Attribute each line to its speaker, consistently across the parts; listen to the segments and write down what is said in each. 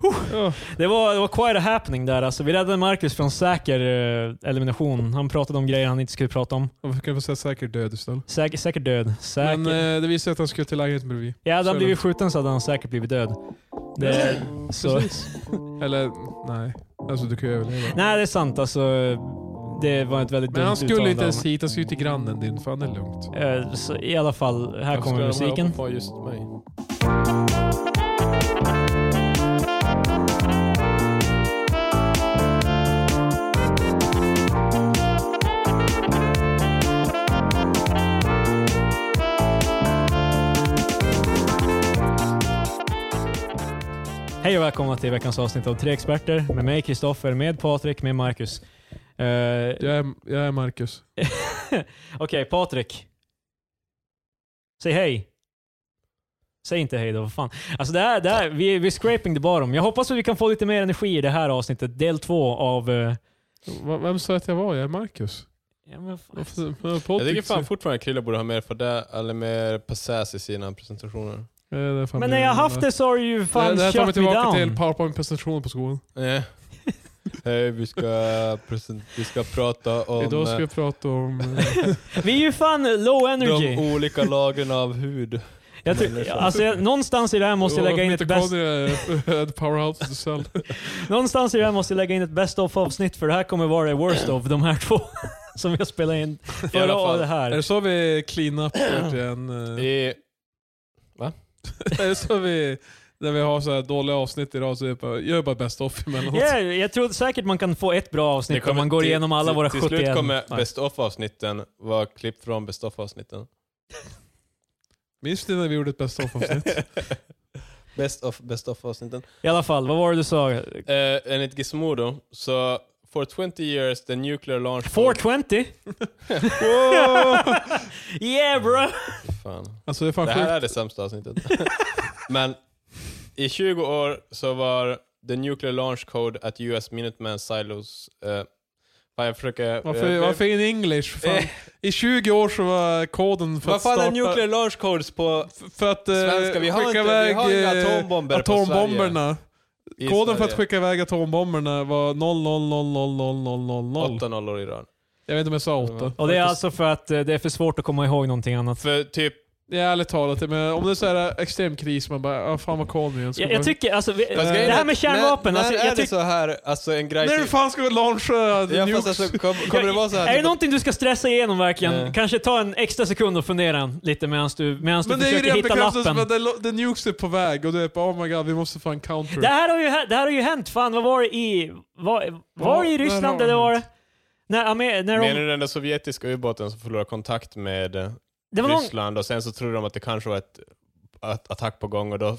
Speaker 1: Oh. Det, var, det var quite a happening där alltså. Vi räddade Marcus från säker eh, elimination. Han pratade om grejer han inte skulle prata om.
Speaker 2: Man kan få säga säker död istället.
Speaker 1: Säker, säker död. Säker.
Speaker 2: Men eh, det visade sig att han skulle till lägenheten bredvid.
Speaker 1: ja, hade
Speaker 2: så är
Speaker 1: han
Speaker 2: det.
Speaker 1: blivit skjuten så hade han säkert blivit död. Det, så.
Speaker 2: Precis. Eller nej. Alltså du kan ju överleva.
Speaker 1: Nej, det är sant alltså. Det var ett väldigt
Speaker 2: Men han
Speaker 1: dumt
Speaker 2: skulle
Speaker 1: uttalande
Speaker 2: inte
Speaker 1: av
Speaker 2: ens hit, han skulle till grannen din. Fan det är lugnt.
Speaker 1: mig. Eh, så I alla fall, här kommer
Speaker 3: Varför ska de
Speaker 1: musiken.
Speaker 3: hoppa på just mig?
Speaker 1: Hej och välkomna till veckans avsnitt av Tre Experter med mig Kristoffer, med Patrik, med Marcus. Eh,
Speaker 2: Jag är, jag är Marcus.
Speaker 1: Okej, Patrik. Säg hej. Säg inte hej då, vad fan. Alltså det här, det här, vi, vi är scraping the bottom. Jag hoppas att vi kan få lite mer energi i det här avsnittet, del två av... eh,
Speaker 2: V- Vem sa att jag var? Jag är Marcus.
Speaker 1: ja, men fan.
Speaker 2: Varför-
Speaker 3: Jag tycker
Speaker 2: Patrik
Speaker 3: fan
Speaker 2: säger-
Speaker 3: fortfarande att Krille borde ha mer för det, eller mer passas i sina presentationer.
Speaker 2: Ja, det är fan
Speaker 1: Men när jag haft det så har du ju fan
Speaker 2: det här tar
Speaker 1: shut
Speaker 2: mig
Speaker 1: me
Speaker 2: tillbaka
Speaker 1: down.
Speaker 2: till powerpoint-presentationen på skolan.
Speaker 3: Nej. Hej, vi ska, present- vi ska prata om
Speaker 2: Idag ska
Speaker 3: eh,
Speaker 2: vi prata om... eh,
Speaker 1: Vi är ju fan low
Speaker 3: de
Speaker 1: energy.
Speaker 3: olika lagren av hud.
Speaker 1: Jag ty- alltså, jag, någonstans i det här måste jag lägga in ett best...
Speaker 2: mitokondrier, eh, powerhouse of the cell.
Speaker 1: Någonstans i det här måste jag lägga in ett best of avsnitt för det här kommer vara det worst of de här två som jag spelade in förra
Speaker 3: alla fall.
Speaker 1: och det
Speaker 2: Är det
Speaker 1: här.
Speaker 2: Eh, så vi clean up egentligen? eh,
Speaker 3: I,
Speaker 2: Är det så vi... När vi har så här dåliga avsnitt idag så är det bara, gör bara best off emellanåt.
Speaker 1: Yeah, jag tror säkert man kan få ett bra avsnitt om man går
Speaker 3: till-
Speaker 1: igenom alla
Speaker 3: till,
Speaker 1: våra
Speaker 3: Till
Speaker 1: 71.
Speaker 3: slut kommer
Speaker 1: Nej.
Speaker 3: best of avsnitten vara klipp från best of avsnitten.
Speaker 2: Minns ni när vi gjorde ett best off avsnitt?
Speaker 3: best of best of avsnitten.
Speaker 1: I alla fall, vad var det du sa?
Speaker 3: Uh, enligt Gizmodo, så for 20 years the nuclear launch...
Speaker 1: 420? yeah bro!
Speaker 3: Fan.
Speaker 2: Alltså det är fan
Speaker 3: Det
Speaker 2: sjukt.
Speaker 3: här är det sämsta avsnittet. Men i 20 år så var the nuclear launch code at US Minuteman silos... eh, fan jag försöker... eh,
Speaker 2: Varför,
Speaker 3: jag-
Speaker 2: varför in English? för Fan.
Speaker 3: Eh.
Speaker 2: I 20 år så var koden för
Speaker 3: Vad
Speaker 2: att
Speaker 3: fan
Speaker 2: starta...
Speaker 3: är nuclear launch codes på
Speaker 2: f- För att eh,
Speaker 3: svenska? Vi har,
Speaker 2: skicka
Speaker 3: inte, vi
Speaker 2: iväg
Speaker 3: har inga
Speaker 2: eh,
Speaker 3: atombomber på Sverige.
Speaker 2: atombomberna.
Speaker 3: I
Speaker 2: Koden för att
Speaker 3: Sverige.
Speaker 2: skicka iväg atombomberna var 000000000.
Speaker 3: Åtta nollor i rad.
Speaker 2: Jag vet inte om jag sa åtta.
Speaker 1: Och det är alltså för att eh, det är för svårt att komma ihåg någonting annat.
Speaker 3: För typ...
Speaker 2: Det är ärligt talat, men om det är så här extrem kris, man bara ah, fan vad kom igen. Ska
Speaker 1: Jag,
Speaker 2: bara-
Speaker 1: jag tycker alltså, vi,
Speaker 2: Eh,
Speaker 3: Fast grejen
Speaker 1: det här
Speaker 3: är-
Speaker 1: med kärnvapen,
Speaker 3: När,
Speaker 1: alltså,
Speaker 3: när är
Speaker 1: jag
Speaker 3: det
Speaker 1: tycker...
Speaker 3: så här, alltså en grej...
Speaker 2: När
Speaker 3: till-
Speaker 2: fan ska vi launcha
Speaker 3: ja,
Speaker 2: nukes?
Speaker 3: fast alltså, kom, kommer det vara så här...
Speaker 1: Är det
Speaker 3: typ-
Speaker 1: någonting du ska stressa igenom verkligen?
Speaker 3: Nej.
Speaker 1: Kanske ta en extra sekund och fundera lite medan du, medans du
Speaker 2: men det är ju
Speaker 1: försöker
Speaker 2: redan
Speaker 1: hitta
Speaker 2: bekräftat
Speaker 1: lappen.
Speaker 2: att det lo- the nukes är på väg och du är på oh my god, vi måste fan counter.
Speaker 1: Det här, har ju, hä- det här har ju hänt, fan vad var det i... Var, var det i
Speaker 2: Ja, där har
Speaker 1: Ryssland
Speaker 2: det
Speaker 1: eller var det...
Speaker 2: hänt.
Speaker 1: När, Amer- när
Speaker 3: Menar
Speaker 1: de,
Speaker 3: du den där sovjetiska ubåten som förlorade kontakt med eh,
Speaker 1: det var någon,
Speaker 3: Ryssland och sen så trodde de att det kanske var ett, ett attack på gång och då,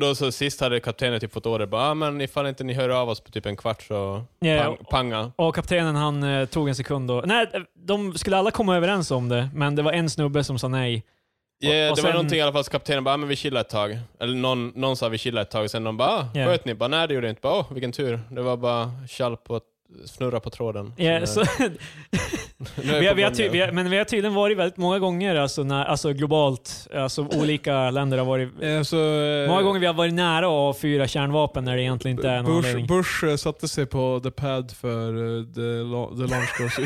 Speaker 3: då så sist hade kaptenen typ fått order bara ah, men ifall inte ni hör av oss på typ en kvart så
Speaker 1: Ja,
Speaker 3: pang, panga.
Speaker 1: Eh, Och kaptenen han eh, tog en sekund och... Nej, eh, de skulle alla komma överens om det, men det var en snubbe som sa nej.
Speaker 3: Ja,
Speaker 1: och
Speaker 3: det
Speaker 1: sen-
Speaker 3: var någonting i alla fall så kaptenen bara ah, men vi chillar ett tag. Eller någon, någon sa vi chillar ett tag och sen de bara ah,
Speaker 1: Ja.
Speaker 3: sköt ni? Bara, Nej det gjorde vi inte. Bara, Åh vilken tur. Det var bara tjall på snurra på tråden.
Speaker 1: Ja, så,
Speaker 3: nu är
Speaker 1: vi,
Speaker 3: på
Speaker 1: har- vi har typ-
Speaker 3: gång
Speaker 1: ty,
Speaker 3: igen.
Speaker 1: vi har, men vi har tydligen varit väldigt många gånger, alltså, när, alltså globalt, alltså olika länder har varit...
Speaker 2: Eh, så, eh,
Speaker 1: Många gånger vi har varit nära att avfyra kärnvapen när det egentligen inte är någon anledning.
Speaker 2: Bush, Bush eh, satte sig på the pad för eh, the, la- the launch course.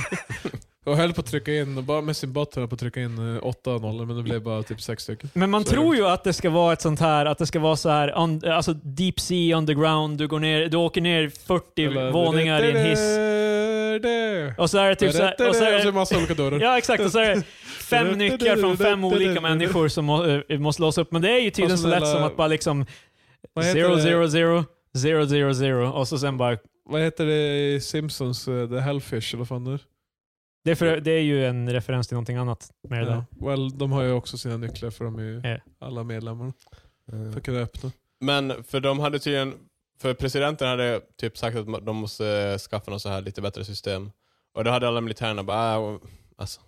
Speaker 2: och höll på att trycka in, och bara med sin bot höll på att trycka in eh, åtta nollor men det blev bara typ sex stycken.
Speaker 1: Men man
Speaker 2: Så är
Speaker 1: tror
Speaker 2: det.
Speaker 1: ju att det ska vara ett sånt här, att det ska vara så här, un, alltså deep sea underground, du, går ner, du åker ner 40
Speaker 2: Eller-
Speaker 1: våningar i en hiss. Och så är det typ så här, och så
Speaker 2: Och
Speaker 1: är
Speaker 2: så
Speaker 1: det,
Speaker 2: en massa olika dörrar.
Speaker 1: Ja exakt, och så är det fem nycklar från fem olika människor som må, eh, måste låsa upp. Men det är ju tydligen så lätt som att bara liksom
Speaker 2: Vad heter
Speaker 1: zero,
Speaker 2: det?
Speaker 1: zero, zero, zero, zero, zero och så sen bara...
Speaker 2: Vad heter det i Simpsons? eh, The Hellfish eller vad fan det är?
Speaker 1: Det är, för, det är ju en referens till någonting annat med det där.
Speaker 2: Ja. Well, de har ju också sina nycklar för de är ju
Speaker 1: Ja.
Speaker 2: alla medlemmar.
Speaker 3: Mm.
Speaker 2: För att kunna öppna.
Speaker 3: Men för de hade tydligen, för presidenten hade typ sagt att de måste eh, skaffa något så här lite bättre system. Och då hade alla militärerna bara, ah, och- alltså,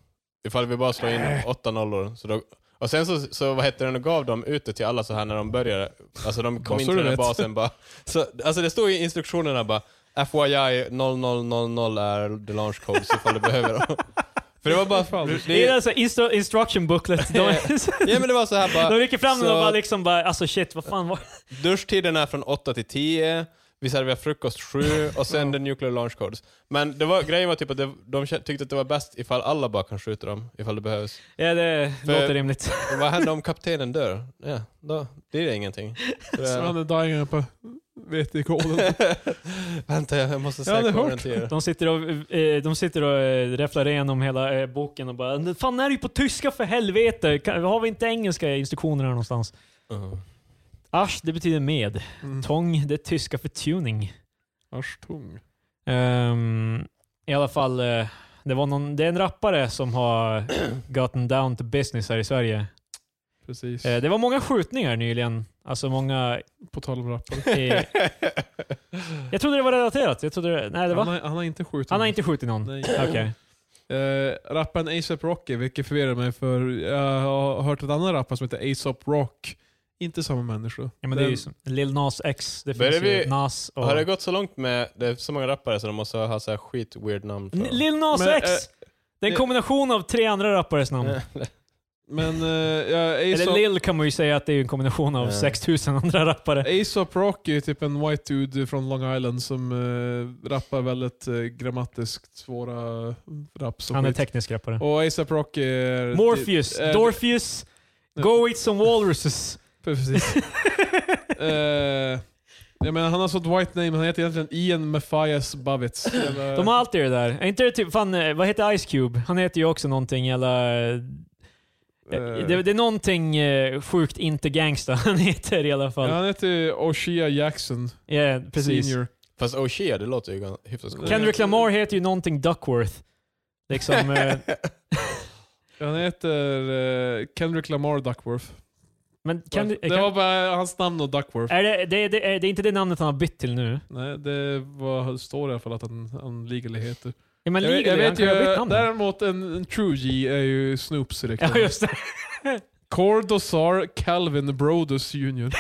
Speaker 3: ifall vi bara slår in åtta nollor. Så då, och sen så, så vad heter det, nu gav de ut det till alla så här när de började. Alltså de kom
Speaker 2: Bara
Speaker 3: in
Speaker 2: så
Speaker 3: till
Speaker 2: du
Speaker 3: den här
Speaker 2: vet.
Speaker 3: basen bara. Så, alltså det stod i instruktionerna bara, FYI 0000 är the launch code så ifall du behöver dem. För det var bara...
Speaker 1: Det är
Speaker 3: Det,
Speaker 1: alltså instru instruction booklet. De,
Speaker 3: ja men det var så här bara...
Speaker 1: de rycker fram den
Speaker 3: Så-
Speaker 1: och bara liksom bara, alltså shit, vad fan var
Speaker 3: Duschtiden är från 8 till 10, vi serverar frukost 7 och sen the nuclear launch codes. Men det var, grejen var typ att det, de kä- tyckte att det var bäst ifall alla bara kan skjuta dem, ifall det behövs.
Speaker 1: Ja, det
Speaker 3: För-
Speaker 1: låter rimligt.
Speaker 3: Men vad händer om kaptenen dör? Ja, då blir det ingenting. Så
Speaker 2: Så
Speaker 3: det,
Speaker 2: han är dying på VT-koden.
Speaker 3: vänta, jag måste
Speaker 2: Jag hade
Speaker 3: säkra
Speaker 2: hört.
Speaker 3: den till er.
Speaker 1: De sitter och, eh, de sitter och eh, räfflar igenom hela eh, boken och bara Fan, det här är ju på tyska för helvete! Kan, har vi inte engelska instruktioner här någonstans?
Speaker 3: Mm.
Speaker 1: Asch, det betyder med.
Speaker 2: Mm.
Speaker 1: Tong, det är tyska för tuning.
Speaker 2: Aschtung.
Speaker 1: Ehm, I alla fall, eh, det, var någon, det är en rappare som har gotten down to business här i Sverige.
Speaker 2: Precis.
Speaker 1: Eh, det var många skjutningar nyligen. Alltså många...
Speaker 2: På tal om rappare.
Speaker 1: Eh, jag trodde det var relaterat. Jag trodde det, nej, det
Speaker 2: Han,
Speaker 1: var,
Speaker 2: har- han har inte skjutit
Speaker 1: han har
Speaker 2: någon.
Speaker 1: inte skjutit någon.
Speaker 2: Nej.
Speaker 1: Okej.
Speaker 2: Eh, rapparen ASAP Rocky, vilket förvirrar mig för jag har hört ett annat rappare som heter ASAP Rock. Inte samma människa.
Speaker 1: Ja, men det är ju som Lil Nas X, det
Speaker 3: Börjar
Speaker 1: finns ju
Speaker 3: vi-
Speaker 1: Nas och...
Speaker 3: Har det gått så långt med, det är så många rappare så de måste ha så här skit weird namn.
Speaker 1: N- Lil Nas
Speaker 2: Men,
Speaker 1: X!
Speaker 2: eh,
Speaker 1: det är en
Speaker 2: det-
Speaker 1: kombination av tre andra rappares namn.
Speaker 2: Men eh, ja,
Speaker 1: Eller
Speaker 2: ASAP,
Speaker 1: Lil kan man ju säga att det är ju en kombination av
Speaker 3: Ja.
Speaker 1: 6000 andra rappare.
Speaker 2: ASAP Rocky är typ en white dude från Long Island som eh, rappar väldigt eh, grammatiskt svåra eh, raps. och
Speaker 1: Han är
Speaker 2: skit.
Speaker 1: teknisk rappare.
Speaker 2: Och ASAP Rocky är...
Speaker 1: Morpheus,
Speaker 2: eh,
Speaker 1: Dorpheus, Go Eat Some Walruses.
Speaker 2: Precis. Eh, jag menar, han har sånt white name, han heter egentligen Ian Matthias Bavitz. Eller,
Speaker 1: De har alltid det där. Är inte det typ, fan, eh, vad heter Ice Cube? Han heter ju också någonting eller...
Speaker 2: eh,
Speaker 1: Det, det är någonting eh, sjukt inte gangsta han heter i alla
Speaker 2: ja,
Speaker 1: fall.
Speaker 2: han heter Oshia Jackson
Speaker 1: Ja, precis.
Speaker 2: Senior.
Speaker 3: Fast O'Shea, det låter ju gan- hyfsat coolt.
Speaker 1: Kendrick Lamar heter ju någonting Duckworth. Liksom, eh,
Speaker 2: Han heter eh, Kendrick Lamar Duckworth.
Speaker 1: men Kendi-
Speaker 2: det var bara hans namn och Duckworth.
Speaker 1: Är det, det, det, är det inte det namnet han har bytt till nu?
Speaker 2: Nej, det var, står i alla fall att han, han legally heter.
Speaker 1: Ja, men
Speaker 2: jag, vet-
Speaker 1: Legal,
Speaker 2: jag
Speaker 1: han
Speaker 2: vet ju,
Speaker 1: kan ju ha bytt namn.
Speaker 2: däremot en, en true G är ju Snoops
Speaker 1: Ja,
Speaker 2: reklam.
Speaker 1: just det.
Speaker 2: Cordosar Calvin Brodus Jr.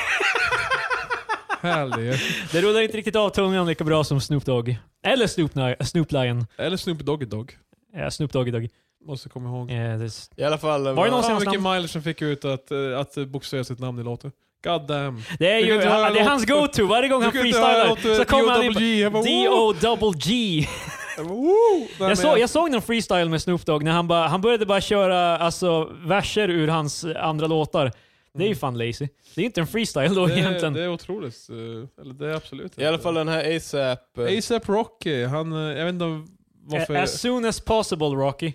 Speaker 2: Härlig.
Speaker 1: Det rullar inte riktigt av tungan lika bra som Snoop Dogg. Eller Snoop, Ni- Snoop Lion.
Speaker 2: Eller Snoop Doggy Dogg.
Speaker 1: Ja, Snoop Doggy Dogg.
Speaker 2: Måste komma ihåg.
Speaker 1: Ja, det är s-
Speaker 3: I alla fall,
Speaker 1: Var det
Speaker 3: vad-
Speaker 1: någon-
Speaker 2: Fan
Speaker 1: hans
Speaker 2: vilken mileage som fick ut att, eh, att eh, bokstavera sitt namn i låten. God damn.
Speaker 1: det är
Speaker 2: Du kan
Speaker 1: ju
Speaker 2: inte höra
Speaker 1: han, det är hans
Speaker 2: låt-
Speaker 1: go-to. Varje gång han
Speaker 2: kan inte höra något,
Speaker 1: freestylar
Speaker 2: eh,
Speaker 1: så kommer han in på
Speaker 2: D.O.W.G.. Jag bara, woo!
Speaker 1: D-O-double-G.
Speaker 2: Jag bara, woo! Nej, men
Speaker 1: Jag, såg- jag såg någon freestyle med Snoop Dogg när han, bara han började bara köra alltså, verser ur hans eh, andra låtar. Det är ju fan lazy. Det är ju inte en freestyle då
Speaker 2: Mm. det,
Speaker 1: egentligen.
Speaker 2: det är otroligt. eh, Eller det är absolut
Speaker 3: I alla fall den här ASAP... eh,
Speaker 2: ASAP Rocky, han, eh, jag vet inte om- varför...
Speaker 1: Eh, As soon as possible Rocky.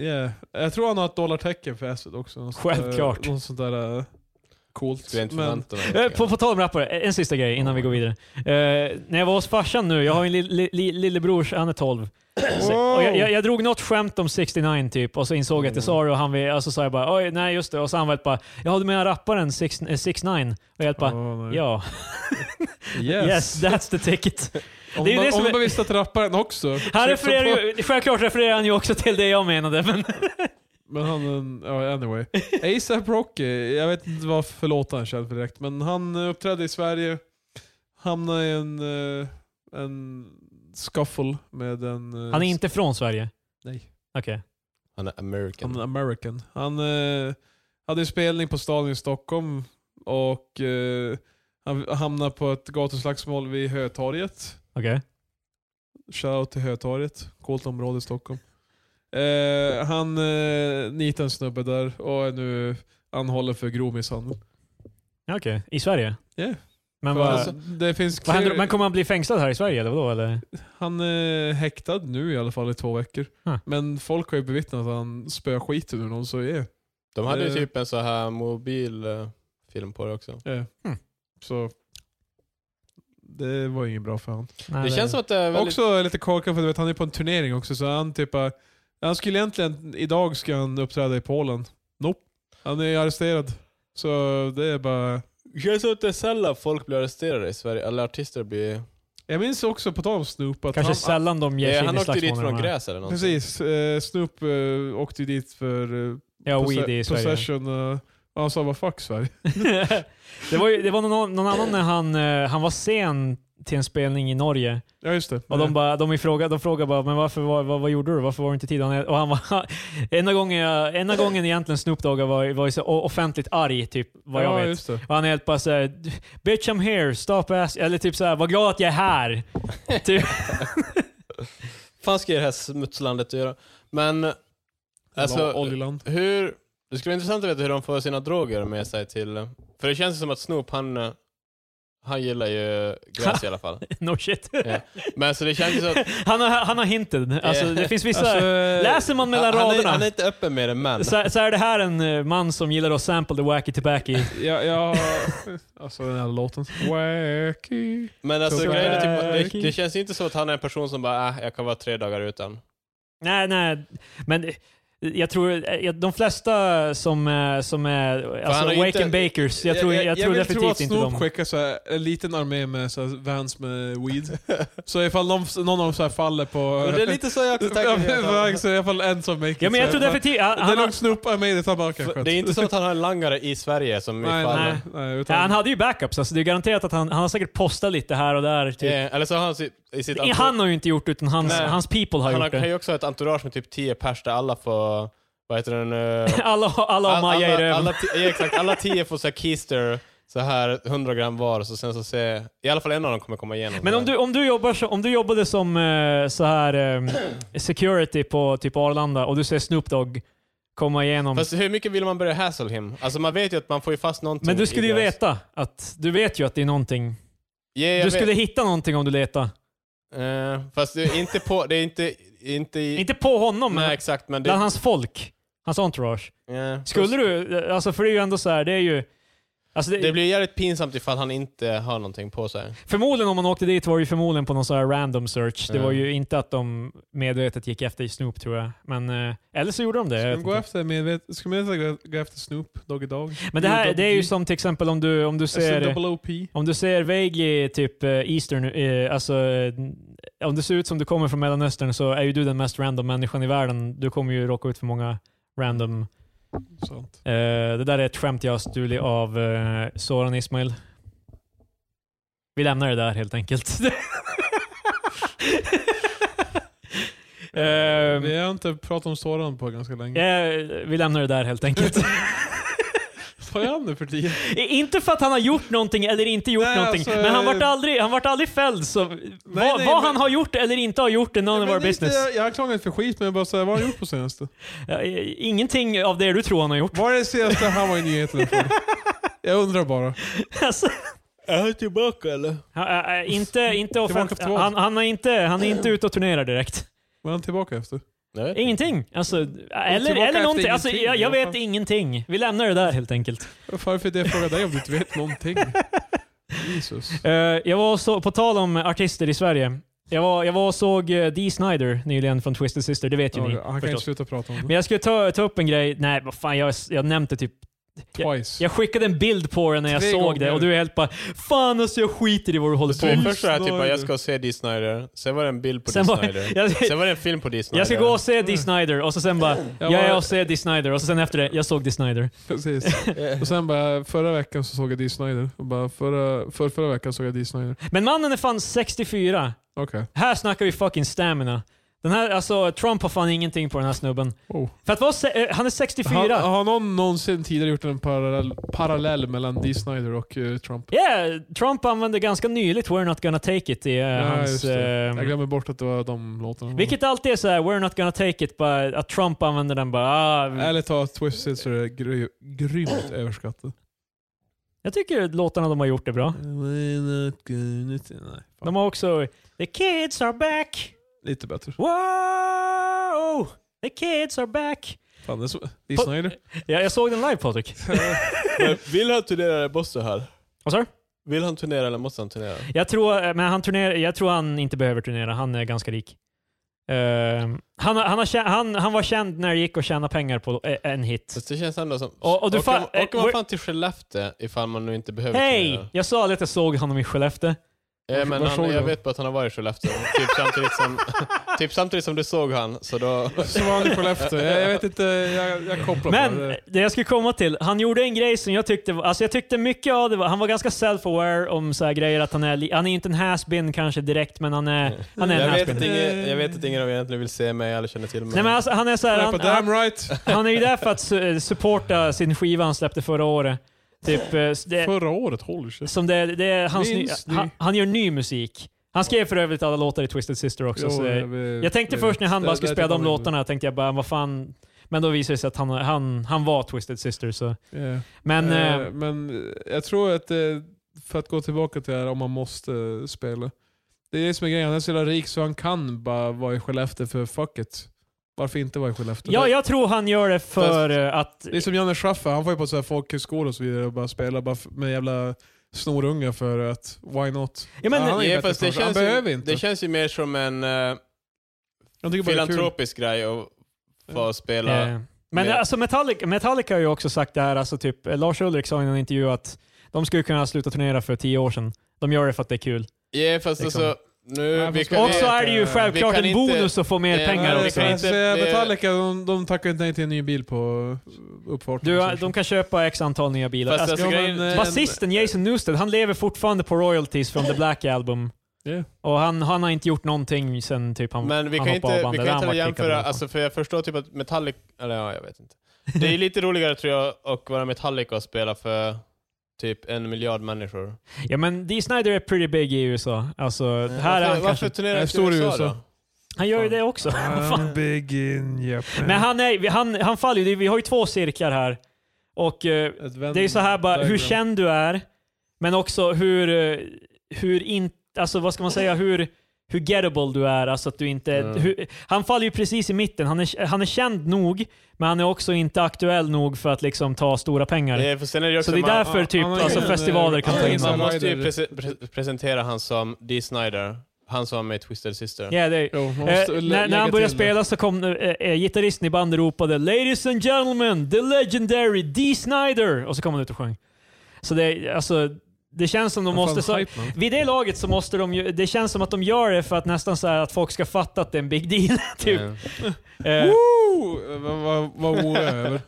Speaker 2: yeah. Jag tror han har ett dollartecken för acid också. Något sånt där-
Speaker 1: Självklart.
Speaker 2: Något sånt där eh, coolt.
Speaker 3: Skulle jag inte
Speaker 2: Men,
Speaker 3: förvänta mig.
Speaker 1: Eh, På, på tal om rappare, en sista grej innan vi går vidare. Eh, när jag var hos farsan nu, jag har en li, li, li, lillebror, han är 12. Så, och jag, jag, jag drog något skämt om 69 typ och så insåg jag att det sa det och han vi- och så sa jag bara oj nej just det och så han var bara ja du menar rapparen 69? eh, Och jag bara
Speaker 2: Åh, nej.
Speaker 1: ja,
Speaker 2: Yes.
Speaker 1: yes. that's the ticket.
Speaker 2: Om
Speaker 1: det är ju
Speaker 2: man-
Speaker 1: det som
Speaker 2: om man
Speaker 1: är-
Speaker 2: bara visste att rapparen också...
Speaker 1: Han refererar ju, självklart refererar han ju också till det jag menade men
Speaker 2: Men han, ja anyway. ASAP Rocky, jag vet inte vad för låt han är känd för direkt, men han eh, uppträdde i Sverige, hamnade i en, eh, en scuffle med en... eh,
Speaker 1: han är inte från Sverige.
Speaker 2: Nej,
Speaker 1: Okej.
Speaker 3: Han är
Speaker 2: han är
Speaker 3: American.
Speaker 2: American. Han eh, hade en spelning på Stadion i Stockholm och eh, han hamnade på ett gatuslagsmål vid Hötorget.
Speaker 1: Okej.
Speaker 2: Shoutout till Hötorget, coolt område i Stockholm. Eh, han eh, nitade en snubbe där och är nu anhållen för grov misshandel.
Speaker 1: Ja, Okej. I Sverige?
Speaker 2: Ja.
Speaker 1: Men
Speaker 2: För
Speaker 1: vad,
Speaker 2: alltså, det finns
Speaker 1: vad händer,
Speaker 2: clear-
Speaker 1: men kommer han bli fängslad här i Sverige eller vadå? Eller?
Speaker 2: Han är häktad nu i alla fall i två veckor.
Speaker 1: Huh.
Speaker 2: Men folk har ju bevittnat att han spöar skiten ur någon, så är
Speaker 3: De hade ju
Speaker 2: Eh.
Speaker 3: typ en så här mobil eh, film på det också.
Speaker 2: yeah.
Speaker 1: Hmm.
Speaker 2: Så det var inget bra för han.
Speaker 1: Nej,
Speaker 3: Det känns som att det är väldigt...
Speaker 2: Också lite korkat för du vet, han är på en turnering också, så han typ eh, Han skulle egentligen, idag ska han uppträda i Polen. Nope. Han är arresterad. Så det är bara...
Speaker 3: Det känns som att det är sällan folk blir arresterade i Sverige, eller artister blir...
Speaker 2: Jag minns också, på tal om Snoop, att
Speaker 1: Kanske
Speaker 2: han,
Speaker 1: sällan de ger sig
Speaker 3: Ja,
Speaker 1: in
Speaker 3: han
Speaker 1: i
Speaker 3: åkte ju dit
Speaker 1: slagsmål.
Speaker 3: från
Speaker 1: när de är-
Speaker 3: gräs eller någonting.
Speaker 2: Precis. Eh, Snoop eh, åkte ju dit för eh,
Speaker 1: Ja,
Speaker 2: posse-
Speaker 1: weed i Sverige.
Speaker 2: possession. eh, och han sa bara fuck Sverige.
Speaker 1: det var, ju, det var någon, någon annan när han, eh, han var sen till en spelning i Norge.
Speaker 2: Ja, just det.
Speaker 1: Och de, bara, de, ifråga, de frågar bara men varför, vad, vad, vad gjorde du? Varför var du inte i tid? Han är- Och han var, enda, gången jag, enda gången egentligen Snoop Dogg var, var ju så o- offentligt arg, typ, vad jag
Speaker 2: ja,
Speaker 1: vet.
Speaker 2: just det.
Speaker 1: Och han är helt bara såhär “Bitch I'm here, stop ass...” Eller typ såhär “Var glad att jag är här”. typ.
Speaker 3: fan ska det här smutslandet att göra? Men
Speaker 2: Alltså,
Speaker 3: alltså,
Speaker 2: Oljeland.
Speaker 3: hur... Det skulle vara intressant att veta hur de får sina droger med sig till... För det känns som att Snoop, han, eh, han gillar ju gräs i alla fall.
Speaker 1: No shit.
Speaker 3: Ja. Men så det känns ju så att...
Speaker 1: Han har, han har hinten. Alltså,
Speaker 3: Eh,
Speaker 1: det finns vissa...
Speaker 2: Alltså,
Speaker 1: läser man mellan
Speaker 3: han, han, är,
Speaker 1: raderna
Speaker 3: han är inte öppen med det, men...
Speaker 1: så, så är det här en eh, man som gillar att sample the wacky tobacco.
Speaker 2: ja, ja, alltså den här låten. Wacky.
Speaker 3: Men alltså
Speaker 2: Så-
Speaker 3: grejen
Speaker 1: eh,
Speaker 3: är typ, det, det känns inte så att han är en person som bara äh, jag kan vara tre dagar utan.
Speaker 1: nej, nej. Men eh, jag tror eh, jag- de flesta som, eh, som är alltså,
Speaker 3: han har ju
Speaker 1: wake
Speaker 3: inte-
Speaker 1: and bakers, jag tror, jag, tror
Speaker 2: vill tro
Speaker 1: definitivt
Speaker 2: att
Speaker 1: inte
Speaker 2: Snoop
Speaker 1: de...
Speaker 2: skickar så här, en liten armé med så här, vans med weed. så ifall någon, någon av dem så här faller på...
Speaker 3: Men det är lite så jag också
Speaker 2: Ja, men,
Speaker 3: tänker.
Speaker 2: så I alla fall en som make it.
Speaker 1: Ja, men jag
Speaker 2: så
Speaker 1: tror
Speaker 2: här,
Speaker 1: definitivt... Han,
Speaker 2: Det är
Speaker 1: han, har-
Speaker 2: lugnt Snoop, I made it. Han bara, okej,
Speaker 3: För
Speaker 2: skönt.
Speaker 3: Det är inte så att han har en langare i Sverige som
Speaker 2: Nej,
Speaker 3: ifall...
Speaker 2: nej, nej.
Speaker 1: ja,
Speaker 2: Utan,
Speaker 1: han hade ju backups, alltså, det är garanterat att han, han har säkert postat lite här och där. Typ.
Speaker 3: Eh, Eller så har han si- i sitt
Speaker 1: I- Han har ju inte gjort utan hans,
Speaker 3: Nej.
Speaker 1: hans people har
Speaker 3: han har,
Speaker 1: gjort
Speaker 3: kan
Speaker 1: det.
Speaker 3: ju också ha ett entourage med typ tio pers där alla får, vad heter den? eh,
Speaker 1: Alla, alla har
Speaker 3: all-
Speaker 1: Maja i
Speaker 3: alla,
Speaker 1: röven.
Speaker 3: alla, ti- ja, exakt, alla tio får så här keister, så här 100 gram var, så sen så se, i alla fall en av dem kommer komma igenom.
Speaker 1: Men om du, om, du jobbar, så- om du jobbade som eh, så här ehm, security på typ Arlanda och du ser Snoop Dogg komma igenom.
Speaker 3: Fast hur mycket vill man börja hassle him? Alltså man vet ju att man får ju fast någonting
Speaker 1: men
Speaker 3: i
Speaker 1: du skulle ju
Speaker 3: deras-
Speaker 1: veta att, du vet ju att det är någonting.
Speaker 3: Ja, jag
Speaker 1: Du
Speaker 3: vet.
Speaker 1: skulle hitta någonting om du letar.
Speaker 3: Eh, fast det är inte på, det är inte, inte i...
Speaker 1: Inte på honom,
Speaker 3: nej,
Speaker 1: men
Speaker 3: exakt, men det...
Speaker 1: bland hans folk. Hans entourage.
Speaker 3: eh,
Speaker 1: Skulle du, eh, alltså för det är ju ändå så här, det är ju... Alltså det,
Speaker 3: Det blir jävligt pinsamt ifall han inte har någonting på sig.
Speaker 1: Förmodligen om man åkte dit var det ju förmodligen på någon sån här random search. Det
Speaker 3: Ja.
Speaker 1: var ju inte att de medvetet gick efter Snoop tror jag. Men, eh, eller så gjorde de det.
Speaker 2: Ska
Speaker 1: jag vet
Speaker 2: de gå
Speaker 1: inte.
Speaker 2: efter medvetet? Ska man inte gå efter Snoop Doggy Dogg?
Speaker 1: Men det här det är ju alltså
Speaker 2: UWG,
Speaker 1: som till exempel om du, om du
Speaker 3: Alltså,
Speaker 1: ser...
Speaker 2: SNOOP.
Speaker 1: Om du ser vaguely typ eh, Eastern, eh, alltså eh, om du ser ut som du kommer från Mellanöstern så är ju du den mest random människan i världen. Du kommer ju råka ut för många random...
Speaker 2: Sant.
Speaker 1: eh, det där är ett skämt jag har stulit av eh, Soran Ismail. Vi lämnar det där helt enkelt. Ehm,
Speaker 2: Vi har inte pratat om Soran på ganska länge.
Speaker 1: ja, vi lämnar det där helt enkelt.
Speaker 2: Vad är han nu för tiden?
Speaker 1: inte för att han har gjort någonting eller inte gjort
Speaker 2: Nej,
Speaker 1: någonting,
Speaker 2: alltså,
Speaker 1: men han vart
Speaker 2: eh,
Speaker 1: aldrig, han vart aldrig fälld. Så vad
Speaker 2: nej,
Speaker 1: vad
Speaker 2: men-
Speaker 1: han har gjort eller inte har gjort är none
Speaker 2: Ja,
Speaker 1: of
Speaker 2: men
Speaker 1: our
Speaker 2: det är inte-
Speaker 1: business.
Speaker 2: Jag, jag har klagat inte för skit, men jag bara säger vad har han gjort på senaste?
Speaker 1: Ja, eh, Ingenting av det du tror han har gjort.
Speaker 2: Vad är det senaste han var i nyheterna för? Jag undrar bara.
Speaker 1: Alltså,
Speaker 3: Är han tillbaka eller?
Speaker 1: han- eh, eh, inte, inte
Speaker 2: Tillbaka
Speaker 1: offent-
Speaker 2: till vad?
Speaker 1: han, han, är inte, han är inte ute och turnerar direkt.
Speaker 2: Vad är han tillbaka efter?
Speaker 3: Nej.
Speaker 1: Ingenting. Alltså, eller,
Speaker 2: tillbaka
Speaker 1: eller någonting.
Speaker 2: efter
Speaker 1: Alltså,
Speaker 2: ingenting,
Speaker 1: jag, jag
Speaker 2: vad
Speaker 1: vet
Speaker 2: fan?
Speaker 1: ingenting. Vi lämnar det där helt enkelt.
Speaker 2: Varför fick jag fråga dig om du inte vet någonting? Jesus.
Speaker 1: Eh, jag var så, på tal om artister i Sverige. Jag var, jag var och såg eh, Dee Snider nyligen från Twisted Sister, det vet ju
Speaker 2: Ja,
Speaker 1: ni
Speaker 2: han kan inte
Speaker 1: förstås.
Speaker 2: sluta prata om
Speaker 1: Men
Speaker 2: det.
Speaker 1: jag skulle ta, ta upp en grej. Nej, vad fan, jag, jag nämnde typ
Speaker 2: Twice.
Speaker 1: jag skickade en bild på den när jag
Speaker 2: Tre
Speaker 1: såg det
Speaker 2: gånger.
Speaker 1: och du är helt bara Fan alltså jag skiter i vad du håller
Speaker 3: Så det
Speaker 1: på med.
Speaker 3: första var typ
Speaker 2: Snyder.
Speaker 3: jag ska se Dee Snyder, sen var det en bild på
Speaker 1: Sen
Speaker 3: Dee
Speaker 1: var-
Speaker 3: Snyder,
Speaker 1: jag-
Speaker 3: sen var det en film på Dee Snyder.
Speaker 1: Jag ska gå och se Dee Snyder och så sen bara
Speaker 2: Mm. Jag
Speaker 1: Jag är
Speaker 2: var-
Speaker 1: och ser Dee Snyder och så sen efter det Jag såg Dee Snyder.
Speaker 2: Precis. Och sen bara, förra veckan så såg jag Dee Snyder. Och bara, förra, för, förra veckan såg jag Dee Snyder.
Speaker 1: Men mannen är fan 64.
Speaker 2: Okej.
Speaker 1: Här snackar vi fucking stamina. Den här, alltså Trump har fan ingenting på den här snubben.
Speaker 2: Oh.
Speaker 1: För att vara se- eh, han är 64.
Speaker 2: Har, har någon någonsin tidigare gjort en parallell, parallell mellan Dee Snyder och eh, Trump?
Speaker 1: Yeah, Trump använde ganska nyligt We're Not Gonna Take It i eh, hans...
Speaker 2: just det.
Speaker 1: ehm,
Speaker 2: Jag glömmer bort att det var de låtarna.
Speaker 1: vilket alltid är såhär, We're Not Gonna Take It, bara, att Trump använder den bara... Ah,
Speaker 2: Ärligt talat, Twist Sister är gry, grymt överskattat.
Speaker 1: jag tycker låtarna de har gjort är bra.
Speaker 2: We're not gonna t- Nej, fan.
Speaker 1: De har också The kids are back!
Speaker 2: Lite bättre.
Speaker 1: Wow! The kids are back!
Speaker 2: Fan, det är så- Dee
Speaker 1: På-
Speaker 2: Snyder.
Speaker 1: Ja, jag såg den live Patrik.
Speaker 3: Men vill han turnera eller måste han?
Speaker 1: Vad sa du?
Speaker 3: Vill han turnera eller måste han turnera?
Speaker 1: Jag tror, men han turnerar, jag tror han inte behöver turnera, han är ganska rik. Ehm, han, har- han, har, tjä- han, han var känd när det gick att tjäna pengar på eh, en hit.
Speaker 3: Fast det känns ändå som...
Speaker 1: Och- och du
Speaker 3: åker,
Speaker 1: fan- eh,
Speaker 3: åker man
Speaker 1: we're-
Speaker 3: fan till Skellefteå ifall man nu inte behöver
Speaker 1: Hej!
Speaker 3: turnera?
Speaker 1: Jag sa aldrig att jag såg honom i Skellefteå.
Speaker 3: Eh, men
Speaker 2: Var såg
Speaker 3: han,
Speaker 2: du
Speaker 3: jag
Speaker 2: dem?
Speaker 3: vet bara att han har varit i Skellefteå, typ samtidigt som typ samtidigt som du såg han, så då...
Speaker 2: Som var han i Skellefteå. Jag, jag vet inte, jag, jag kopplar på
Speaker 1: Men
Speaker 2: det.
Speaker 1: det jag skulle komma till, han gjorde en grej som jag tyckte, var- alltså jag tyckte mycket av det var, han var ganska self-aware om så här grejer att han är, li- han är inte en has-been kanske direkt, men han
Speaker 3: Mm.
Speaker 1: är, han är en
Speaker 3: Jag vet,
Speaker 1: has-been.
Speaker 3: att ingen, jag vet att ingen av er egentligen vill se mig eller känner till mig.
Speaker 1: Nej men alltså, han är så här,
Speaker 2: Jag är på
Speaker 1: han, han,
Speaker 2: damn right.
Speaker 1: han är ju där för att su- supporta sin skiva han släppte förra året. Typ, eh, s- det,
Speaker 2: Förra året, håller sig.
Speaker 1: som det, det är hans ny,
Speaker 2: Minns ni?
Speaker 1: han, han gör ny musik. Han skrev för övrigt alla låtar i Twisted Sister också. så det, jag tänkte först när han bara skulle spela de låtarna, tänkte jag bara vad fan. Men då visade det sig att han, han, han var Twisted Sister. Så.
Speaker 2: Yeah.
Speaker 1: Men eh,
Speaker 2: Eh, men jag tror att, eh, för att gå tillbaka till det här om man måste eh, spela. Det är det som är grejen, han är så jävla rik så han kan bara vara i Skellefteå för fuck it. Varför inte vara i Skellefteå?
Speaker 1: ja, jag tror han gör det för eh, att...
Speaker 2: Det är som Janne Schaffer, han får ju på så här folkhögskolor och så vidare och bara spela bara f- med jävla snorungar för att why not?
Speaker 1: Ja, men,
Speaker 2: han är ju
Speaker 3: Ja,
Speaker 2: bättre
Speaker 3: fast det
Speaker 2: för sig. Han
Speaker 3: känns,
Speaker 2: behöver
Speaker 3: ju,
Speaker 2: inte.
Speaker 3: det känns ju mer som en eh,
Speaker 2: jag tycker bara det är kul.
Speaker 3: filantropisk grej att få spela.
Speaker 1: eh, men
Speaker 3: med-
Speaker 1: alltså Metallica, Metallica har ju också sagt det här, alltså typ, eh, Lars Ulrik sa i en intervju att de skulle kunna sluta turnera för tio år sedan. De gör det för att det är kul.
Speaker 3: Ja, fast
Speaker 1: Liksom.
Speaker 3: alltså... Nu,
Speaker 2: Nej,
Speaker 3: vi
Speaker 2: fast
Speaker 3: kan,
Speaker 1: Och så
Speaker 2: vet,
Speaker 1: är det ju
Speaker 2: eh,
Speaker 1: självklart
Speaker 3: vi
Speaker 1: en
Speaker 3: kan inte-
Speaker 1: bonus att få mer
Speaker 3: eh,
Speaker 1: pengar liksom. också.
Speaker 2: Nej,
Speaker 3: nej, vi kan
Speaker 2: jag
Speaker 3: inte-
Speaker 2: säga,
Speaker 3: det-
Speaker 2: Metallica, de, de tackar inte nej till en ny bil på eh, uppfarten.
Speaker 1: Du, de kan köpa x antal nya bilar.
Speaker 3: Fast
Speaker 1: Alltså,
Speaker 3: alltså,
Speaker 2: Ja,
Speaker 3: grejen,
Speaker 2: men, eh,
Speaker 1: Basisten Jason Newsted, han lever fortfarande på royalties från The Black Album.
Speaker 2: Ja.
Speaker 1: Och han, han har inte gjort någonting sen typ han
Speaker 3: men vi
Speaker 1: han
Speaker 3: kan
Speaker 1: hoppade av
Speaker 3: inte, vi
Speaker 1: bandet.
Speaker 3: kan
Speaker 1: Där
Speaker 3: inte
Speaker 1: han var kickad
Speaker 3: jämföra,
Speaker 1: och så.
Speaker 3: alltså, för jag förstår typ att Metallic... Eller ja, jag vet inte. Det är ju lite roligare tror jag att vara Metallica och spela för typ en miljard människor.
Speaker 1: Ja men Dee Snyder är pretty big i USA. Alltså, här är
Speaker 3: Eh, varför,
Speaker 1: han
Speaker 3: varför
Speaker 1: kanske...
Speaker 3: turnerar
Speaker 2: Jag
Speaker 3: inte
Speaker 2: står i USA.
Speaker 3: då?
Speaker 1: Han gör ju det också. Fan.
Speaker 2: I'm big in Japan.
Speaker 1: Men han, är, vi- han, han faller ju. Vi har ju två cirklar här. Och eh,
Speaker 2: Ett Venn
Speaker 1: det är ju så här bara, hur
Speaker 2: diagram.
Speaker 1: känd du är, men också hur, eh, hur in, alltså vad ska man säga, hur, hur gettable du är. Alltså att du inte,
Speaker 3: Mm.
Speaker 1: hur, han faller ju precis i mitten. Han är, han är känd nog, men han är också inte aktuell nog för att liksom ta stora pengar.
Speaker 3: Ja, för sen är det ju också
Speaker 1: Så det är
Speaker 3: man-
Speaker 1: därför
Speaker 2: han-
Speaker 1: typ
Speaker 2: han har
Speaker 1: alltså,
Speaker 2: ingen, eh,
Speaker 1: festivaler kan
Speaker 2: han
Speaker 1: ta
Speaker 2: har
Speaker 1: in
Speaker 2: ingen
Speaker 3: Man
Speaker 1: honom.
Speaker 2: samma-
Speaker 3: måste ju
Speaker 2: Snyder.
Speaker 3: prese- pre- presentera han som Dee Snyder. Han som var med i Twisted Sister.
Speaker 1: Ja, det,
Speaker 2: Jo, man
Speaker 1: Eh,
Speaker 2: måste
Speaker 1: när,
Speaker 2: lä-
Speaker 1: när
Speaker 2: lägga
Speaker 1: han började
Speaker 2: till det.
Speaker 1: spela så kom eh, eh, gitarristen i bandet och ropade “Ladies and gentlemen, the legendary Dee Snyder” och så kom han ut och sjöng. Så det, alltså, det känns som de
Speaker 2: Vad fan,
Speaker 1: måste... Så, Eh,
Speaker 2: hype, man.
Speaker 1: vid det laget så måste de ju... Det känns som att de gör det för att nästan så här att folk ska fatta att det är en big deal. typ.
Speaker 3: Ja.
Speaker 1: Eh,
Speaker 2: Woo! Vad- Vad vad oroar jag över?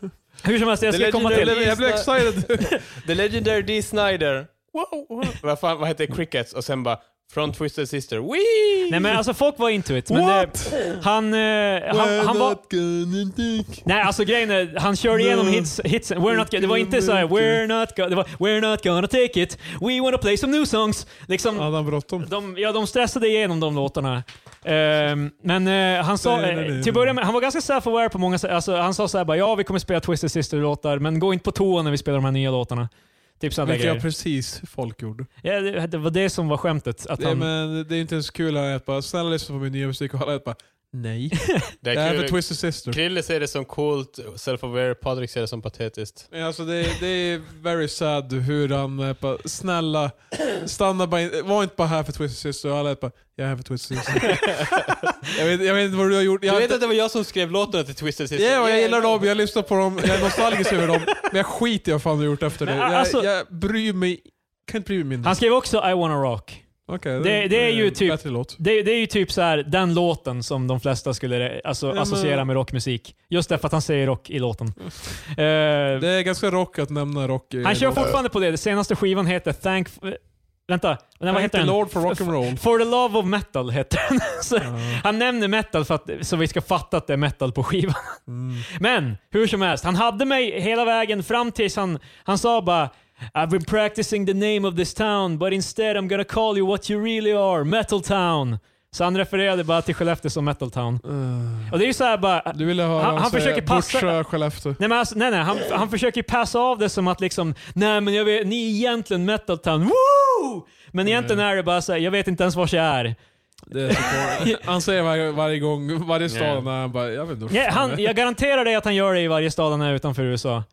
Speaker 1: hur som helst, jag
Speaker 3: The
Speaker 1: ska komma
Speaker 3: legendary
Speaker 1: till...
Speaker 2: Jag blev- Jag blev excited.
Speaker 3: The legendary Dee Snyder. Wow, wow. Vad fan, vad heter Crickets? Och sen bara Från Twisted Sister. Wee!
Speaker 1: Nej men alltså folk var into it. Men det,
Speaker 2: What?
Speaker 1: han, eh, han, han var...
Speaker 2: gonna take.
Speaker 1: Nej, alltså grejen är, han körde igenom
Speaker 2: No.
Speaker 1: hits, hitsen. We're not, gonna- det var inte såhär “We're not gonna...” Det var “We're not gonna take it”. “We wanna play some new songs”. Liksom,
Speaker 2: Hade han bråttom?
Speaker 1: De, ja, de stressade igenom de låtarna. Ehm, men eh, han sa,
Speaker 2: Nej, nej, nej,
Speaker 1: eh,
Speaker 2: nej.
Speaker 1: till att börja med, han var ganska self-aware på många sätt. Alltså, han sa såhär bara, ja vi kommer spela Twisted Sister-låtar, men gå inte på toa när vi spelar de här nya låtarna. Typ sådana
Speaker 2: Vilket jag
Speaker 1: grejer.
Speaker 2: precis folk gjorde.
Speaker 1: Ja, det, det var det som var skämtet. Att
Speaker 2: Det, är-
Speaker 1: han,
Speaker 2: men det är inte ens kul här att bara “snälla lyssna på min nya musik” och alla ett bara “nej”.
Speaker 3: det
Speaker 2: Det här är
Speaker 3: är
Speaker 2: för
Speaker 3: kul.
Speaker 2: Twisted Sister.
Speaker 3: Krille ser det som coolt, self-aware. Patrik ser det som patetiskt.
Speaker 2: Men Alltså det, är- det är very sad hur han är bara “snälla, stanna bara in, var inte bara här för Twisted Sister” och alla ett bara “jag är här för Twisted Sister”. jag, vet, jag vet inte vad du har gjort. Jag
Speaker 3: Du
Speaker 2: har
Speaker 3: vet att det var jag som skrev låtarna till Twisted Sister?
Speaker 2: Ja, och jag gillar dem, jag lyssnar på dem, jag är nostalgisk över dem. Men jag skiter i vad fan du har gjort efter det.
Speaker 1: Men,
Speaker 2: Jag,
Speaker 1: alltså-
Speaker 2: jag bryr mig... Kan inte bry mig mindre.
Speaker 1: han skrev också “I wanna rock”.
Speaker 2: Okej,
Speaker 1: det- det är ju
Speaker 2: en
Speaker 1: typ-
Speaker 2: Bättre låt.
Speaker 1: Det, det är ju typ så här, den låten som de flesta skulle eh, alltså,
Speaker 2: men-
Speaker 1: associera med rockmusik. Just därför att han säger rock i låten. Ehm,
Speaker 2: Det är ganska rock att nämna rock i
Speaker 1: han kör
Speaker 2: låten.
Speaker 1: fortfarande på det. Den senaste skivan heter “Thank...” eh, Vänta, vad
Speaker 2: Thank
Speaker 1: heter
Speaker 2: the
Speaker 1: den?
Speaker 2: Lord for rock'n'roll.
Speaker 1: For the love of metal heter den. Så
Speaker 2: Ja.
Speaker 1: han nämner metal för att, så vi ska fatta att det är metal på skivan.
Speaker 2: Mm.
Speaker 1: Men hur som helst, han hade mig hela vägen fram tills han, han sa bara I've been practicing the name of this town but instead I'm gonna call you what you really are, metal town. Så han refererade bara till Skellefteå som metal town.
Speaker 2: Eh,
Speaker 1: Och det är ju såhär bara...
Speaker 2: Du ville höra
Speaker 1: Han-
Speaker 2: honom
Speaker 1: han
Speaker 2: säga
Speaker 1: försöker passa-
Speaker 2: “Butcha Skellefteå”.
Speaker 1: Nej, men alltså, nej, nej han, han försöker ju passa av det som att liksom, nej men jag vet, ni är egentligen metal town, woo! Men egentligen är det bara såhär, jag vet inte ens vars jag är.
Speaker 2: Det är så kul. han säger varje, varje gång, varje stad
Speaker 3: Yeah.
Speaker 2: när han bara “jag vet inte vad
Speaker 1: Ja,
Speaker 2: fan
Speaker 1: han,
Speaker 2: det är."
Speaker 1: jag garanterar dig att han gör det i varje stad han är utanför USA.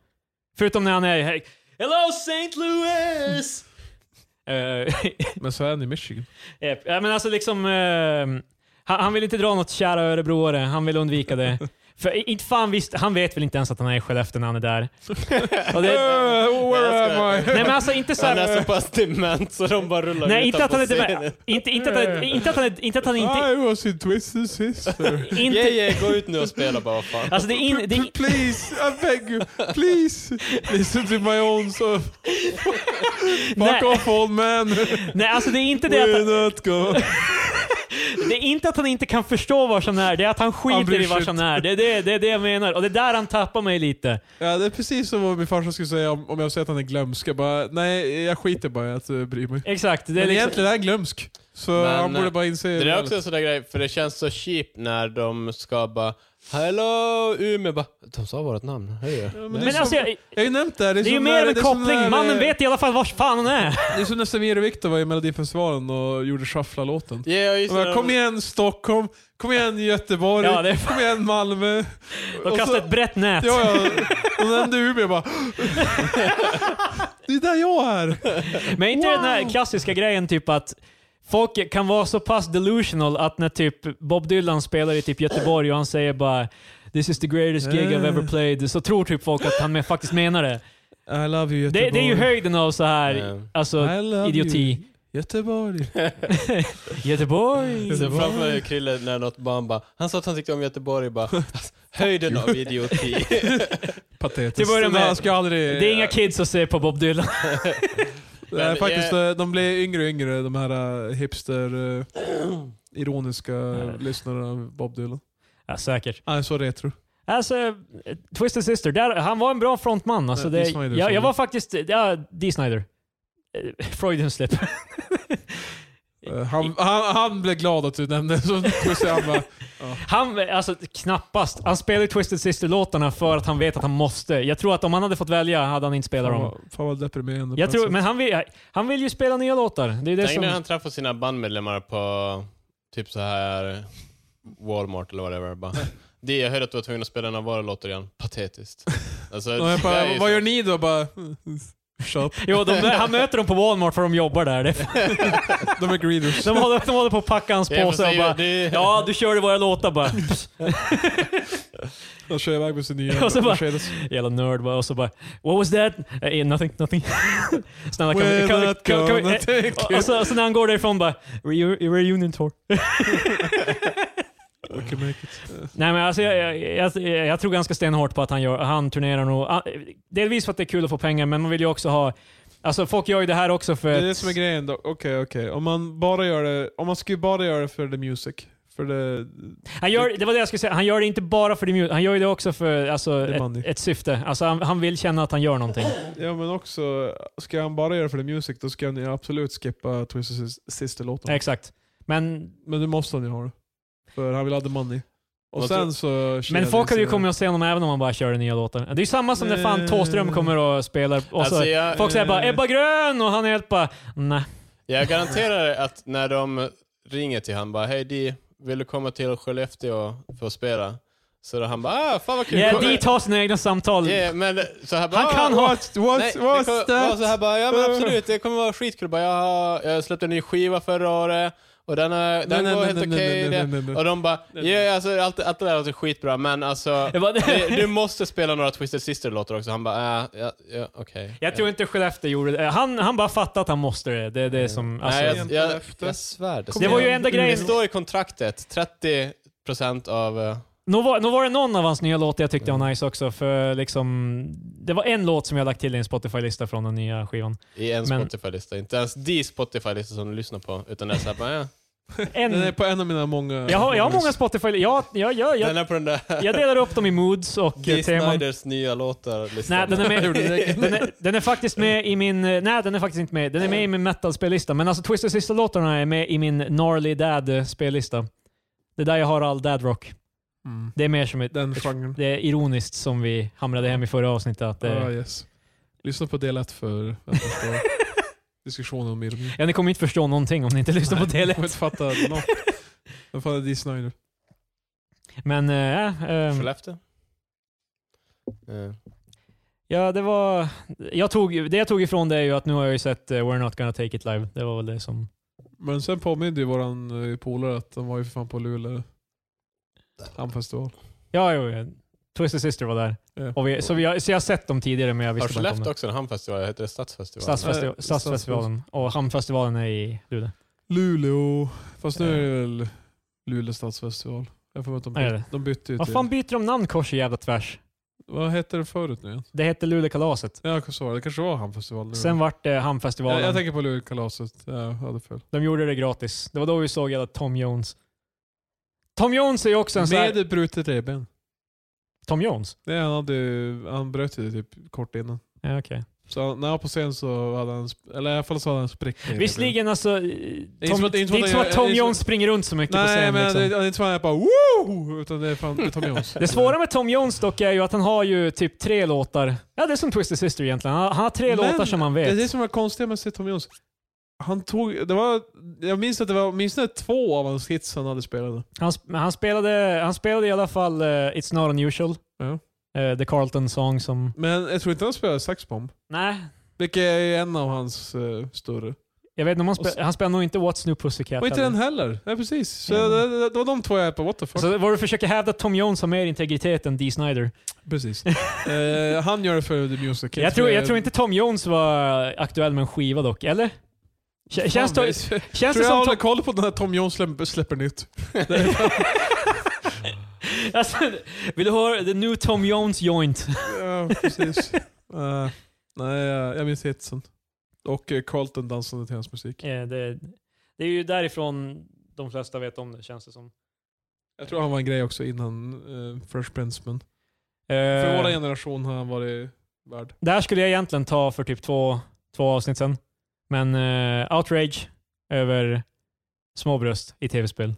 Speaker 1: Förutom när han är här. Hello St. Louis! Eh,
Speaker 2: Men så är han i Michigan.
Speaker 1: eh, ja, men alltså liksom... eh, han, han vill inte dra något kära örebroare, han vill undvika det. För i- inte fan visst, han vet väl inte ens att han är i Skellefteå när han är där. Och det,
Speaker 2: Eh, where am I?
Speaker 1: nej men alltså inte så
Speaker 3: Han
Speaker 1: här,
Speaker 3: är så pass dement så de bara rullar
Speaker 1: Nej
Speaker 3: ut
Speaker 1: inte att han
Speaker 3: honom
Speaker 1: inte
Speaker 3: på
Speaker 1: är
Speaker 3: scenen.
Speaker 1: med. Inte, inte, att han, inte att han inte... Inte att han inte...
Speaker 2: I was in Twisted Sister.
Speaker 1: inte
Speaker 3: Yeah, yeah, gå ut nu och spela bara. vad Fan.
Speaker 1: Alltså det är in, det är,
Speaker 2: P- please, I beg you, please. Listen to my own son. Fuck
Speaker 1: Nej.
Speaker 2: off old man.
Speaker 1: nej alltså det är inte det att han,
Speaker 2: We're not going.
Speaker 1: Det är inte att han inte kan förstå vad som är, det är att han
Speaker 2: Han
Speaker 1: skiter
Speaker 2: bryr
Speaker 1: i vad
Speaker 2: sig
Speaker 1: som
Speaker 2: inte.
Speaker 1: är. Det är det, det är det jag menar. Och det är där han tappar mig lite.
Speaker 2: Ja, det är precis som vad min farsa skulle säga om, om jag säger att han är glömsk. Jag bara, nej, jag skiter bara i att eh, bry mig.
Speaker 1: Exakt. Det är
Speaker 2: Men
Speaker 1: liksom,
Speaker 2: egentligen är han glömsk. Så
Speaker 3: Men,
Speaker 2: han borde
Speaker 3: eh,
Speaker 2: bara inse
Speaker 3: Det där är också en sån där grej, för det känns så cheap när de ska bara Hello Umeå, bara, de sa vårt namn, hej.
Speaker 2: Ja, men det är
Speaker 1: men
Speaker 2: som-
Speaker 1: alltså, jag,
Speaker 2: Jag har ju nämnt det här. Det är,
Speaker 1: det är ju
Speaker 2: som
Speaker 1: mer
Speaker 2: när-
Speaker 1: av en
Speaker 2: det är som
Speaker 1: koppling.
Speaker 2: när,
Speaker 1: Mannen
Speaker 2: eh,
Speaker 1: vet i alla fall vars fan han är.
Speaker 2: Det är som när Samir och Viktor var i Melodifestivalen och gjorde shuffla-låten.
Speaker 3: Yeah, just
Speaker 2: De bara,
Speaker 3: det.
Speaker 2: Kom igen Stockholm, kom igen Göteborg,
Speaker 1: Ja, det är
Speaker 2: kom igen Malmö.
Speaker 1: De
Speaker 2: Och
Speaker 1: kastar
Speaker 2: så-
Speaker 1: ett brett nät.
Speaker 2: Ja, ja. Och nämnde Umeå bara... Det är där jag är!
Speaker 1: Men inte den här
Speaker 2: Wow.
Speaker 1: klassiska grejen typ att folk kan vara så pass delusional att när typ Bob Dylan spelar i typ Göteborg och han säger bara This is the greatest gig I've
Speaker 2: Eh.
Speaker 1: ever played. Så tror typ folk att han faktiskt menar det.
Speaker 2: I love you Göteborg.
Speaker 1: Det, det är ju höjden av så här,
Speaker 3: Ja.
Speaker 1: alltså
Speaker 2: I love You.
Speaker 1: idioti.
Speaker 2: Göteborg.
Speaker 1: Göteborg.
Speaker 3: Sen framför mig Krille när något barn bara, han sa att han tyckte om Göteborg bara, höjden av idioti.
Speaker 2: Patetiskt.
Speaker 1: Till att börja med,
Speaker 2: Nej, jag ska aldrig...
Speaker 1: Det är inga kids som ser på Bob Dylan.
Speaker 2: Nej, faktiskt, eh, de blir yngre och yngre, de här eh, hipster... eh, Ironiska lyssnare av Bob Dylan.
Speaker 1: Ja, säkert.
Speaker 2: Han är så retro.
Speaker 1: Alltså, eh, Twisted Sister, där, han var en bra frontman. Alltså,
Speaker 2: Nej,
Speaker 1: det,
Speaker 2: Dee Snider,
Speaker 1: jag,
Speaker 2: sorry.
Speaker 1: jag var faktiskt... Ja, Dee Snider. Eh, Freudian slip.
Speaker 2: Eh, Han, han, han blev glad att du nämnde så pussade han bara,
Speaker 1: Han, eh, alltså knappast. Han spelar ju Twisted Sister-låtarna för att han vet att han måste. Jag tror att om han hade fått välja hade han inte spelat
Speaker 2: fan,
Speaker 1: dem.
Speaker 2: vad- fan vad deprimerande.
Speaker 1: Jag
Speaker 2: på
Speaker 1: tror,
Speaker 2: ett
Speaker 1: men han vill, han vill ju spela nya låtar. Det är det
Speaker 3: Tänk när
Speaker 1: som...
Speaker 3: han träffar sina bandmedlemmar på typ så här Walmart eller whatever. Bara, det jag hörde att du var tvungen att spela en av våra låtar igen. Patetiskt. Alltså,
Speaker 2: sätt. Och jag
Speaker 3: det är ju
Speaker 2: bara,
Speaker 3: så-
Speaker 2: vad gör ni då? Bara, shop.
Speaker 1: Jo, de, han möter dem på Walmart för de jobbar där. Det-
Speaker 2: De är greeders.
Speaker 1: De håller, de håller på att packa hans
Speaker 3: Ja, fast
Speaker 1: påse och
Speaker 3: det är ju-
Speaker 1: bara
Speaker 3: det är-
Speaker 1: Ja, du körde våra låtar bara.
Speaker 2: De kör iväg med sin nya
Speaker 1: Och så bara-
Speaker 2: Mercedes.
Speaker 1: Jävla nörd bara. Och så bara What was that? Eh, nothing, nothing. Snälla kan vi...
Speaker 2: We're
Speaker 1: Kan, vi-
Speaker 2: not
Speaker 1: kan, kan,
Speaker 2: gonna
Speaker 1: vi- eh,
Speaker 2: take
Speaker 1: och- och
Speaker 2: it.
Speaker 1: så, och så när han går därifrån bara "Reu- Reunion tour.
Speaker 2: We can make it. Eh,
Speaker 1: Nej men alltså jag, jag, jag, jag tror ganska stenhårt på att han, gör, han turnerar nog. ah, Delvis för att det är kul att få pengar men man vill ju också ha... Alltså folk gör ju det här också för...
Speaker 2: Det är
Speaker 1: att-
Speaker 2: det som är grejen dock. Okej, okej. Om man bara gör det, om man skulle bara göra det för the music. För det...
Speaker 1: Han gör, det var det jag skulle säga. Han gör det inte bara för det mu- Han gör ju det också för alltså,
Speaker 2: The money.
Speaker 1: ett, ett syfte. Alltså han, han vill känna att han gör någonting.
Speaker 2: Ja men också, ska han bara göra det för the music då ska han ju absolut skippa Twisted Sis- Sister-låten.
Speaker 1: Exakt. Men
Speaker 2: Men det måste han ju ha det. För han vill ha the money. Och
Speaker 3: Vad
Speaker 2: sen så...
Speaker 1: Men folk hade ju kokommit och se honom även om man bara körde nya låtar. Det är ju samma som när fan
Speaker 2: Eh.
Speaker 1: Thåström kommer och spelar. Och så,
Speaker 3: Alltså, jag-
Speaker 1: folk säger bara
Speaker 2: eh.
Speaker 1: “Ebba Grön” och han är helt bara “Nej”.
Speaker 3: Jag garanterar dig att när de ringer till han bara Hej Di, vill du komma till Skellefteå för att spela? Så då han bara ah, fan vad kul.
Speaker 1: Ja,
Speaker 3: Kom-
Speaker 1: de tar sina egna samtal.
Speaker 3: Ja, men så här bara,
Speaker 1: Han kan
Speaker 3: "Ah,
Speaker 1: ha-
Speaker 2: What, what,
Speaker 3: Nej, det
Speaker 2: what's
Speaker 3: kommer-
Speaker 2: that?
Speaker 3: var så här bara, ja men absolut, det kommer vara skitkul. Bara, jag, har, jag släppte en ny skiva förra året och den, är, den
Speaker 2: nej,
Speaker 3: går
Speaker 2: nej,
Speaker 3: helt
Speaker 2: nej, nej,
Speaker 3: okej.
Speaker 2: nej,
Speaker 3: det."
Speaker 2: nej, nej, nej.
Speaker 3: Och de bara, ja alltså, allt, allt det där låter skitbra men alltså,
Speaker 1: Jag bara,
Speaker 3: du, du måste spela några Twisted Sister-låtar också. Han bara, "Ah, ja, ja okej.
Speaker 1: Jag tror inte Skellefteå gjorde det. Han, han bara fattade att han måste det. Det är det som... Alltså,
Speaker 3: Nej,
Speaker 2: jag-
Speaker 3: jag, jag,
Speaker 2: Efter.
Speaker 3: jag svär. Det,
Speaker 1: det var ju enda
Speaker 3: det
Speaker 1: grejen.
Speaker 3: står i kontraktet, 30% av... eh,
Speaker 1: Nog var, nog var det någon av hans nya låtar jag tyckte var nice också. För liksom, det var en låt som jag lagt till i en Spotify-lista från den nya skivan.
Speaker 3: I en
Speaker 1: Men-
Speaker 3: Spotify-lista. Inte ens de Spotify-listor som du lyssnar på. Utan det är såhär, bara, ja.
Speaker 2: Den är
Speaker 1: En,
Speaker 2: på en av mina många...
Speaker 1: jag, har, jag har många Spotify... Jag, jag, jag, jag,
Speaker 3: den är på den där
Speaker 1: jag delar upp dem i moods och
Speaker 3: Dee
Speaker 1: eh, teman.
Speaker 3: Sniders nya låtar-listan.
Speaker 1: Nej, den är, med,
Speaker 2: gjorde det.
Speaker 1: den, är, den är faktiskt med i min... eh, Nej, den är faktiskt inte med. Den är med i min metal-spellista. Men alltså Twisted Sister-låtarna är med i min Gnarly Dad-spellista. Det är där jag har all dad-rock.
Speaker 2: Mm.
Speaker 1: Det är mer som ett...
Speaker 2: Den genren.
Speaker 1: Det är ironiskt som vi hamrade hem i förra avsnittet. Att eh, det,
Speaker 2: Ah, yes. Lyssna på del 1 för att förstå diskussionen om ironi.
Speaker 1: ja, ni kommer inte förstå någonting om ni inte lyssnar på
Speaker 2: Nej, Jag
Speaker 1: det.
Speaker 2: kommer inte fatta något. Jag fattar Dee Snider.
Speaker 1: Men eh, eh,
Speaker 3: Skellefteå? Eh,
Speaker 1: ja, det var... Jag tog, det jag tog ifrån det är ju att nu har jag ju sett eh, We're Not Gonna Take It Live. Det var väl det som...
Speaker 2: Men sen påminde ju våran eh, polare att de var ju för fan på Luleå. Hamnfestival.
Speaker 1: Ja, jo, jo. Twisted Sister var där.
Speaker 2: Ja.
Speaker 1: Och vi, så, vi har, så jag har sett dem tidigare men jag
Speaker 3: Har
Speaker 1: visste inte om
Speaker 3: Skellefteå
Speaker 1: det.
Speaker 3: också en hamnfestival? Heter det Stadsfestivalen?
Speaker 1: Stadsfestival,
Speaker 2: Nej,
Speaker 1: Stadsfestivalen. Och Hamnfestivalen är i Luleå.
Speaker 2: Luleå. Fast nu är det väl Luleå stadsfestival. Jag får att de,
Speaker 1: Ja, det är det.
Speaker 2: bytte, de bytte ju
Speaker 1: Vad
Speaker 2: till...
Speaker 1: fan byter de namn kors och jävla tvärs?
Speaker 2: Vad hette det förut nu igen?
Speaker 1: Det hette Luleåkalaset.
Speaker 2: Ja, så var det. det kanske var hamnfestival nu.
Speaker 1: Sen vart det
Speaker 2: jag,
Speaker 1: Hamnfestivalen.
Speaker 2: jag tänker på Luleåkalaset. Ja, jag hade fel.
Speaker 1: De gjorde det gratis. Det var då vi såg jävla Tom Jones. Tom Jones är ju också en sån här...
Speaker 2: Med brutet revben.
Speaker 1: Tom Jones?
Speaker 2: Nej, han, hade, ju- han bröt ju det typ kort innan.
Speaker 1: Ja, okej.
Speaker 2: Så han- när han var på scen så hade han, sp- eller i alla fall så hade han sprickor. i revben.
Speaker 1: Visserligen alltså... eh, Tom, det
Speaker 2: som att-
Speaker 1: är
Speaker 2: det är inte
Speaker 1: inte som
Speaker 2: som
Speaker 1: att
Speaker 2: att-
Speaker 1: Tom
Speaker 2: det är som-
Speaker 1: Jones springer runt så mycket på
Speaker 2: Nej,
Speaker 1: scenen.
Speaker 2: men
Speaker 1: liksom.
Speaker 2: det, det är inte fan jag bara woo! Utan det är fan Tom Jones.
Speaker 1: Det svåra med Tom Jones dock är ju att han har ju typ tre låtar. Ja, det är som Twisted Sister egentligen. Han har, han har tre
Speaker 2: Men
Speaker 1: låtar som han
Speaker 2: Det är
Speaker 1: vet.
Speaker 2: det som var konstigt med att se Tom Jones. Han tog, det var, jag minns att det var åtminstone två av hans hits han hade spelat.
Speaker 1: Han, sp- men han, spelade, han spelade i alla fall eh, It's Not Unusual.
Speaker 2: Ja.
Speaker 1: Eh, The Carlton Song som...
Speaker 2: Men jag tror inte han spelade Saxbomb.
Speaker 1: Nej,
Speaker 2: Vilket är en av hans eh, större.
Speaker 1: jag vet inte om han,
Speaker 2: Och s-
Speaker 1: spe, han spelar nog inte What's New Pussycat.
Speaker 2: Och inte
Speaker 1: heller.
Speaker 2: den heller. Nej precis. Så
Speaker 1: Mm.
Speaker 2: det, det, det var de två jag är på. What the fuck.
Speaker 1: Så vad du försöker hävda att Tom Jones har mer integritet än Dee Snider?
Speaker 2: precis. Eh, han gör det för The Music Kids.
Speaker 1: Jag tror, jag
Speaker 2: Eh,
Speaker 1: tror inte Tom Jones var aktuell med en skiva dock, eller? Kä-
Speaker 2: fan,
Speaker 1: Känns, det,
Speaker 2: jag tror
Speaker 1: känns det
Speaker 2: jag
Speaker 1: som
Speaker 2: håller
Speaker 1: Tom,
Speaker 2: koll på när Tom Jones släpper, släpper nytt.
Speaker 1: alltså, Vill du höra The New Tom Jones Joint?
Speaker 2: ja, precis. Eh, nej, jag, jag minns hitsen. Och eh, Carlton dansade till hans musik.
Speaker 1: Eh, det, det är ju därifrån de flesta vet om det, känns det som.
Speaker 2: Jag tror han var en grej också innan eh, Fresh Prince. Men för vår
Speaker 1: Eh,
Speaker 2: generation har han varit värd.
Speaker 1: det här skulle jag egentligen ta för typ två, två avsnitt sen. Men eh, outrage över småbröst i tv-spel.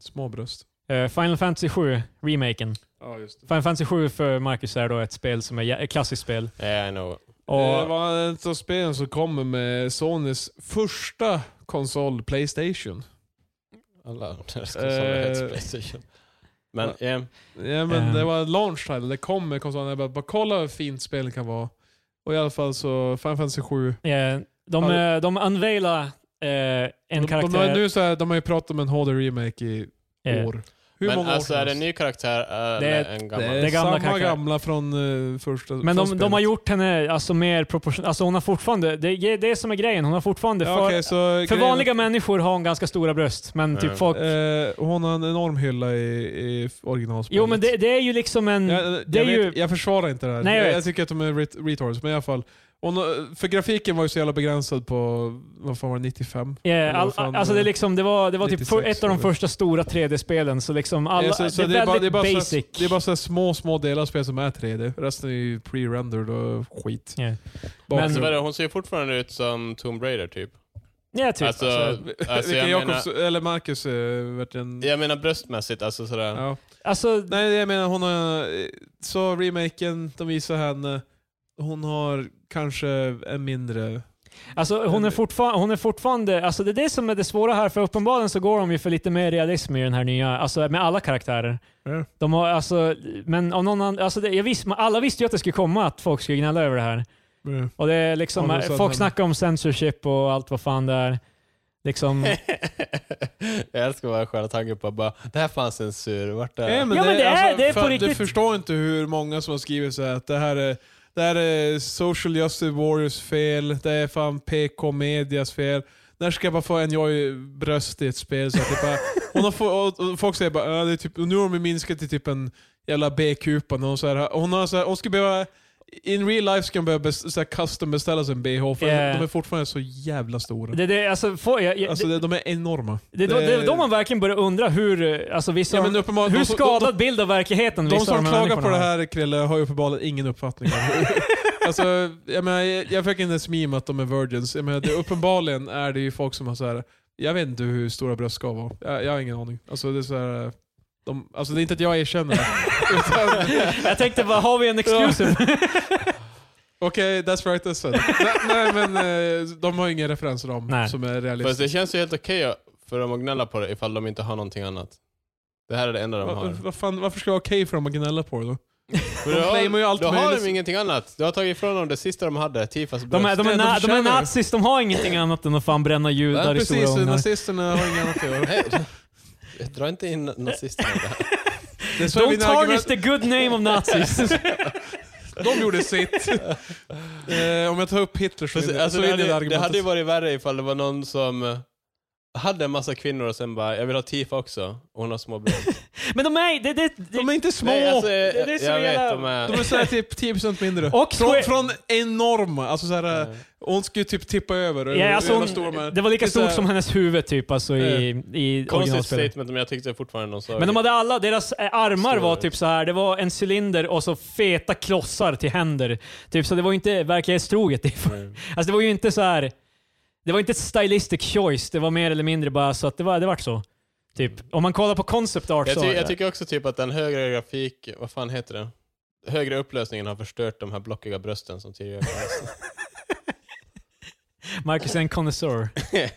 Speaker 2: Små bröst.
Speaker 1: Eh, Final Fantasy 7, remaken.
Speaker 2: Ja, just det.
Speaker 1: Final Fantasy 7 för Marcus är då ett spel som är jä- ett klassiskt spel.
Speaker 3: Yeah, Eh, I know.
Speaker 1: Och,
Speaker 2: det var ett av spelen som kommer med Sonys första konsol, Playstation.
Speaker 3: Alla konsoler heter
Speaker 2: Eh.
Speaker 3: Playstation. Men yeah.
Speaker 2: Ja, men
Speaker 1: Eh.
Speaker 2: Det var en launch title, det kom med konsolen. Jag bara, bara kolla hur fint spelet kan vara. Och i alla fall så, Final Fantasy 7.
Speaker 1: eh, de,
Speaker 2: Ja.
Speaker 1: eh, de unveilar eh, en
Speaker 2: De, de,
Speaker 1: karaktär.
Speaker 2: har nu så här, de har ju pratat om en HD-remake i
Speaker 1: eh,
Speaker 2: år. Hur
Speaker 3: Men
Speaker 2: många år
Speaker 3: alltså
Speaker 2: som
Speaker 3: är det en
Speaker 2: helst.
Speaker 3: ny karaktär eh, eller
Speaker 1: Det är-
Speaker 3: en
Speaker 2: det
Speaker 3: gammal?
Speaker 2: är,
Speaker 1: Det är gamla
Speaker 2: samma
Speaker 1: karaktär.
Speaker 2: gamla från eh, första
Speaker 1: men de,
Speaker 2: spelet.
Speaker 1: de har gjort henne alltså, mer proportion... Alltså hon har fortfarande... Det är det som är grejen. Hon har fortfarande...
Speaker 2: Ja,
Speaker 1: för
Speaker 2: okej, så
Speaker 1: för
Speaker 2: grejen-
Speaker 1: vanliga människor har hon ganska stora bröst, men
Speaker 3: Mm.
Speaker 1: typ folk...
Speaker 2: Eh, hon har en enorm hylla i, i originalspelet.
Speaker 1: jo men det, det är ju liksom en...
Speaker 2: jag, jag,
Speaker 1: det är
Speaker 2: vet,
Speaker 1: ju...
Speaker 2: jag försvarar inte det här.
Speaker 1: Nej, jag
Speaker 2: jag,
Speaker 1: vet.
Speaker 2: jag tycker att de är ret- retards, men i alla fall. Hon, har- för grafiken var ju så jävla begränsad på, vad fan var det, 95?
Speaker 1: eh, all,
Speaker 2: vad fan,
Speaker 1: alltså det, är
Speaker 2: eh,
Speaker 1: liksom, det var, det var typ
Speaker 2: 96
Speaker 1: för, ett av de
Speaker 2: eller?
Speaker 1: första stora 3D-spelen, så liksom alla,
Speaker 2: Eh, så- så
Speaker 1: det, är väldigt
Speaker 2: bara
Speaker 1: basic.
Speaker 2: Så här, det är bara så här små, små delar av spelet som är 3D. Resten är ju pre-rendered och skit.
Speaker 1: Ja.
Speaker 2: Bakgrund.
Speaker 3: Alltså, vad är det? hon ser ju fortfarande ut som Tomb Raider typ.
Speaker 1: ja, typ.
Speaker 3: Alltså,
Speaker 2: alltså,
Speaker 3: alltså,
Speaker 2: vilken
Speaker 3: jag,
Speaker 2: Jakobs,
Speaker 3: menar,
Speaker 2: eller Marcus, eh, verkligen...
Speaker 3: jag menar bröstmässigt, alltså sådär.
Speaker 2: Ja.
Speaker 1: alltså,
Speaker 2: Nej, jag menar hon har... Så remaken, de visar henne. Hon har kanske en mindre...
Speaker 1: Alltså hon är, fortfar- hon är fortfarande, alltså det är det som är det svåra här, för uppenbarligen så går de ju för lite mer realism i den här nya, alltså med alla karaktärer.
Speaker 2: Ja.
Speaker 1: De har, alltså, men av någon annan, alltså det, jag visst, alla visste ju att det skulle komma att folk skulle gnälla över det här. Och det är liksom,
Speaker 2: Ja, det är så att
Speaker 1: folk
Speaker 2: han-
Speaker 1: snackar om censorship och allt vad fan det är. Liksom, ja
Speaker 3: jag älskar bara själva tanken på att bara, det här fanns censur, vart är
Speaker 2: Ja,
Speaker 3: det?
Speaker 2: men
Speaker 1: Ja, men det är- det är på
Speaker 2: för, Du
Speaker 1: riktigt.
Speaker 2: förstår inte hur många som har skrivit så här att det här är, det här är Social Justice Warriors fel, det är fan PK Medias fel. När ska jag bara få en jag i bröst i ett spel? Så att det bara, hon har få, och, och folk säger bara, "Ja, det är typ, nu har de minskat till typ en jävla B-kupa. Hon, så här, hon, har så här, hon ska behöva in real life ska hon behöva bes- så här custom beställa sig en bh, för
Speaker 1: Ja.
Speaker 2: de är fortfarande så jävla stora.
Speaker 1: det, det, alltså, får jag, jag,
Speaker 2: alltså,
Speaker 1: det,
Speaker 2: det, de är enorma.
Speaker 1: det, det, det är då man verkligen börjar undra hur, eh, alltså vissa,
Speaker 2: Ja, men uppenbarligen-
Speaker 1: hur
Speaker 2: de som- de- de-
Speaker 1: skadad bild av verkligheten
Speaker 2: De
Speaker 1: vissa av
Speaker 2: som
Speaker 1: här
Speaker 2: klagar
Speaker 1: människorna
Speaker 2: på det
Speaker 1: har.
Speaker 2: här Krille har ju uppenbarligen ingen uppfattning om hur- Alltså, jag, menar, jag, jag fick inte ens meme att de är virgins. Jag menar, det, uppenbarligen är det ju folk som har så här. jag vet inte hur stora bröst ska vara. Jag, jag har ingen aning. Alltså det är så här, de, alltså det är inte att jag erkänner det. Utan-
Speaker 1: Jag tänkte bara, har vi en exclusive?
Speaker 2: Okej, that's right I said. nej, nej men eh, de har ju inga referenser om
Speaker 1: Nej.
Speaker 2: som är
Speaker 3: Fast
Speaker 2: realistiska.
Speaker 3: det känns ju helt okej för dem att gnälla på det ifall de inte har någonting annat. Det här är det enda de har.
Speaker 2: Va, va fan, varför ska det vara okej för dem att gnälla på det då?
Speaker 3: Men
Speaker 2: de
Speaker 3: då
Speaker 2: claimar ju allt
Speaker 3: då har
Speaker 2: möjligt.
Speaker 3: de ingenting annat. Du har tagit ifrån dem det sista de hade, Tifas bröst.
Speaker 1: De är, de, är
Speaker 2: De
Speaker 1: na- de är
Speaker 2: känner.
Speaker 1: nazis, de har ingenting annat än att fan bränna
Speaker 2: Nej,
Speaker 1: judar i stora
Speaker 2: precis,
Speaker 1: ugnar.
Speaker 2: nazisterna har inga annat att göra.
Speaker 3: Hej. Dra inte in nazisterna i det här.
Speaker 2: Det är så
Speaker 1: Don't
Speaker 2: mina
Speaker 1: tarnish
Speaker 2: argument-
Speaker 1: the good name of nazis.
Speaker 2: De gjorde sitt. eh, om jag tar upp Hitler så,
Speaker 3: Precis,
Speaker 2: vinner-
Speaker 3: alltså
Speaker 2: så
Speaker 3: det,
Speaker 2: vinner det
Speaker 3: hade, det
Speaker 2: argumentet.
Speaker 3: hade ju varit värre ifall det var någon som eh, hade en massa kvinnor och sen bara, jag vill ha Tifa också. Och hon har små barn.
Speaker 1: Men de är... Det, det, det,
Speaker 2: De är inte små!
Speaker 3: Nej, alltså,
Speaker 1: det är
Speaker 3: jag,
Speaker 1: så
Speaker 3: jag
Speaker 1: jävla-
Speaker 3: vet, de
Speaker 2: De är
Speaker 3: är...
Speaker 2: såhär typ 10% mindre.
Speaker 1: Och
Speaker 2: från,
Speaker 1: Square-
Speaker 2: från enorma, alltså såhär, eh, hon skulle ju typ tippa över.
Speaker 1: ja,
Speaker 2: hur
Speaker 1: alltså,
Speaker 2: jävla
Speaker 1: hon-
Speaker 2: stor de är.
Speaker 1: det var lika
Speaker 2: är så här- Eh,
Speaker 1: stort som hennes huvud typ, alltså i, i
Speaker 3: Konstigt
Speaker 1: originalspelet.
Speaker 3: statement, men jag tyckte fortfarande de sa
Speaker 1: Men de hade alla, deras eh, armar
Speaker 3: Stora.
Speaker 1: var typ så här. det var en cylinder och så feta klossar till händer. Typ, så det var ju inte verklighetstroget. Det var-
Speaker 3: Mm.
Speaker 1: Alltså det var ju inte så här. Det var inte ett stylistic choice, det var mer eller mindre bara så att det var, det vart så. Typ, om man kollar på concept art
Speaker 3: jag,
Speaker 1: så...
Speaker 3: ty, jag tycker också typ att den högre grafik, vad fan heter det? Högre upplösningen har förstört de här blockiga brösten som tidigare fanns.
Speaker 1: Marcus är en connoisseur. Nej,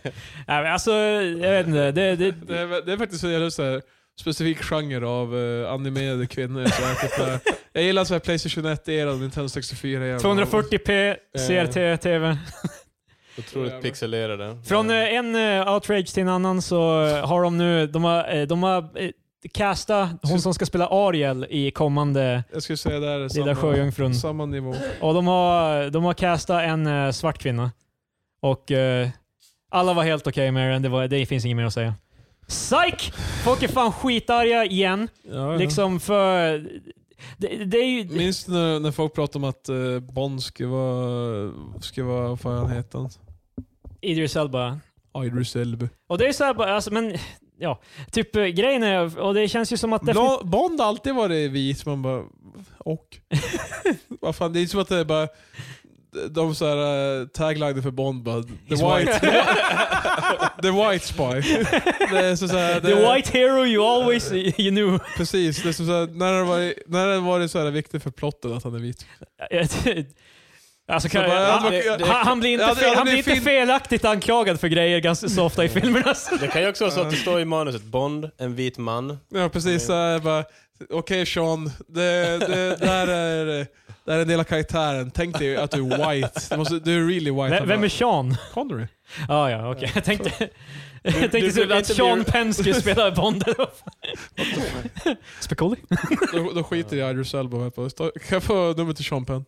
Speaker 1: men alltså, jag vet inte. Det, det,
Speaker 2: Det är, det är faktiskt en jävla så här specifik genre av eh, animerade kvinnor. Så här, typ, eh, jag gillar så här Playstation 1-eran, Nintendo 64 eran
Speaker 1: 240p CRT-TV.
Speaker 3: Otroligt pixelerade. Mm.
Speaker 1: Från eh, en eh, outrage till en annan så eh, har de nu, de har, eh, de har eh, castat hon som ska spela Ariel i kommande
Speaker 2: Jag skulle säga där är
Speaker 1: Lilla
Speaker 3: eh,
Speaker 2: samma,
Speaker 1: Sjöjungfrun.
Speaker 2: samma nivå.
Speaker 1: Och de har, de har castat en eh, svart kvinna. Och eh, alla var helt okej med den. Det, var, det finns inget mer att säga. Psych! Folk är fan skitarga igen. Liksom för... Det, det är ju...
Speaker 2: Minns du när, när folk pratade om att eh, Bond skulle vara, skulle vara, vad fan heter han?
Speaker 1: Idris Elba.
Speaker 2: Idris Elba.
Speaker 1: Och det är så här bara, alltså men... Ja, typ eh, grejen är, och det känns ju som att... defini-
Speaker 2: Bla- Bond har alltid varit vit, man bara... Och? Vad fan, det är som att det är bara... De så här eh, taglinen för Bond bara... The
Speaker 1: He's
Speaker 2: white... the white spy. Det är så så här, det,
Speaker 1: The white hero you always you knew.
Speaker 2: Precis, det är som så här, när det varit, när det varit så här viktigt för plotten att han är vit.
Speaker 1: Alltså,
Speaker 2: Så
Speaker 1: kan,
Speaker 2: bara,
Speaker 1: han,
Speaker 2: det- det-
Speaker 1: han, han blir inte,
Speaker 2: Ja, det- ja,
Speaker 1: fel,
Speaker 2: det
Speaker 1: han blir
Speaker 2: blir
Speaker 1: inte
Speaker 2: fin-
Speaker 1: felaktigt anklagad för grejer ganska så ofta i filmerna. Alltså.
Speaker 3: Det kan ju också vara så att det står i manuset, Bond, en vit man.
Speaker 2: Ja precis, så här, bara... Okej Sean, det, det, det, här är, det här är en del av karaktären. Tänk dig att du är white. Du, måste, du är really white.
Speaker 1: Vem,
Speaker 2: Han
Speaker 1: vem
Speaker 2: bara,
Speaker 1: är Sean?
Speaker 2: Connery?
Speaker 1: Ah, ja, okej. Jag tänkte, jag tänkte
Speaker 3: du
Speaker 1: så
Speaker 3: vill
Speaker 1: att
Speaker 3: inte
Speaker 1: Sean
Speaker 3: bli-
Speaker 1: Penn skulle spela Bond. eller vad fan. Spicoli.
Speaker 2: Då, då skiter jag i Idris Elba. om jag får- Kan jag få numret till Sean Penn?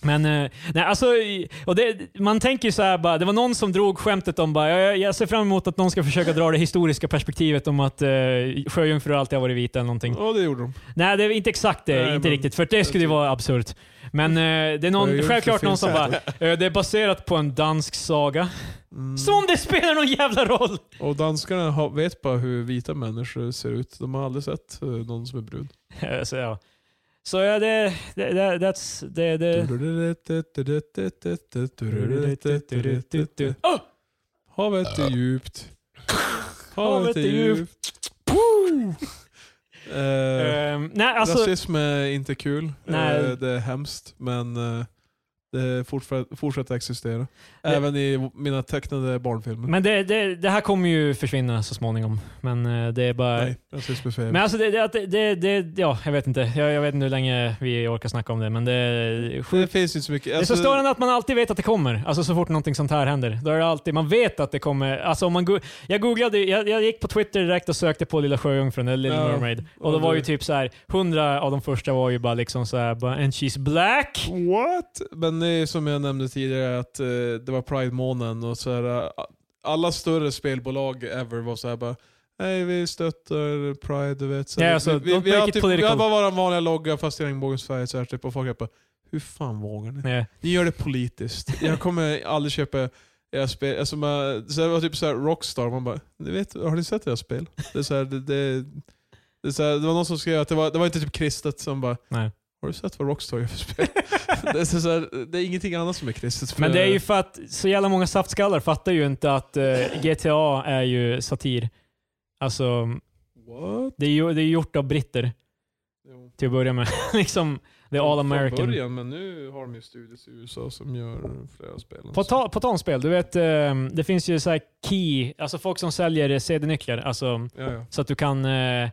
Speaker 1: Men eh, nej, alltså, i- och det, man tänker ju så här bara, det var någon som drog skämtet om bara, jag, jag ser fram emot att någon ska försöka dra det historiska perspektivet om att eh, sjöjungfrur alltid har varit vita eller någonting.
Speaker 2: Ja det gjorde de.
Speaker 1: Nej, det är inte exakt det.
Speaker 2: Nej,
Speaker 1: inte
Speaker 2: men-
Speaker 1: riktigt. För det skulle ju vara absurt. Men eh, det är
Speaker 2: Det är
Speaker 1: någon,
Speaker 2: ju
Speaker 1: självklart
Speaker 2: inte
Speaker 1: någon som bara,
Speaker 2: finns
Speaker 1: eh, det är baserat på en dansk saga.
Speaker 2: Mm.
Speaker 1: Som om det spelar någon jävla roll!
Speaker 2: Och danskarna har, vet bara hur vita människor ser ut. De har aldrig sett eh, någon som är brun.
Speaker 1: Eh, så ja. Så ja, det... det, det, that's, det, det. Oh!
Speaker 2: Havet är djupt.
Speaker 1: Havet är djupt.
Speaker 2: Puh! Eh,
Speaker 1: Ehm, nej, alltså...
Speaker 2: Rasism är inte kul.
Speaker 1: Nej.
Speaker 2: Eh, Det är hemskt. Men eh, det fortfar- fortsätter existera. Även i mina tecknade barnfilmer.
Speaker 1: Men det, det, det här kommer ju försvinna så småningom. Men eh, det är bara...
Speaker 2: Nej, rasism är fel.
Speaker 1: Men alltså det, det, att det, det, det, ja, jag vet inte. Jag, jag vet inte hur länge vi orkar snacka om det, men det
Speaker 2: det finns inte så mycket. Alltså,
Speaker 1: Det är så störande att man alltid vet att det kommer. Alltså så fort någonting sånt här händer. Då är det alltid, man vet att det kommer. Alltså om man go- jag googlade, jag, jag gick på Twitter direkt och sökte på Lilla Sjöjungfrun eller Little
Speaker 2: Ja.
Speaker 1: Mermaid. Och då var ju typ så här, hundra av de första var ju bara liksom så här, bara, and she's black.
Speaker 2: What? Men det är som jag nämnde tidigare att eh, det var Pride-månaden och så här, eh, alla större spelbolag ever var så här bara Nej, vi stöttar Pride, du vet. Så här,
Speaker 1: Ja, alltså,
Speaker 2: vi,
Speaker 1: don't
Speaker 2: vi, vi,
Speaker 1: make
Speaker 2: har
Speaker 1: it
Speaker 2: typ, vi
Speaker 1: political.
Speaker 2: har bara vår vanliga logga fast i regnbågens färg så här, typ, och folk är bara Hur fan vågar ni?
Speaker 1: Nej.
Speaker 2: Ni gör det politiskt. Jag kommer aldrig köpa era spel. Alltså, man, så här, det var typ så här Rockstar, man bara ni vet, Har ni sett era spel? Det, är så här, det, det, det, är så här, det var någon som skrev att det var, det var inte typ kristet som bara
Speaker 1: Nej.
Speaker 2: Har du sett vad Rockstar gör för spel? det, är så här, det är ingenting annat som är kristet. för-
Speaker 1: Men det är ju för att så jävla många saftskallar fattar ju inte att eh, GTA är ju satir. Alltså,
Speaker 2: What?
Speaker 1: det är ju det är gjort av britter
Speaker 2: Jo.
Speaker 1: till att börja med. liksom, the all
Speaker 2: Från
Speaker 1: American.
Speaker 2: början, men nu har de ju studios i USA som gör flera spel.
Speaker 1: På, ta, på tonspel, du vet, ehm, det finns ju så här key, alltså folk som säljer CD-nycklar, alltså
Speaker 2: ja, ja.
Speaker 1: så att du kan... eh,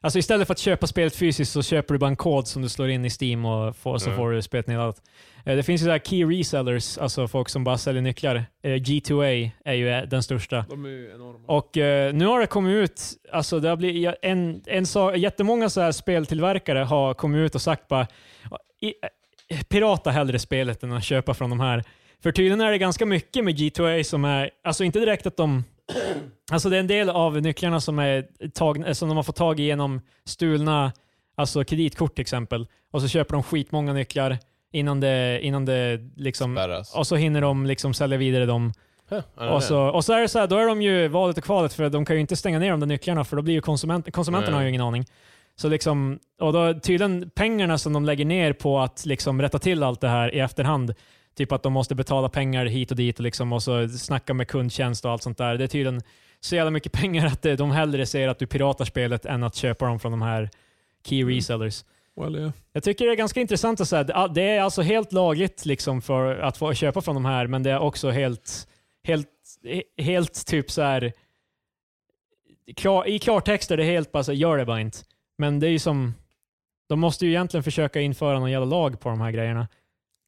Speaker 1: Alltså istället för att köpa spelet fysiskt så köper du bara en kod som du slår in i Steam och får, så
Speaker 3: Mm.
Speaker 1: får du spelet nedladdat. Eh, Det finns ju så här key resellers, alltså folk som bara säljer nycklar. Eh, G2A är ju eh, den största.
Speaker 2: De är ju enorma.
Speaker 1: Och eh, nu har det kommit ut, alltså det har blivit, ja, en, en så, jättemånga så här speltillverkare har kommit ut och sagt bara i, eh, pirata hellre spelet än att köpa från de här. För tydligen är det ganska mycket med G2A som är, alltså inte direkt att de, alltså det är en del av nycklarna som, är tagna, som de har fått tag i genom stulna alltså kreditkort till exempel. Och så köper de skitmånga nycklar innan det, innan det liksom,
Speaker 3: Spärras.
Speaker 1: och så hinner de liksom sälja vidare dem
Speaker 3: Huh, ja,
Speaker 1: och så, och så är det så här, då är de ju valet och kvalet för de kan ju inte stänga ner de där nycklarna för då blir ju konsument, konsumenterna
Speaker 3: Nej.
Speaker 1: har ju ingen aning. Så liksom, och då tydligen pengarna som de lägger ner på att liksom rätta till allt det här i efterhand, typ att de måste betala pengar hit och dit och, liksom, och så snacka med kundtjänst och allt sånt där. Det är tydligen så jävla mycket pengar att eh, de hellre ser att du piratar spelet än att köpa dem från de här key resellers.
Speaker 2: Well, yeah.
Speaker 1: Jag tycker det är ganska intressant att säga att ah, det är alltså helt lagligt liksom för att få köpa från de här, men det är också helt, helt, he- helt typ så här klar, i klartext är det helt bara så här, gör det bara inte. Men det är ju som, de måste ju egentligen försöka införa någon jävla lag på de här grejerna.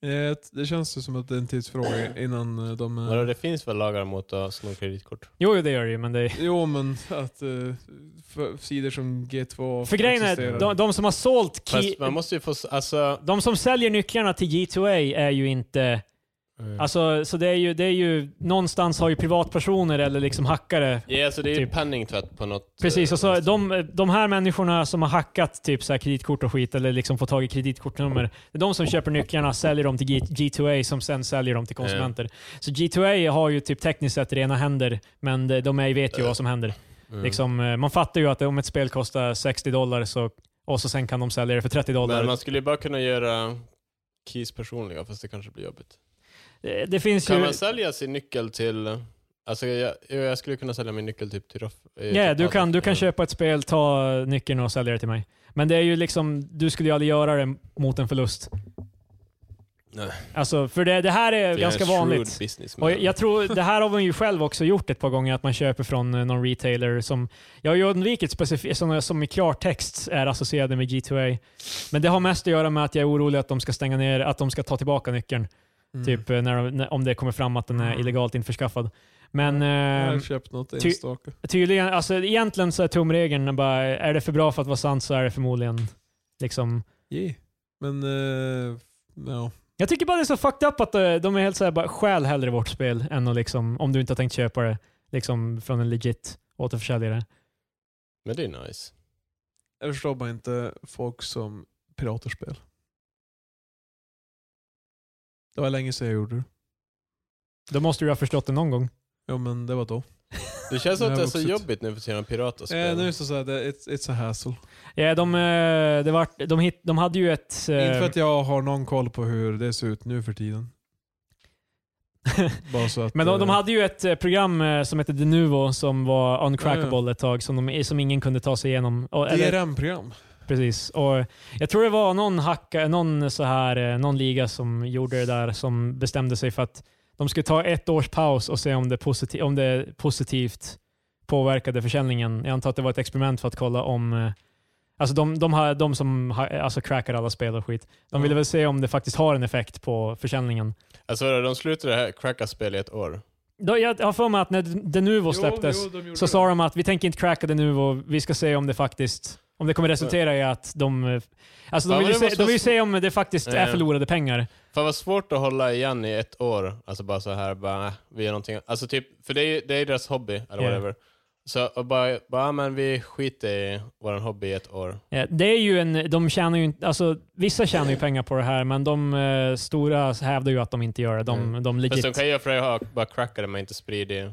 Speaker 2: Eh, Det känns ju som att det är en tidsfråga innan eh, de... eh,
Speaker 3: Vadå, det finns väl lagar mot att sno kreditkort?
Speaker 1: Jo, jo, det gör det ju, men det
Speaker 2: Jo men att eh, för, sidor som G2
Speaker 1: För grejen är,
Speaker 2: existerar.
Speaker 1: de, de som har sålt, ki-
Speaker 3: Fast man måste ju få, s- alltså...
Speaker 1: de som säljer nycklarna till G2A är ju inte
Speaker 3: Mm.
Speaker 1: Alltså, så det är ju, det är ju, någonstans har ju privatpersoner eller liksom hackare
Speaker 3: Ja, alltså det är ju
Speaker 1: typ-
Speaker 3: penningtvätt på något...
Speaker 1: Precis,
Speaker 3: eh,
Speaker 1: och så de, de här människorna som har hackat typ så här kreditkort och skit, eller liksom fått tag i kreditkortnummer, det är de som köper nycklarna, säljer dem till G- G2A som sen säljer dem till konsumenter.
Speaker 3: Eh.
Speaker 1: Så G2A har ju typ tekniskt sett rena händer, men de- de är, vet ju vad som händer.
Speaker 3: Eh. Mm.
Speaker 1: Liksom, eh, man fattar ju att om ett spel kostar 60 dollar så, och så sen kan de sälja det för 30 dollar.
Speaker 3: Mm. Men man skulle ju bara kunna göra keys personliga, fast det kanske blir jobbigt.
Speaker 1: Eh, det finns
Speaker 3: Kan
Speaker 1: ju...
Speaker 3: man sälja sin nyckel till... Alltså jag, jag, jag skulle kunna sälja min nyckel typ till Roff. eh,
Speaker 1: Ja,
Speaker 3: till
Speaker 1: du,
Speaker 3: Patrik.
Speaker 1: kan, du kan
Speaker 3: Mm.
Speaker 1: köpa ett spel, ta nyckeln och sälja det till mig. Men det är ju liksom, du skulle ju aldrig göra det mot en förlust.
Speaker 3: Nej.
Speaker 1: Alltså, för det, det här är
Speaker 3: För jag
Speaker 1: ganska
Speaker 3: en shrewd
Speaker 1: vanligt.
Speaker 3: businessman.
Speaker 1: Och jag, jag tror, det här har man ju själv också gjort ett par gånger, att man köper från eh, någon retailer som... Jag har ju undvikit specifikt, som, som i klartext är associerade med G2A. Men det har mest att göra med att jag är orolig att de ska stänga ner, att de ska ta tillbaka nyckeln.
Speaker 2: Mm.
Speaker 1: Typ eh, när, de- när, om det kommer fram att den är illegalt införskaffad. Men
Speaker 2: Jag har
Speaker 1: eh,
Speaker 2: köpt något
Speaker 1: ty-
Speaker 2: enstaka.
Speaker 1: tydligen, alltså egentligen så är tumregeln bara, är det för bra för att vara sant så är det förmodligen liksom...
Speaker 2: Yeah. Men, eh, ja.
Speaker 1: Jag tycker bara det är så fucked up att eh, de är helt såhär bara stjäl hellre vårt spel än att liksom, om du inte har tänkt köpa det liksom från en legit återförsäljare.
Speaker 3: Men det är nice.
Speaker 2: Jag förstår bara inte folk som piratar spel. Det var länge sedan jag gjorde det.
Speaker 1: Då måste du ha förstått det någon gång.
Speaker 2: Ja men det var då.
Speaker 3: Det känns
Speaker 2: Det
Speaker 3: som att
Speaker 2: här
Speaker 3: det är
Speaker 2: var också
Speaker 3: så
Speaker 2: ett-
Speaker 3: jobbigt nu för tiden att pirata spel.
Speaker 2: Eh, nu är det så såhär, det- it's, it's a hassle.
Speaker 1: Ja, de, eh, det var, de, hit, de hade ju ett... eh,
Speaker 2: Inte för att jag har någon koll på hur det ser ut nu för tiden. Bara så att,
Speaker 1: Men de, de
Speaker 2: eh,
Speaker 1: hade ju ett eh, program eh, som hette Denuvo som var uncrackable ett tag, som, de, som ingen kunde ta sig igenom. Och, eller-
Speaker 2: DRM-program.
Speaker 1: Precis. Och jag tror det var någon, hacka, någon, så här, eh, någon liga som gjorde det där som bestämde sig för att de skulle ta ett års paus och se om det, positi- om det positivt påverkade försäljningen. Jag antar att det var ett experiment för att kolla om... eh, Alltså de, de, har, de som har, alltså crackar alla spel och skit. De ville väl se om det faktiskt har en effekt på försäljningen.
Speaker 3: Alltså vadå, de slutade det här cracka spel i ett år.
Speaker 1: Då, jag har för mig att när Denuvo släpptes så sa de att vi tänker inte cracka det nu och vi ska se om det faktiskt om det kommer resultera i att de... eh, Alltså
Speaker 3: Ja,
Speaker 1: de
Speaker 3: men
Speaker 1: vill, ju
Speaker 3: det
Speaker 1: se,
Speaker 3: måste
Speaker 1: de vill ju
Speaker 3: vara-
Speaker 1: se om det faktiskt
Speaker 3: Ja,
Speaker 1: är
Speaker 3: ja.
Speaker 1: förlorade pengar.
Speaker 3: Fan vad svårt att hålla igen i ett år. Alltså bara så här, bara nej, vi gör någonting. Alltså typ, för det är ju det är deras hobby, eller
Speaker 1: Ja.
Speaker 3: whatever. Så och bara, bara, "Ah, men vi skiter i vår hobby i ett år.
Speaker 1: Ja, Eh, Det är ju en... De tjänar ju inte... Alltså vissa tjänar ju pengar på det här men de eh, stora hävdar ju att de inte gör det. De,
Speaker 3: Mm.
Speaker 1: de
Speaker 3: Fast de
Speaker 1: legit...
Speaker 3: kan ju för att ha- bara cracka det men inte sprida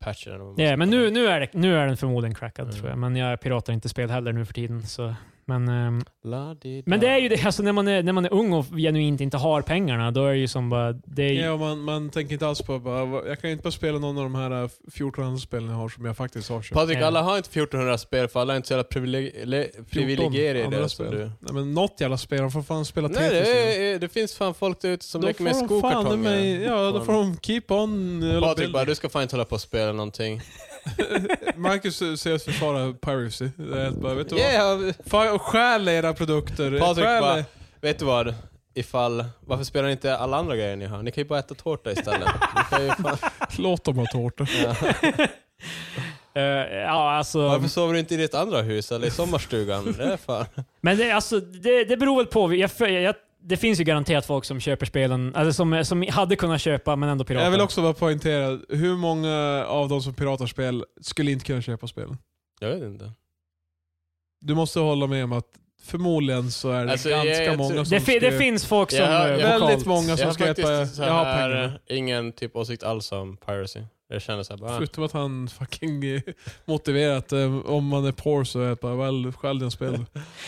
Speaker 3: patchen. eller vad man
Speaker 1: Ja,
Speaker 3: ska
Speaker 1: men
Speaker 3: kalla
Speaker 1: nu,
Speaker 3: det.
Speaker 1: nu, är det, nu är den förmodligen crackad
Speaker 3: Mm.
Speaker 1: tror jag. Men jag piratar inte spel heller nu för tiden. Så. Men, ehm,
Speaker 3: La-di-da.
Speaker 1: men det är ju det, alltså när man är, när man är ung och genuint inte har pengarna, då är det ju som bara... Det är, ju-
Speaker 2: Ja, och man, man tänker inte alls på bara, "Va- jag kan ju inte bara spela någon av de här eh, 14 andra spelen jag har som jag faktiskt har köpt.
Speaker 3: Patrik,
Speaker 1: Ja.
Speaker 3: alla har inte 1400 spel för alla är inte så jävla privilegi- le- privilegierade
Speaker 2: andra
Speaker 3: som
Speaker 2: spel.
Speaker 3: du.
Speaker 2: Nej men något jävla spel, de får fan spela
Speaker 3: Nej,
Speaker 2: Tetris.
Speaker 3: det,
Speaker 2: igen.
Speaker 3: är, det finns fan folk där ute som
Speaker 2: Då
Speaker 3: leker
Speaker 2: får
Speaker 3: med
Speaker 2: de fan i
Speaker 3: skokartonger.
Speaker 2: mig- Ja, då får de keep on... eh,
Speaker 3: Patrik bara,
Speaker 2: building.
Speaker 3: du ska fan inte hålla på och spela någonting.
Speaker 2: Marcus eh, säger att försvara piracy. Det är helt bara, vet du vad?
Speaker 3: Yeah,
Speaker 2: Fan, och stjäl era produkter.
Speaker 3: Patrik
Speaker 2: Stjäl-
Speaker 3: bara, vet du vad? Ifall, varför spelar ni inte alla andra grejer ni har? Ni kan ju bara äta tårta istället. Ni kan ju fan,
Speaker 2: Låt dem ha tårta.
Speaker 3: ja.
Speaker 1: Eh, ja, alltså,
Speaker 3: Varför sover du inte i ditt andra hus eller i sommarstugan? Det är fan.
Speaker 1: men det, alltså, det, det beror väl på. Jag, jag, jag, det finns ju garanterat folk som köper spelen, alltså som, som hade kunnat köpa men ändå piratar.
Speaker 2: Jag vill också bara poängtera, hur många av de som piratar spel skulle inte kunna köpa spelen?
Speaker 3: Jag vet inte.
Speaker 2: Alltså, Du måste hålla med om att förmodligen så är det
Speaker 3: Alltså, jag-
Speaker 2: ganska
Speaker 3: jag tror-
Speaker 2: många som
Speaker 1: det, fi, det
Speaker 2: skulle-
Speaker 1: finns folk som...
Speaker 3: Jag har-
Speaker 1: eh,
Speaker 3: jag har-
Speaker 1: lokalt-
Speaker 2: Väldigt många
Speaker 3: Jag
Speaker 2: som
Speaker 3: har
Speaker 2: ska äta...
Speaker 3: faktiskt så
Speaker 2: Jag har pengarna.
Speaker 3: här, ingen typ åsikt alls om piracy. Jag känner såhär bara...
Speaker 2: Förutom att han fucking eh, motiverat eh, om man är poor så är det bara väl stjäl dina spel.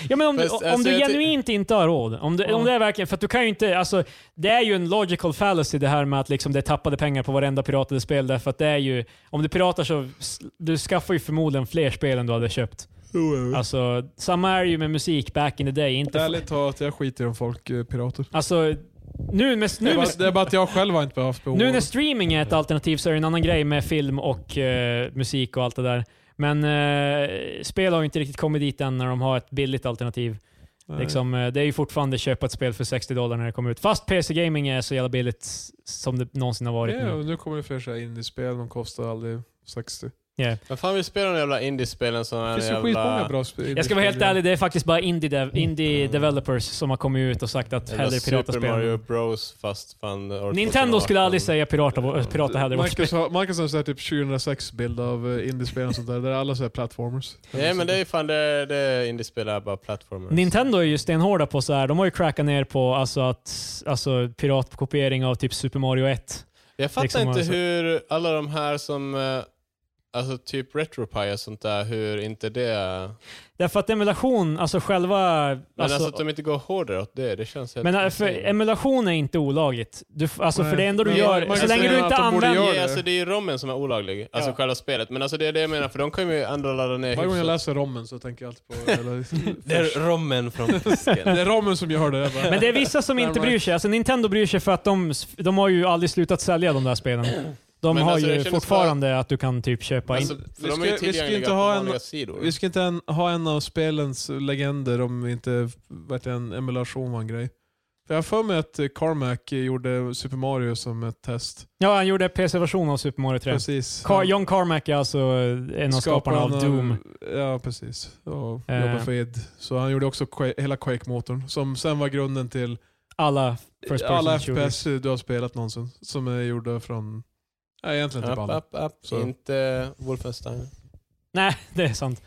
Speaker 1: Ja, men om,
Speaker 3: Fast,
Speaker 1: du, om
Speaker 3: alltså,
Speaker 1: du
Speaker 3: jag ty-
Speaker 1: genuint inte har råd. Om, du, om det är verkligen, för att du kan ju inte, alltså, det är ju en logical fallacy det här med att liksom det är tappade pengar på varenda piratade spel. Därför att det är ju, om du piratar så s- du skaffar ju förmodligen fler spel än du hade köpt.
Speaker 2: Mm.
Speaker 1: Alltså, samma är ju med musik back in the day. Inte f-
Speaker 2: Ärligt talat, jag skiter i om folk är pirater.
Speaker 1: alltså, nu med,
Speaker 2: det,
Speaker 1: nu
Speaker 2: är bara,
Speaker 1: med
Speaker 2: det är bara att jag själv har inte behövt behov
Speaker 1: nu
Speaker 2: av
Speaker 1: när
Speaker 2: det.
Speaker 1: streaming är ett alternativ så är det en annan grej med film och eh, musik och allt det där. Men eh, spel har ju inte riktigt kommit dit än när de har ett billigt alternativ.
Speaker 2: Nej.
Speaker 1: Liksom, eh, det är ju fortfarande köpa ett spel för 60 dollar när det kommer ut. Fast PC-gaming är så jävla billigt s- som det någonsin har varit.
Speaker 2: Ja,
Speaker 1: nu.
Speaker 2: och nu kommer det fler så här indie-spel, de kostar aldrig 60.
Speaker 3: Men fan vill spela de jävla indiespelen som
Speaker 2: Det
Speaker 3: är
Speaker 2: finns ju
Speaker 3: en
Speaker 2: skitmånga
Speaker 3: jävla...
Speaker 2: bra sp- indie-spel.
Speaker 1: Jag ska vara helt ärlig, det är faktiskt bara indie-developers indie developers som har kommit ut och sagt att
Speaker 3: Jävla
Speaker 1: hellre pirata
Speaker 3: Super Mario
Speaker 1: spel.
Speaker 3: Bros fast fan... år
Speaker 1: Nintendo skulle
Speaker 3: 2018.
Speaker 1: aldrig säga pirata, äh, pirata hellre. vårt spel.
Speaker 2: Marcus har, Marcus har sett typ 2006-bild av eh, indiespel och sånt där, där alla så här platformers.
Speaker 3: Nej men det är ju fan det, det är indiespel är bara plattformar.
Speaker 1: Nintendo är ju stenhårda på så här. de har ju crackat ner på alltså att, alltså piratkopiering av typ Super Mario 1.
Speaker 3: Jag fattar
Speaker 1: liksom,
Speaker 3: inte
Speaker 1: alltså.
Speaker 3: hur alla de här som... eh, Alltså typ RetroPie och sånt där, hur inte det... Men
Speaker 1: Därför att emulation, alltså själva...
Speaker 3: alltså, att de inte går hårdare åt det, det känns helt...
Speaker 1: Men äh, för
Speaker 3: insane.
Speaker 1: emulation är inte olagligt. Du, f- alltså
Speaker 2: Nej.
Speaker 1: för det enda du
Speaker 2: Nej,
Speaker 1: gör,
Speaker 2: man
Speaker 1: så
Speaker 2: kan
Speaker 1: länge
Speaker 2: säga
Speaker 1: du inte
Speaker 2: att de borde
Speaker 1: använder...
Speaker 2: gör
Speaker 3: Nej,
Speaker 2: det.
Speaker 3: alltså det är ju rommen som är olaglig. Alltså
Speaker 1: Ja.
Speaker 3: själva spelet. Men alltså det är det jag menar, för de kan ju ändå ladda
Speaker 1: Eh,
Speaker 2: Varje
Speaker 3: ner
Speaker 2: gång jag
Speaker 3: hyfsat.
Speaker 2: läser rommen så tänker jag alltid på... Eller,
Speaker 3: Det är rommen från
Speaker 2: det
Speaker 3: fisken.
Speaker 2: är rommen som gör det. jag Bara.
Speaker 1: Men det är vissa som inte bryr sig. Alltså Nintendo bryr sig för att de, de har ju aldrig slutat sälja de där spelen. De
Speaker 3: Men
Speaker 1: har
Speaker 3: alltså, det
Speaker 1: ju
Speaker 3: kändes
Speaker 1: fortfarande att du kan typ köpa...
Speaker 3: alltså,
Speaker 1: in.
Speaker 3: för de är ju
Speaker 2: vi ska- vi ska
Speaker 3: tillgängliga
Speaker 2: inte
Speaker 3: på
Speaker 2: ha en-
Speaker 3: vanliga sidor.
Speaker 2: Vi ska inte en, ha en av spelens legender om inte verkligen emulation var en grej. För jag har för mig att eh, Carmack gjorde Super Mario som ett test.
Speaker 1: Ja, han gjorde PC-version av Super Mario 3.
Speaker 2: Precis.
Speaker 1: Car-
Speaker 2: Han-
Speaker 1: John Carmack är alltså en av skaparna av Doom.
Speaker 2: Ja, precis. Och
Speaker 1: Eh.
Speaker 2: jobbade för id. Så han gjorde också Qua- hela Quake-motorn, som sen var grunden till
Speaker 1: Alla First Person
Speaker 2: alla
Speaker 1: shooters.
Speaker 2: FPS du har spelat någonsin, som är gjorda från... Nej, egentligen typ
Speaker 3: App,
Speaker 2: alla.
Speaker 3: app, app.
Speaker 2: Så.
Speaker 3: Inte Wolfenstein.
Speaker 1: Nej, det är sant.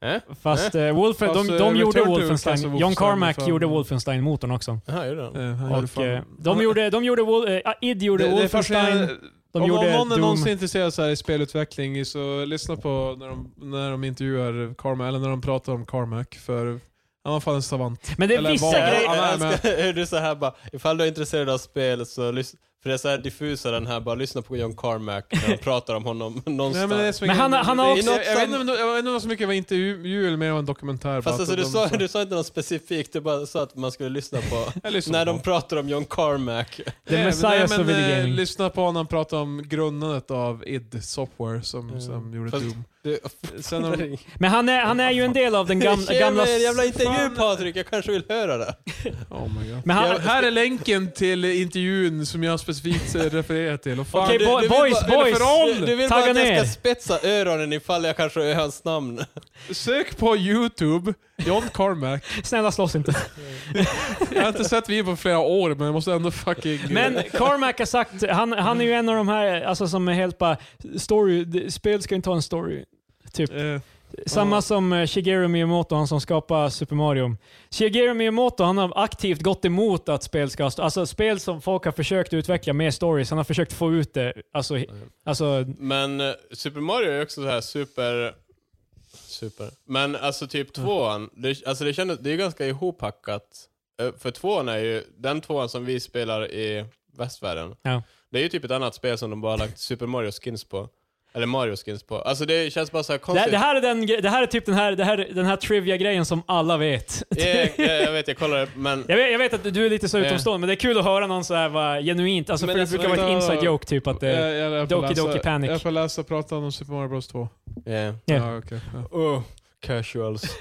Speaker 3: Eh?
Speaker 1: Fast, eh, Wolfen,
Speaker 2: Fast,
Speaker 1: de,
Speaker 2: eh,
Speaker 1: de gjorde
Speaker 2: Return to Castle
Speaker 1: Wolfenstein. John
Speaker 2: Wolfenstein
Speaker 1: Carmack
Speaker 2: för-
Speaker 1: gjorde Wolfenstein-motorn också.
Speaker 3: Jaha, gjorde han?
Speaker 2: Eh, han gjorde
Speaker 1: Och,
Speaker 2: fan-
Speaker 1: eh, de gjorde, de gjorde, Wol- eh, id gjorde
Speaker 2: Det- det är
Speaker 1: Wolfenstein,
Speaker 2: fascinerande-
Speaker 1: de
Speaker 2: om,
Speaker 1: gjorde
Speaker 2: om någon är
Speaker 1: Doom.
Speaker 2: någonsin intresserad så här i spelutveckling så lyssna på när de, när de intervjuar Carmack, eller när de pratar om Carmack, för han var fan en savant.
Speaker 1: Men det är
Speaker 2: eller
Speaker 1: vissa
Speaker 2: vad-
Speaker 1: grejer...
Speaker 2: Ja,
Speaker 3: Jag
Speaker 2: men-
Speaker 3: älskar hur du så här bara, ifall du är intresserad av spel så lyssna. För det är så här diffusa den här, bara lyssna på John Carmack när han pratar om honom
Speaker 2: Nej,
Speaker 3: någonstans.
Speaker 2: men det är som
Speaker 1: Men
Speaker 2: ingen-
Speaker 1: han- han har
Speaker 2: det är
Speaker 1: också-
Speaker 2: något- Jag vet inte om det- jag vet inte om det var så mycket var intervju eller mer av en dokumentär. bara
Speaker 3: Fast alltså,
Speaker 2: att
Speaker 3: du,
Speaker 2: de-
Speaker 3: sa,
Speaker 2: så-
Speaker 3: du sa inte något specifikt, du bara sa att man skulle lyssna på
Speaker 2: Jag lyssnar
Speaker 3: när
Speaker 2: på
Speaker 3: de pratar om John Carmack.
Speaker 1: The
Speaker 2: Nej, men-
Speaker 1: Messiah
Speaker 2: nej,
Speaker 1: of
Speaker 2: men,
Speaker 1: video
Speaker 2: eh,
Speaker 1: gaming.
Speaker 2: Lyssna på honom prata om grundandet av id Software som,
Speaker 3: Mm.
Speaker 2: som gjorde
Speaker 3: Fast-
Speaker 2: Doom.
Speaker 3: Du,
Speaker 2: Sen har de-
Speaker 1: Men han är, han är ju en del av den gamla... gamla
Speaker 3: Ge mig en jävla intervju
Speaker 2: Fan.
Speaker 3: Patrik, jag kanske vill höra det.
Speaker 2: Oh my God.
Speaker 1: men han,
Speaker 3: Jag-
Speaker 2: Här är länken till intervjun som jag specifikt eh, refererar till. Och fan,
Speaker 1: Okej,
Speaker 2: det-
Speaker 1: bo-
Speaker 3: du vill
Speaker 1: boys,
Speaker 3: bara-
Speaker 1: boys!
Speaker 3: Du, du vill bara
Speaker 1: Tagga
Speaker 3: att jag
Speaker 1: ner!
Speaker 3: ska spetsa öronen ifall jag kanske är hans namn.
Speaker 2: Sök på YouTube, John Carmack.
Speaker 1: Snälla slåss inte.
Speaker 2: Jag har inte sett videon på flera år, men jag måste ändå fucking...
Speaker 1: Men Carmack har sagt, han, han är ju en av de här alltså, som är helt bara... Story, det- spel ska inte ha en story. Typ.
Speaker 2: Eh,
Speaker 1: Samma som eh, Shigeru Miyamoto, han som skapar Super Mario. Shigeru Miyamoto, han har aktivt gått emot att spel ska ha... st- Alltså spel som folk har försökt utveckla med stories, han har försökt få ut det. Alltså, he- alltså
Speaker 3: Men eh, Super Mario är också så här super... Super. Men alltså typ
Speaker 1: Mm.
Speaker 3: tvåan, det, alltså det, kändes, det är ju ganska ihophackat. Eh, För tvåan är ju, den tvåan som vi spelar i västvärlden,
Speaker 1: Ja.
Speaker 3: det är ju typ ett annat spel som de bara har lagt Super Mario skins på. Eller Mario skins på. Alltså det känns bara så här
Speaker 1: Det,
Speaker 3: konstigt.
Speaker 1: det, här är den, gre- det här är typ den här, det här, den här trivia-grejen som alla vet.
Speaker 3: Ja, ja, jag vet, jag kollar det, men...
Speaker 1: Jag vet, jag vet att du är lite så
Speaker 3: Ja.
Speaker 1: utomstående, men det är kul att höra någon så här va, genuint, alltså,
Speaker 2: Men
Speaker 1: för det
Speaker 2: alltså,
Speaker 1: brukar vara ett
Speaker 2: vänta.
Speaker 1: inside joke typ att det...
Speaker 3: eh,
Speaker 2: Jag- Eh, jag- jag får
Speaker 1: Doki
Speaker 2: läsa-
Speaker 1: Doki Panic.
Speaker 2: Jag får läsa och prata om Super Mario Bros 2.
Speaker 3: Yeah.
Speaker 1: Ja.
Speaker 2: Ja, okej. ja.
Speaker 3: Oh, casuals.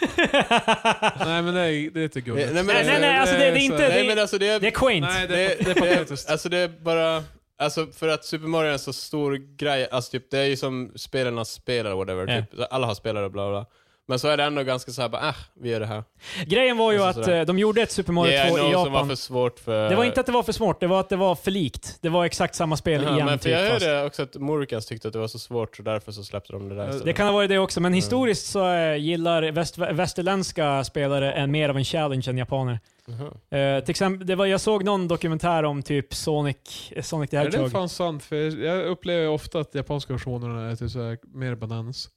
Speaker 2: Nej men det är, det är inte gulligt.
Speaker 3: Eh, Nej, men-
Speaker 1: nej, nej, nej, alltså det, det är
Speaker 2: så-
Speaker 1: inte...
Speaker 3: Nej men
Speaker 1: Det,
Speaker 3: alltså det är...
Speaker 1: det är quaint.
Speaker 2: Nej, det,
Speaker 3: det,
Speaker 2: är- det är patetiskt.
Speaker 3: Alltså det är bara... Alltså för att Super Mario är en så stor grej, alltså typ det är ju som spelarnas spel eller whatever,
Speaker 1: Ja.
Speaker 3: typ. alla har spelare och bla bla. Men så är det ändå ganska såhär bara, ah, vi gör det här.
Speaker 1: Grejen var ju
Speaker 3: Alltså,
Speaker 1: att
Speaker 3: sådär.
Speaker 1: eh, de gjorde ett Super Mario
Speaker 3: Yeah,
Speaker 1: 2
Speaker 3: I
Speaker 1: i
Speaker 3: know, som var
Speaker 1: Japan.
Speaker 3: för svårt för...
Speaker 1: Det var inte att det var för svårt, det var att det var för likt. Det var exakt samma spel
Speaker 3: Ja,
Speaker 1: igen.
Speaker 3: men för
Speaker 1: typ,
Speaker 3: jag
Speaker 1: fast-
Speaker 3: hörde också att Morikans tyckte att det var så svårt så därför så släppte de det där.
Speaker 2: Det
Speaker 1: Det
Speaker 3: istället.
Speaker 1: kan ha varit det också,
Speaker 2: Mm.
Speaker 1: men historiskt så eh, gillar väst, västerländska spelare en, mer av en challenge än japaner.
Speaker 3: Jaha.
Speaker 1: Eh, till exempel, det var, jag såg någon dokumentär om typ Sonic, eh, Sonic the
Speaker 2: Är det
Speaker 1: Hedgehog.
Speaker 2: fan sant? För jag upplever ju ofta att japanska versionerna är typ så här, mer bananas.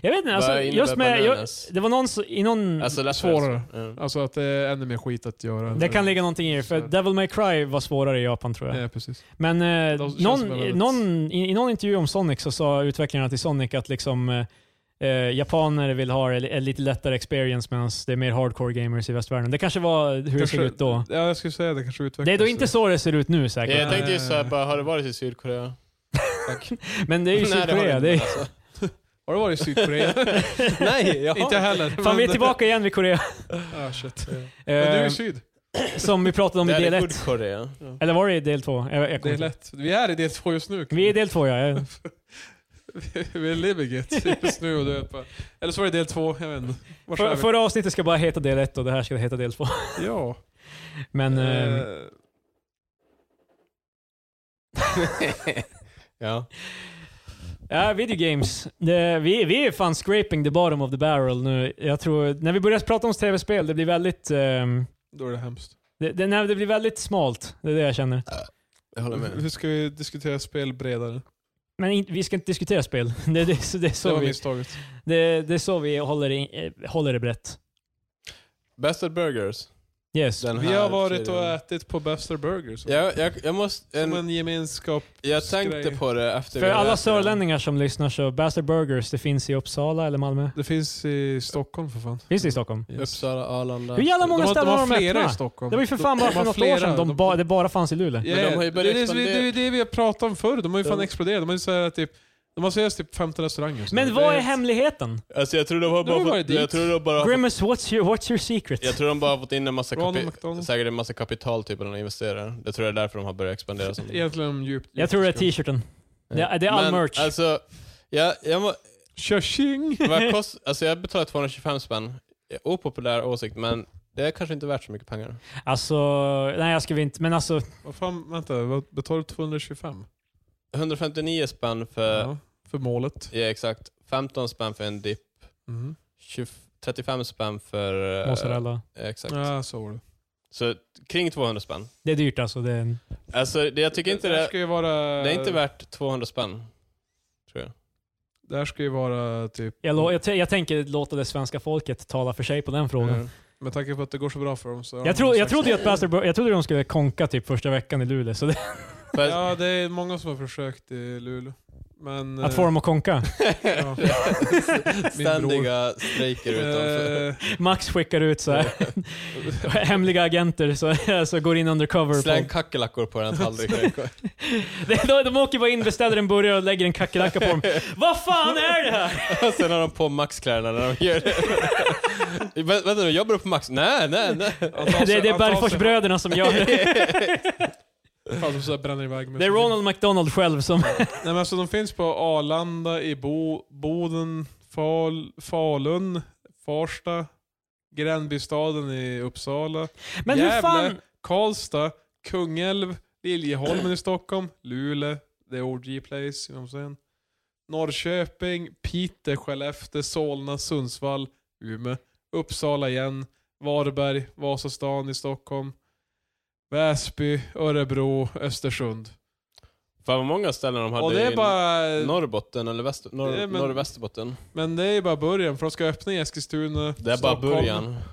Speaker 1: Jag vet inte, alltså,
Speaker 3: Vad innebär
Speaker 1: just med, jag,
Speaker 3: bananas?
Speaker 1: det var någon så- i någon...
Speaker 3: Alltså, lättare.
Speaker 2: Svårare.
Speaker 3: Ja.
Speaker 2: Alltså att det är ännu mer skit att göra.
Speaker 1: det kan ligga någonting i det, för
Speaker 2: Så.
Speaker 1: Devil May Cry var svårare i Japan tror jag.
Speaker 2: Ja, precis.
Speaker 1: Men eh,
Speaker 2: De känns
Speaker 1: någon,
Speaker 2: väldigt-
Speaker 1: någon, i, i någon intervju om Sonic så sa utvecklarna till Sonic att liksom, eh, eh, japaner vill ha en- en lite lättare experience medan det är mer hardcore gamers i västvärlden. Det kanske var hur det ser
Speaker 2: Kanske-
Speaker 1: ut då.
Speaker 2: Ja, jag skulle säga det kanske utvecklas.
Speaker 1: Det är då inte så det ser ut nu
Speaker 3: Ja,
Speaker 1: säkert.
Speaker 3: jag tänkte ju
Speaker 2: Nej.
Speaker 3: såhär bara, har det varit i Sydkorea?
Speaker 1: Men det är ju
Speaker 3: Nej, det har
Speaker 1: Sydkorea.
Speaker 3: det
Speaker 1: Det är...
Speaker 3: inte, alltså.
Speaker 2: Har du varit i Sydkorea?
Speaker 3: Nej, jag har
Speaker 2: inte heller.
Speaker 1: Fan, vi är
Speaker 2: men-
Speaker 1: tillbaka igen vid Korea.
Speaker 2: Ah, shit. Men du är
Speaker 1: Eh,
Speaker 2: i syd.
Speaker 1: som vi pratade om i
Speaker 3: Det
Speaker 1: del
Speaker 3: är
Speaker 1: 1.
Speaker 3: Nordkorea.
Speaker 1: Eller var det i del 2? Jag, jag
Speaker 2: Det
Speaker 1: kommer
Speaker 2: är
Speaker 1: inte.
Speaker 2: lätt. Vi är i del två just nu.
Speaker 1: Eh, Vi är i del 2 ja. Jag-
Speaker 2: Vi är living it just nu. Och du vet bara. Eller så var det del två, jag vet inte. Vart är
Speaker 1: För,
Speaker 2: vi?
Speaker 1: förra avsnittet ska bara heta del 1 och det här ska heta del 2.
Speaker 2: Ja.
Speaker 1: Men ehm,
Speaker 2: Eh,
Speaker 3: Ja.
Speaker 1: Ja, video games. Det, vi, vi är fan scraping the bottom of the barrel nu. Jag tror, när vi börjar prata om tv-spel, det blir väldigt... ehm,
Speaker 2: Då är det hemskt.
Speaker 1: det, det, nej, det blir väldigt smalt. Det är det jag känner.
Speaker 3: Jag håller med.
Speaker 2: Hur ska vi diskutera spel bredare?
Speaker 1: Men in, vi ska inte diskutera spel. Det, det, så- det, är
Speaker 2: Det
Speaker 1: så
Speaker 2: var
Speaker 1: vi,
Speaker 2: misstaget.
Speaker 1: det, det är så vi håller, i, eh, håller det brett.
Speaker 3: Best at Burgers.
Speaker 1: Yes.
Speaker 3: Den
Speaker 2: Vi
Speaker 3: här
Speaker 2: har varit och
Speaker 3: kedjan.
Speaker 2: ätit på Buster Burgers.
Speaker 3: Jag, jag, jag, måste,
Speaker 2: Som
Speaker 3: en,
Speaker 2: en gemenskap.
Speaker 3: jag tänkte
Speaker 2: grej.
Speaker 3: på det
Speaker 1: För
Speaker 3: efter vi hade
Speaker 1: alla
Speaker 3: ätit den.
Speaker 1: sörlänningar som lyssnar så, Bastard Burgers, det finns i Uppsala eller Malmö.
Speaker 2: Det finns i Stockholm för fan.
Speaker 1: Finns det i Stockholm?
Speaker 2: Yes.
Speaker 3: Uppsala, Arlanda.
Speaker 1: Hur jävla många
Speaker 2: de, har-
Speaker 1: ställen
Speaker 2: de
Speaker 1: har
Speaker 2: har
Speaker 1: de
Speaker 2: flera i
Speaker 1: öppnat?
Speaker 2: Stockholm.
Speaker 1: Det var ju för fan bara
Speaker 2: De
Speaker 1: för
Speaker 2: har
Speaker 1: något år
Speaker 2: flera.
Speaker 1: sedan de
Speaker 2: De-
Speaker 1: ba, det bara fanns i Luleå.
Speaker 2: Ja,
Speaker 3: Men de har ju
Speaker 2: det,
Speaker 3: börjat
Speaker 2: är det, som- det är det vi har pratat om förr. De har ju fan
Speaker 3: De-
Speaker 2: exploderat. De har ju så här, typ, de har seriöst typ 15 restauranger. Så
Speaker 1: Men
Speaker 2: det
Speaker 1: vad är
Speaker 2: helt-
Speaker 1: hemmeligheten?
Speaker 3: Alltså jag tror de har
Speaker 2: De har
Speaker 3: bara
Speaker 2: varit
Speaker 3: fått, jag
Speaker 2: dit.
Speaker 3: tror de bara har fått,
Speaker 1: Grimace, what's your, what's your secret?
Speaker 3: jag tror de bara har fått in en massa,
Speaker 2: Ronald
Speaker 3: kapi,
Speaker 2: McDonald.
Speaker 3: säkert en massa kapital typ av investerare. Jag tror det är därför de har börjat expandera som de-
Speaker 2: Egentligen om djupt.
Speaker 1: Jag tror det är t-shirten. det- det är all
Speaker 3: Men,
Speaker 1: merch.
Speaker 3: Alltså, jag, jag, må,
Speaker 2: Körsing!
Speaker 3: vad kost, alltså jag betalade 225 spänn. Opopulär åsikt men det är kanske inte värt så mycket pengar.
Speaker 1: Alltså, nej jag skulle inte, men alltså,
Speaker 2: Vad fan, vänta. Vad betalar du 225?
Speaker 3: 159 spänn för, ja,
Speaker 2: Ja, för målet.
Speaker 3: exakt, 15 spänn för en dipp,
Speaker 2: Mm.
Speaker 3: 20 35 spänn för...
Speaker 2: Äh.
Speaker 3: eh,
Speaker 1: mozzarella.
Speaker 3: Exakt.
Speaker 2: Ja, så var det.
Speaker 3: Så kring 200 spänn.
Speaker 1: Det är dyrt alltså. Det är en...
Speaker 3: Alltså det, jag tycker inte
Speaker 2: Det här
Speaker 3: det,
Speaker 2: ska ju vara...
Speaker 3: det är inte värt 200 spänn. Tror jag.
Speaker 2: Det här ska ju vara typ...
Speaker 1: jag, lo- jag, t- jag tänker låta det svenska folket tala för sig på den frågan.
Speaker 2: Eh, Med tanke på att det går så bra för dem så... har
Speaker 1: Jag,
Speaker 2: de
Speaker 1: tro, jag
Speaker 2: sagt-
Speaker 1: trodde ju att Bastard Bur- jag trodde de skulle konka typ första veckan i Luleå, så det,
Speaker 3: För,
Speaker 2: Ja, det är många som har försökt i Luleå. Men...
Speaker 1: att få dem att konka.
Speaker 2: ja.
Speaker 3: Ständiga strejker utanför.
Speaker 2: eh,
Speaker 1: Max skickar ut så här, hemliga agenter så alltså, går in undercover.
Speaker 3: Släng
Speaker 1: På.
Speaker 3: kackerlackor på den tallriken.
Speaker 1: De, de åker bara in, beställer en burgare och lägger en kackerlacka på dem. Vad fan är det här?
Speaker 3: Och Sen har de på Max-kläderna när de gör det. Vä- Vänta nu, jobbar du på Max? Nej, nej, nej.
Speaker 2: att ta sig-
Speaker 1: Det, det är
Speaker 2: att ta sig-
Speaker 1: Bergforsbröderna som gör det.
Speaker 2: eh, Fan, de så här bränner iväg med
Speaker 1: Det är Ronald McDonald själv som...
Speaker 2: Nej men alltså de finns på Arlanda, i Bo, Boden, Fal, Falun, Farsta, Gränbystaden i Uppsala,
Speaker 1: Men hur
Speaker 2: Gävle,
Speaker 1: fan...
Speaker 2: Karlstad, Kungälv, Liljeholmen i Stockholm, Luleå, The OG Place, you know what I'm saying? Norrköping, Piteå, Skellefteå, Solna, Sundsvall, Umeå, Uppsala igen, Varberg, Vasastan i Stockholm, Väsby, Örebro, Östersund.
Speaker 3: Fan vad många ställen de hade
Speaker 2: Och det är
Speaker 3: i
Speaker 2: bara...
Speaker 3: Norrbotten eller väster, norr,
Speaker 2: Det är men-
Speaker 3: norr och västerbotten.
Speaker 2: Men det är ju bara början, för de ska öppna i Eskilstuna,
Speaker 3: Det är bara
Speaker 2: Stockholm.
Speaker 3: början.
Speaker 2: Början.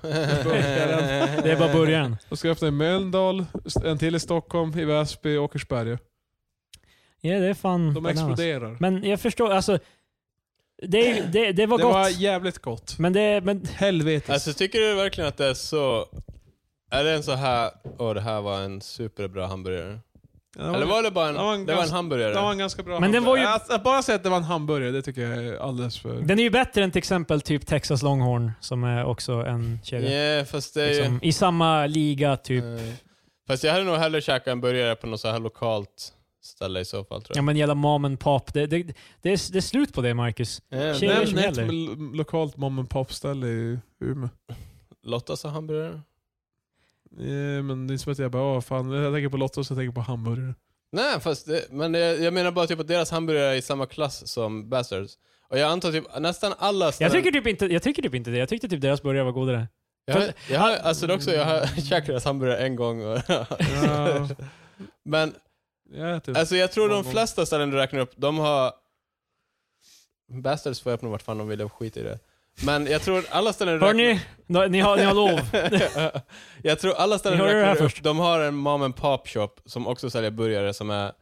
Speaker 1: Det är bara början.
Speaker 2: De ska öppna i Mölndal, en till i Stockholm, i Väsby, Åkersberga.
Speaker 1: Ja, det är fan
Speaker 2: De
Speaker 1: bananas.
Speaker 2: exploderar.
Speaker 1: Men jag förstår, alltså. Det, är- det, det var
Speaker 2: Det
Speaker 1: gott.
Speaker 2: var jävligt gott.
Speaker 1: Men det, men
Speaker 2: Helvetes.
Speaker 3: Alltså tycker du verkligen att det är så... Är det en så här, åh det här var en superbra hamburgare?
Speaker 2: Ja, det var-
Speaker 3: Eller var det bara en,
Speaker 2: det var en
Speaker 3: det var en
Speaker 2: ganska-
Speaker 3: hamburgare?
Speaker 2: Det var en ganska bra
Speaker 1: Men den
Speaker 2: hamburgare.
Speaker 1: var ju-
Speaker 2: Att, att bara säga att det var en hamburgare, det tycker jag är alldeles för...
Speaker 1: den är ju bättre än till exempel typ Texas Longhorn som är också en kedja.
Speaker 3: yeah, fast det är ju...
Speaker 1: Liksom, I samma liga typ.
Speaker 3: eh, Fast jag hade nog hellre käkat en burgare på något så här lokalt ställe i så fall tror
Speaker 1: Ja
Speaker 3: jag.
Speaker 1: men jävla mom and pop. Det, det, det, är, det är slut på det Marcus.
Speaker 3: Yeah,
Speaker 1: Tjejer
Speaker 2: Nämn
Speaker 1: som
Speaker 2: ett
Speaker 1: gäller.
Speaker 2: lo- lokalt mom and pop-ställe i Umeå.
Speaker 3: Lottas och hamburgare?
Speaker 2: Eh, men det är som att jag bara, åh fan, jag tänker på Lottos, jag tänker på hamburgare.
Speaker 3: Nej, fast det, men jag, jag menar bara typ att deras hamburgare är i samma klass som Bastards. Och jag antar typ nästan alla
Speaker 1: Jag
Speaker 3: ställen...
Speaker 1: tycker typ inte, jag tycker typ inte det. Jag tyckte typ deras burgare var godare.
Speaker 3: jag, har- jag har, alltså det är också, jag har käkat deras hamburgare en gång. Och,
Speaker 2: Ja,
Speaker 3: men
Speaker 2: jag äter
Speaker 3: Alltså jag tror de
Speaker 2: Typ Någon gång.
Speaker 3: flesta ställen du räknar upp, de har... Bastards får öppna vart fan de vill, skit i det. Men jag tror alla ställen du
Speaker 1: Hörni, ni, ni, har, ni har lov.
Speaker 3: räknar- jag tror alla ställen
Speaker 1: Ni
Speaker 3: du
Speaker 1: hörde det här
Speaker 3: räknar upp,
Speaker 1: först.
Speaker 3: de har en mom and pop shop som också säljer burgare som är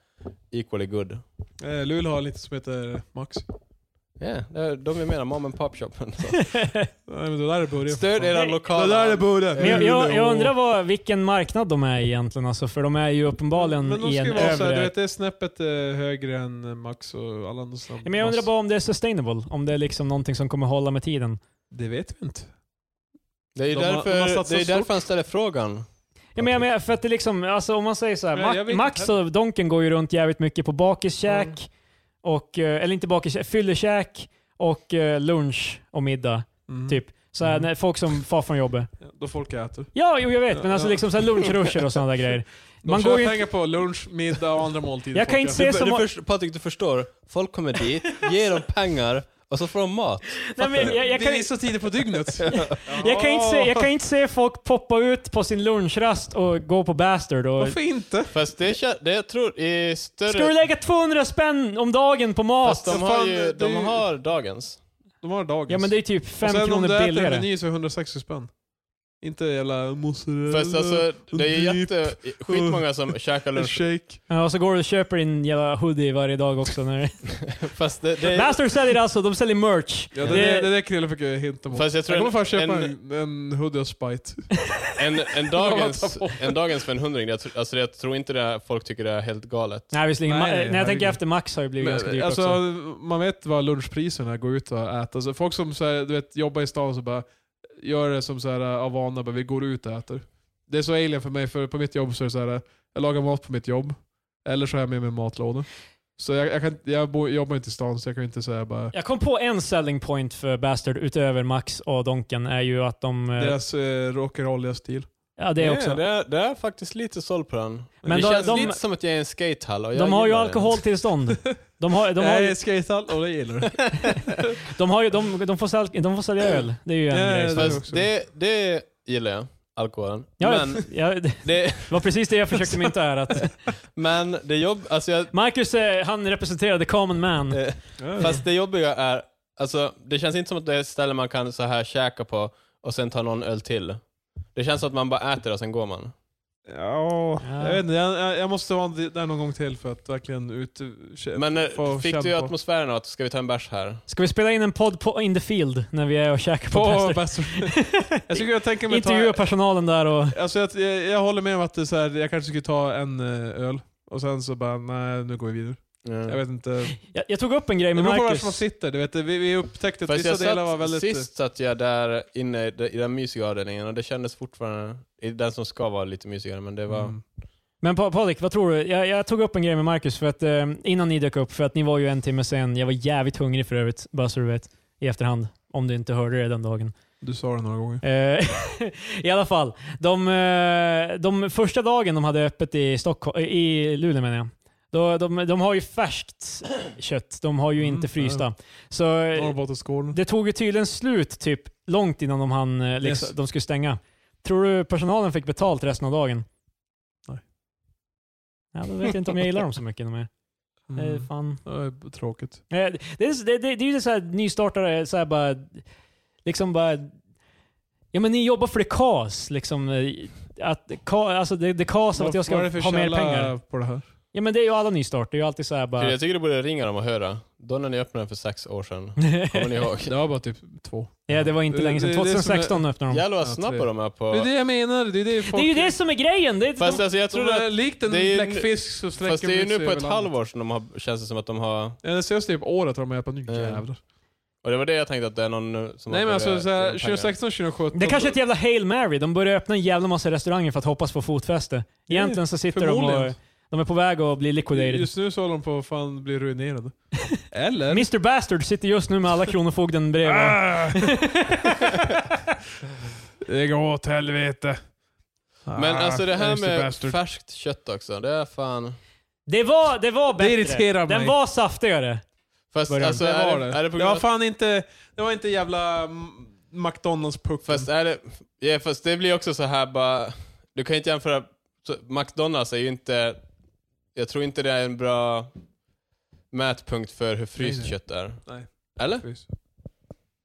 Speaker 3: equally good.
Speaker 2: Eh, Luleå har lite som heter Max.
Speaker 3: Ja, det är de jag menar, mom and pop shopen.
Speaker 2: Nej men det där är burgare.
Speaker 3: Stöd era
Speaker 1: Nej,
Speaker 2: Det
Speaker 3: lokala...
Speaker 2: där är burgare.
Speaker 1: Men jag, jag, jag undrar vad, vilken marknad de är egentligen alltså, för de är ju uppenbarligen
Speaker 2: Men de
Speaker 1: i
Speaker 2: ska ju
Speaker 1: en
Speaker 2: vara såhär, du
Speaker 1: övre...
Speaker 2: vet det är snäppet eh, högre än eh, Max och alla andra snabb-
Speaker 1: Ja, Men jag undrar bara om det är sustainable, om det är liksom någonting som kommer hålla med tiden.
Speaker 2: Det vet vi inte.
Speaker 3: Det är ju
Speaker 2: De har-
Speaker 3: därför,
Speaker 2: de har satsat
Speaker 3: det är
Speaker 2: stort.
Speaker 3: därför han ställer frågan.
Speaker 1: Ja, men jag menar, för att det liksom, alltså om man säger så här,
Speaker 2: Men jag vet
Speaker 1: Ma-
Speaker 2: inte
Speaker 1: Max och Donken går ju runt jävligt mycket på bakiskäk,
Speaker 2: Mm.
Speaker 1: och, eh, eller inte bakiskäk, fyllekäk och eh, lunch och middag.
Speaker 2: Mm.
Speaker 1: Typ. Så här,
Speaker 2: Mm.
Speaker 1: när folk som far från jobbet.
Speaker 2: Ja, Då folk äter.
Speaker 1: Ja, jo, jag vet, men alltså
Speaker 2: Ja.
Speaker 1: liksom så här lunchrusher och sådana där grejer.
Speaker 2: De
Speaker 1: Man
Speaker 2: tjänar
Speaker 1: går ju
Speaker 2: pengar på lunch, middag och andra måltider.
Speaker 1: Jag kan
Speaker 2: folk
Speaker 1: inte
Speaker 2: äter.
Speaker 1: se- Det är
Speaker 3: Du-
Speaker 1: som
Speaker 3: du
Speaker 1: att-
Speaker 3: först- Patrik, du förstår. Folk kommer dit, ger dem pengar och så får de mat.
Speaker 1: Nej, men jag, jag, kan,
Speaker 2: Det är så tidigt på dygnet.
Speaker 1: jag, kan inte se, jag kan inte se folk poppa ut på sin lunchrast och gå på Bastard. Och,
Speaker 2: Varför inte?
Speaker 3: Fast det, kän- det jag tror i större...
Speaker 1: ska du lägga 200 spänn om dagen på
Speaker 3: Fast
Speaker 1: mat?
Speaker 3: de
Speaker 2: Fan,
Speaker 3: har ju,
Speaker 2: det-
Speaker 3: de har dagens.
Speaker 2: De har dagens.
Speaker 1: Ja men det är typ 5
Speaker 2: och sen om du
Speaker 1: kronor
Speaker 2: äter
Speaker 1: billigare.
Speaker 2: en meny så är det 160 spänn. Inte jävla mozzarella,
Speaker 3: Fast alltså, det är ju
Speaker 2: dip,
Speaker 3: jätte, skitmånga som käkar
Speaker 2: en
Speaker 3: lunch.
Speaker 2: shake.
Speaker 1: Ja, och så går du och köper din jävla hoodie varje dag också. När...
Speaker 3: Fast, det, det är,
Speaker 1: Master säljer alltså, de säljer merch.
Speaker 2: Ja,
Speaker 1: det,
Speaker 2: det, det, det där Krille fick jag hinta mot.
Speaker 3: fast jag
Speaker 2: jag kommer fan
Speaker 3: tror
Speaker 2: köpa
Speaker 3: en, en,
Speaker 2: en, en hoodie och spite.
Speaker 3: en, en, dagens, en dagens för en hundring, jag, tr- alltså, jag tror inte det är, folk tycker det är helt galet.
Speaker 1: Nej visserligen, Ma-
Speaker 2: Nej,
Speaker 1: eh, när jag
Speaker 2: herregud.
Speaker 1: tänker efter Max har ju blivit ganska dyrt
Speaker 2: Men, alltså,
Speaker 1: också.
Speaker 2: man vet vad lunchpriserna går ut och äta. Alltså, folk som så här, du vet, jobbar i stan så bara gör det som så här, av vana, bara, vi går ut och äter. Det är så alien för mig, för på mitt jobb så är det så här, jag lagar mat på mitt jobb, eller så har jag med mig matlåda. Så jag, jag, kan, jag bo, jobbar inte i stan så jag kan ju inte säga bara...
Speaker 1: Jag kom på en selling point för Bastard utöver Max och Donken är ju att de... eh,
Speaker 2: Deras eh, rock'n'rolliga stil.
Speaker 1: Ja det också.
Speaker 3: Ja, det, är, det är faktiskt lite såld på den.
Speaker 1: Men
Speaker 3: det
Speaker 1: då-
Speaker 3: känns
Speaker 1: de-
Speaker 3: lite som att jag är i en skatehall och jag
Speaker 1: De har ju
Speaker 3: gillar det.
Speaker 1: alkoholtillstånd. De, har, de, har,
Speaker 2: Nej, skatehall, och det gillar du.
Speaker 1: de, har, ju- de, de, får sälja, de får sälja öl. Det är ju en
Speaker 2: Ja,
Speaker 1: grej.
Speaker 2: det är
Speaker 3: Fast
Speaker 2: också.
Speaker 3: det, det gillar jag, alkoholen.
Speaker 1: Ja,
Speaker 3: Men,
Speaker 1: ja, det
Speaker 3: det,
Speaker 1: var precis det jag försökte mynta här. Att
Speaker 3: men det jobb, alltså jag,
Speaker 1: Marcus eh, han representerar the common man.
Speaker 3: Eh, Fast det jobbiga är, alltså det känns inte som att det är ett ställe man kan så här käka på och sen ta någon öl till. Det känns som att man bara äter och sen går man.
Speaker 2: Ja,
Speaker 1: Ja.
Speaker 2: jag vet inte. Jag, jag- jag måste vara där någon gång till för att verkligen ut...
Speaker 3: Men eh,
Speaker 2: Får
Speaker 3: fick
Speaker 2: känn
Speaker 3: du ju
Speaker 2: på.
Speaker 3: atmosfären av att ska vi ta en bärs här?
Speaker 1: Ska vi spela in en podd på In the Field när vi är och käkar på
Speaker 2: på
Speaker 1: Bastard?
Speaker 2: Bastard. jag skulle kunna tänka mig att
Speaker 1: Intervjua
Speaker 2: ta...
Speaker 1: personalen där och...
Speaker 2: Alltså jag, jag, jag håller med om att det är så här, jag kanske skulle ta en eh, öl. Och sen så bara, nej nu går vi vidare. Jag
Speaker 3: Mm.
Speaker 2: vet inte. Det
Speaker 1: Jag, jag tog upp en grej med
Speaker 2: beror på vart
Speaker 1: Mm. Marcus.
Speaker 2: man sitter. Du vet, vi, vi upptäckte att
Speaker 3: Fast
Speaker 2: vissa
Speaker 3: jag
Speaker 2: delar var
Speaker 3: satt,
Speaker 2: väldigt...
Speaker 3: sist satt jag där inne i de- i den mysiga avdelningen och det kändes fortfarande, i den som ska vara lite mysigare, men det var...
Speaker 2: Mm.
Speaker 1: Men Pa- Patrik, vad tror du? Jag, jag tog upp en grej med Marcus för att, eh, innan ni dök upp, för att ni var ju en timme sen. Jag var jävligt hungrig för övrigt, bara så du vet. I efterhand, om du inte hörde det den dagen.
Speaker 2: Du sa det några gånger.
Speaker 1: Eh, I alla fall, de, eh, de första dagen de hade öppet i, Stockholm, eh, i Luleå menar jag, då, de, de har ju färskt kött. De har ju
Speaker 2: Mm,
Speaker 1: inte
Speaker 2: ja.
Speaker 1: frysta. Så eh,
Speaker 2: Norrbottensskålen.
Speaker 1: det tog ju tydligen slut typ långt innan de, hann, eh, liksom,
Speaker 2: Yes.
Speaker 1: de skulle stänga. Tror du personalen fick betalt resten av dagen?
Speaker 2: Nej.
Speaker 1: Ja, då vet jag inte om jag gillar dem så mycket. De är. Det, är
Speaker 2: Mm.
Speaker 1: fan.
Speaker 2: Det är tråkigt.
Speaker 1: Eh, Det, är, det, det, det är ju så här nystartare, så här bara, liksom bara... Ja men ni jobbar för det KAS, liksom. eh, Att, ka, alltså det, det KAS av att jag ska
Speaker 2: Vad är det
Speaker 1: ha
Speaker 2: för
Speaker 1: mer
Speaker 2: källa
Speaker 1: pengar.
Speaker 2: på det här?
Speaker 1: Ja men det är ju alla nystarter, det är ju alltid så här bara...
Speaker 3: Jag tycker du borde ringa dem och höra. Då när ni öppnade den för sex år sedan. Kommer ni ihåg?
Speaker 2: Det var bara typ två.
Speaker 1: ja, det var inte
Speaker 2: Det-
Speaker 1: länge sedan.
Speaker 2: det är det som är-
Speaker 1: 2016 öppnade de.
Speaker 3: Jävlar vad
Speaker 2: Ja,
Speaker 3: snabba
Speaker 2: tre.
Speaker 3: de är
Speaker 2: Det är
Speaker 3: på...
Speaker 2: det jag menar. Det är det folk...
Speaker 1: Det är ju det som är grejen! Det är,
Speaker 3: Fast alltså, jag tror att...
Speaker 2: Likt en
Speaker 3: det är ju nu-
Speaker 2: bläckfisk så sträcker
Speaker 3: Fast det är ju
Speaker 2: de sig
Speaker 3: nu på
Speaker 2: över
Speaker 3: ett
Speaker 2: landet.
Speaker 3: halvår sedan de har, känns det som att de har...
Speaker 2: Ja, det senaste typ året har de hjälpt nu jävlar.
Speaker 3: Och det var det jag tänkte att det är någon nu som
Speaker 2: Nej
Speaker 3: har
Speaker 2: men
Speaker 3: börjat
Speaker 2: alltså
Speaker 3: tjäna
Speaker 2: såhär,
Speaker 3: pengar.
Speaker 2: 2016, 2017.
Speaker 1: det kanske är ett jävla Hail Mary. De börjar öppna en jävla massa restauranger för att hoppas få fotfäste. Egentligen så sitter de och...
Speaker 2: Förmodligen.
Speaker 1: De är på väg att bli liquidated.
Speaker 2: Just nu så håller de på att fan bli ruinerade. Eller?
Speaker 1: Mr Bastard sitter just nu med alla kronofogden bredvid.
Speaker 2: Ah! det går åt helvete.
Speaker 3: Men alltså det här med
Speaker 2: Ah, Bastard.
Speaker 3: färskt kött också, det är fan...
Speaker 1: Det var, det var bättre.
Speaker 2: irriterar mig.
Speaker 1: Den var saftigare.
Speaker 3: Fast
Speaker 1: Börjar-
Speaker 3: alltså,
Speaker 2: det
Speaker 3: är,
Speaker 2: var
Speaker 3: det,
Speaker 2: det.
Speaker 3: är det på
Speaker 2: det
Speaker 3: grund
Speaker 2: var
Speaker 3: av...
Speaker 2: fan inte, det var inte jävla mm, McDonalds-pucken.
Speaker 3: Fast är det... Ja, fast det blir också så här bara... Du kan ju inte jämföra... Så, McDonalds är ju inte... Jag tror inte det är en bra mätpunkt för hur fryst
Speaker 2: Nej, nej.
Speaker 3: kött är.
Speaker 2: Nej.
Speaker 3: Eller?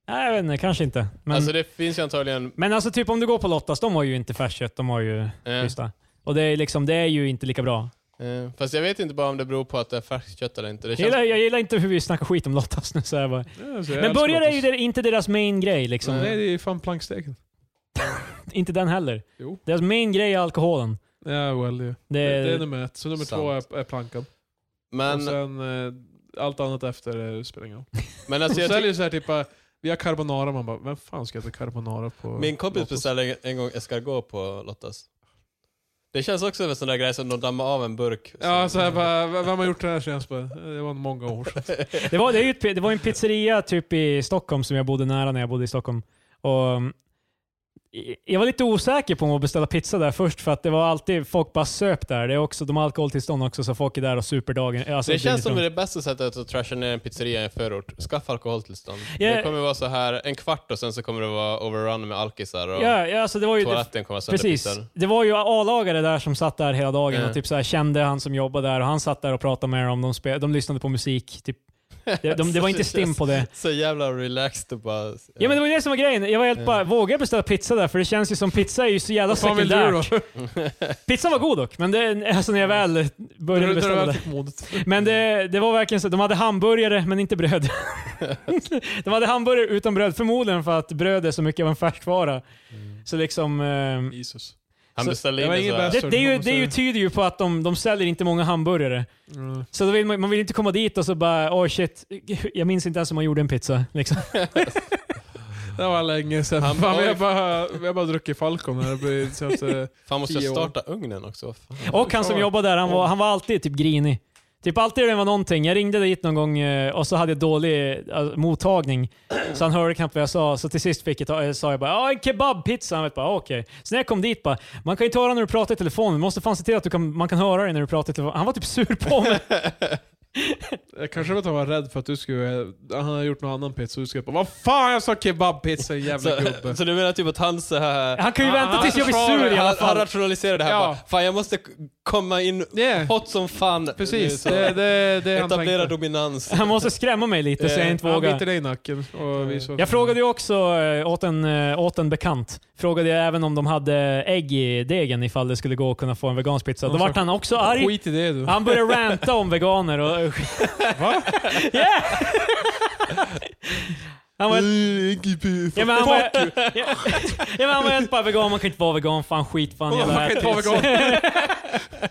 Speaker 1: Nej, jag vet inte. Kanske inte. Men,
Speaker 3: Alltså det finns ju antagligen...
Speaker 1: men alltså typ om du går på Lottas, de har ju inte färskt kött. De har ju
Speaker 3: Eh,
Speaker 1: frysta. Och det är, liksom, det är ju inte lika bra.
Speaker 3: eh, fast jag vet inte bara om det beror på att det är färskt kött eller inte. Det
Speaker 1: Jag
Speaker 3: känns...
Speaker 1: gillar, jag gillar inte hur vi snackar skit om Lottas nu. Så här bara.
Speaker 2: Ja, alltså, jag
Speaker 1: Men
Speaker 2: älskar
Speaker 1: burgare är ju
Speaker 2: Lottos.
Speaker 1: der- inte deras main grej. Liksom.
Speaker 2: Nej, det är fan planksteken.
Speaker 1: Inte den heller.
Speaker 2: Jo.
Speaker 1: Deras main grej är alkoholen.
Speaker 2: Ja, well, yeah.
Speaker 1: Det
Speaker 2: det,
Speaker 1: är,
Speaker 2: det är nummer ett. Så nummer
Speaker 3: sant.
Speaker 2: två är, är plankan.
Speaker 3: Men,
Speaker 2: Och sen eh, allt annat efter eh, spelar ingen roll.
Speaker 3: men
Speaker 2: De
Speaker 3: alltså jag
Speaker 2: säljer
Speaker 3: tycker...
Speaker 2: så här typ, eh, vi har carbonara, man bara, vem fan ska äta carbonara på
Speaker 3: Min kompis
Speaker 2: Lottos?
Speaker 3: beställde en gång escargot på Lottas. Det känns också som en sån där grej som de dammar av en burk.
Speaker 2: Ja, så här bara, v- vem har gjort det här senast? Bara, Det var många år sedan.
Speaker 1: det, var, det, är ju ett, det var en pizzeria typ i Stockholm som jag bodde nära när jag bodde i Stockholm. Och, um, i- jag var lite osäker på om att beställa pizza där först för att det var alltid folk bara söp där. Det är också, de har alkoholtillstånd också så folk är där och super dagen. Alltså,
Speaker 3: det känns
Speaker 1: dygnet
Speaker 3: som
Speaker 1: runt.
Speaker 3: det bästa sättet att trasha ner en pizzeria i en förort. Skaffa alkoholtillstånd.
Speaker 1: Ja.
Speaker 3: Det kommer vara så här en kvart och sen så kommer det vara overrun med alkisar och
Speaker 1: Ja, ja, alltså det var ju, det,
Speaker 3: toaletten kommer vara
Speaker 1: precis.
Speaker 3: sönderpizzad.
Speaker 1: Det var ju A-lagare där som satt där hela dagen
Speaker 3: Ja.
Speaker 1: och typ så här kände han som jobbade där och han satt där och pratade med dem. De, spe, de lyssnade på musik. Typ. De, de, det var inte stim på det.
Speaker 3: Så jävla relaxed och bara...
Speaker 1: Ja men det var ju det som var grejen. Jag var helt bara, vågar jag beställa pizza där? För det känns ju som pizza är ju så jävla
Speaker 2: Vad fan vill du då?
Speaker 1: sekundärt. Pizzan var god dock, men det, alltså när jag väl
Speaker 2: När
Speaker 1: började
Speaker 2: du
Speaker 1: beställa
Speaker 2: väl
Speaker 1: det.
Speaker 2: fick modet.
Speaker 1: Men det, det var verkligen så, de hade hamburgare men inte bröd. de hade hamburgare utan bröd, förmodligen för att bröd är så mycket av en färskvara.
Speaker 3: Mm.
Speaker 1: Så liksom, ehm,
Speaker 2: Jesus.
Speaker 3: Han
Speaker 1: Så-
Speaker 3: beställde
Speaker 2: det
Speaker 3: in
Speaker 2: var
Speaker 3: en
Speaker 2: inget
Speaker 3: så här-
Speaker 2: bäst.
Speaker 1: det, det, är ju, det är ju tyder ju på att de, de säljer inte många hamburgare.
Speaker 2: Mm.
Speaker 1: Så då vill man, man vill inte komma dit och så bara, oj shit, jag minns inte ens hur man gjorde en pizza. Liksom.
Speaker 2: Det var länge sedan.
Speaker 3: Han-
Speaker 2: Han, fan, vi, har bara, vi har bara druckit Falcon här. Det blir eh, senaste...
Speaker 3: Fan måste
Speaker 2: tio
Speaker 3: jag
Speaker 2: år.
Speaker 3: starta ugnen också? Vad fan?
Speaker 1: Och han som jobbade där, han var, han var alltid typ grinig. Typ alltid när det var någonting. Jag ringde dit någon gång eh, och så hade jag dålig eh, mottagning. Så han hörde knappt vad jag sa. Så till sist fick jag ta, eh, sa jag bara "Ja, en kebabpizza. Han vet bara "Ah, okej. Så när jag kom dit bara, man kan ju inte höra när du pratar i telefon. Du måste fan se till att du kan, man kan höra dig när du pratar i telefon. Han var typ sur på mig.
Speaker 2: Jag kanske var att han var rädd för att du skulle... eh, Han hade gjort någon annan pizza och du skulle bara Vad fan jag sa kebabpizza jävla
Speaker 3: Så,
Speaker 2: gubbe.
Speaker 3: så du menar typ att han så här...
Speaker 1: Han kan ju vänta
Speaker 2: han
Speaker 1: tills jag blir sur i alla
Speaker 3: Han, han
Speaker 1: fall.
Speaker 3: rationaliserar det här
Speaker 2: Ja.
Speaker 3: bara. Fan jag måste k- komma in
Speaker 2: Yeah.
Speaker 3: hot som fan.
Speaker 2: Precis,
Speaker 3: Nu, så-
Speaker 2: det, det, det är han
Speaker 3: Etablera
Speaker 2: tänkte.
Speaker 3: dominans.
Speaker 1: Han måste skrämma mig lite så jag
Speaker 3: Eh,
Speaker 1: inte
Speaker 2: Han
Speaker 1: vågar.
Speaker 2: biter dig i nacken. Och vi så.
Speaker 1: Jag frågade ju också eh, åt en, eh, åt en bekant, frågade jag även om de hade ägg i degen ifall det skulle gå att kunna få en vegansk pizza. Då
Speaker 2: De sa-
Speaker 1: vart han också arg.
Speaker 2: Skit i det du.
Speaker 1: Han började ranta om veganer och...
Speaker 2: Va?
Speaker 1: Yeah! Han var, ja, men han, var, ja, men han var helt bara vegan, man kan inte vara vegan, fan skit, fan jävla
Speaker 2: Man kan inte vara
Speaker 1: ätelse."
Speaker 2: vegan.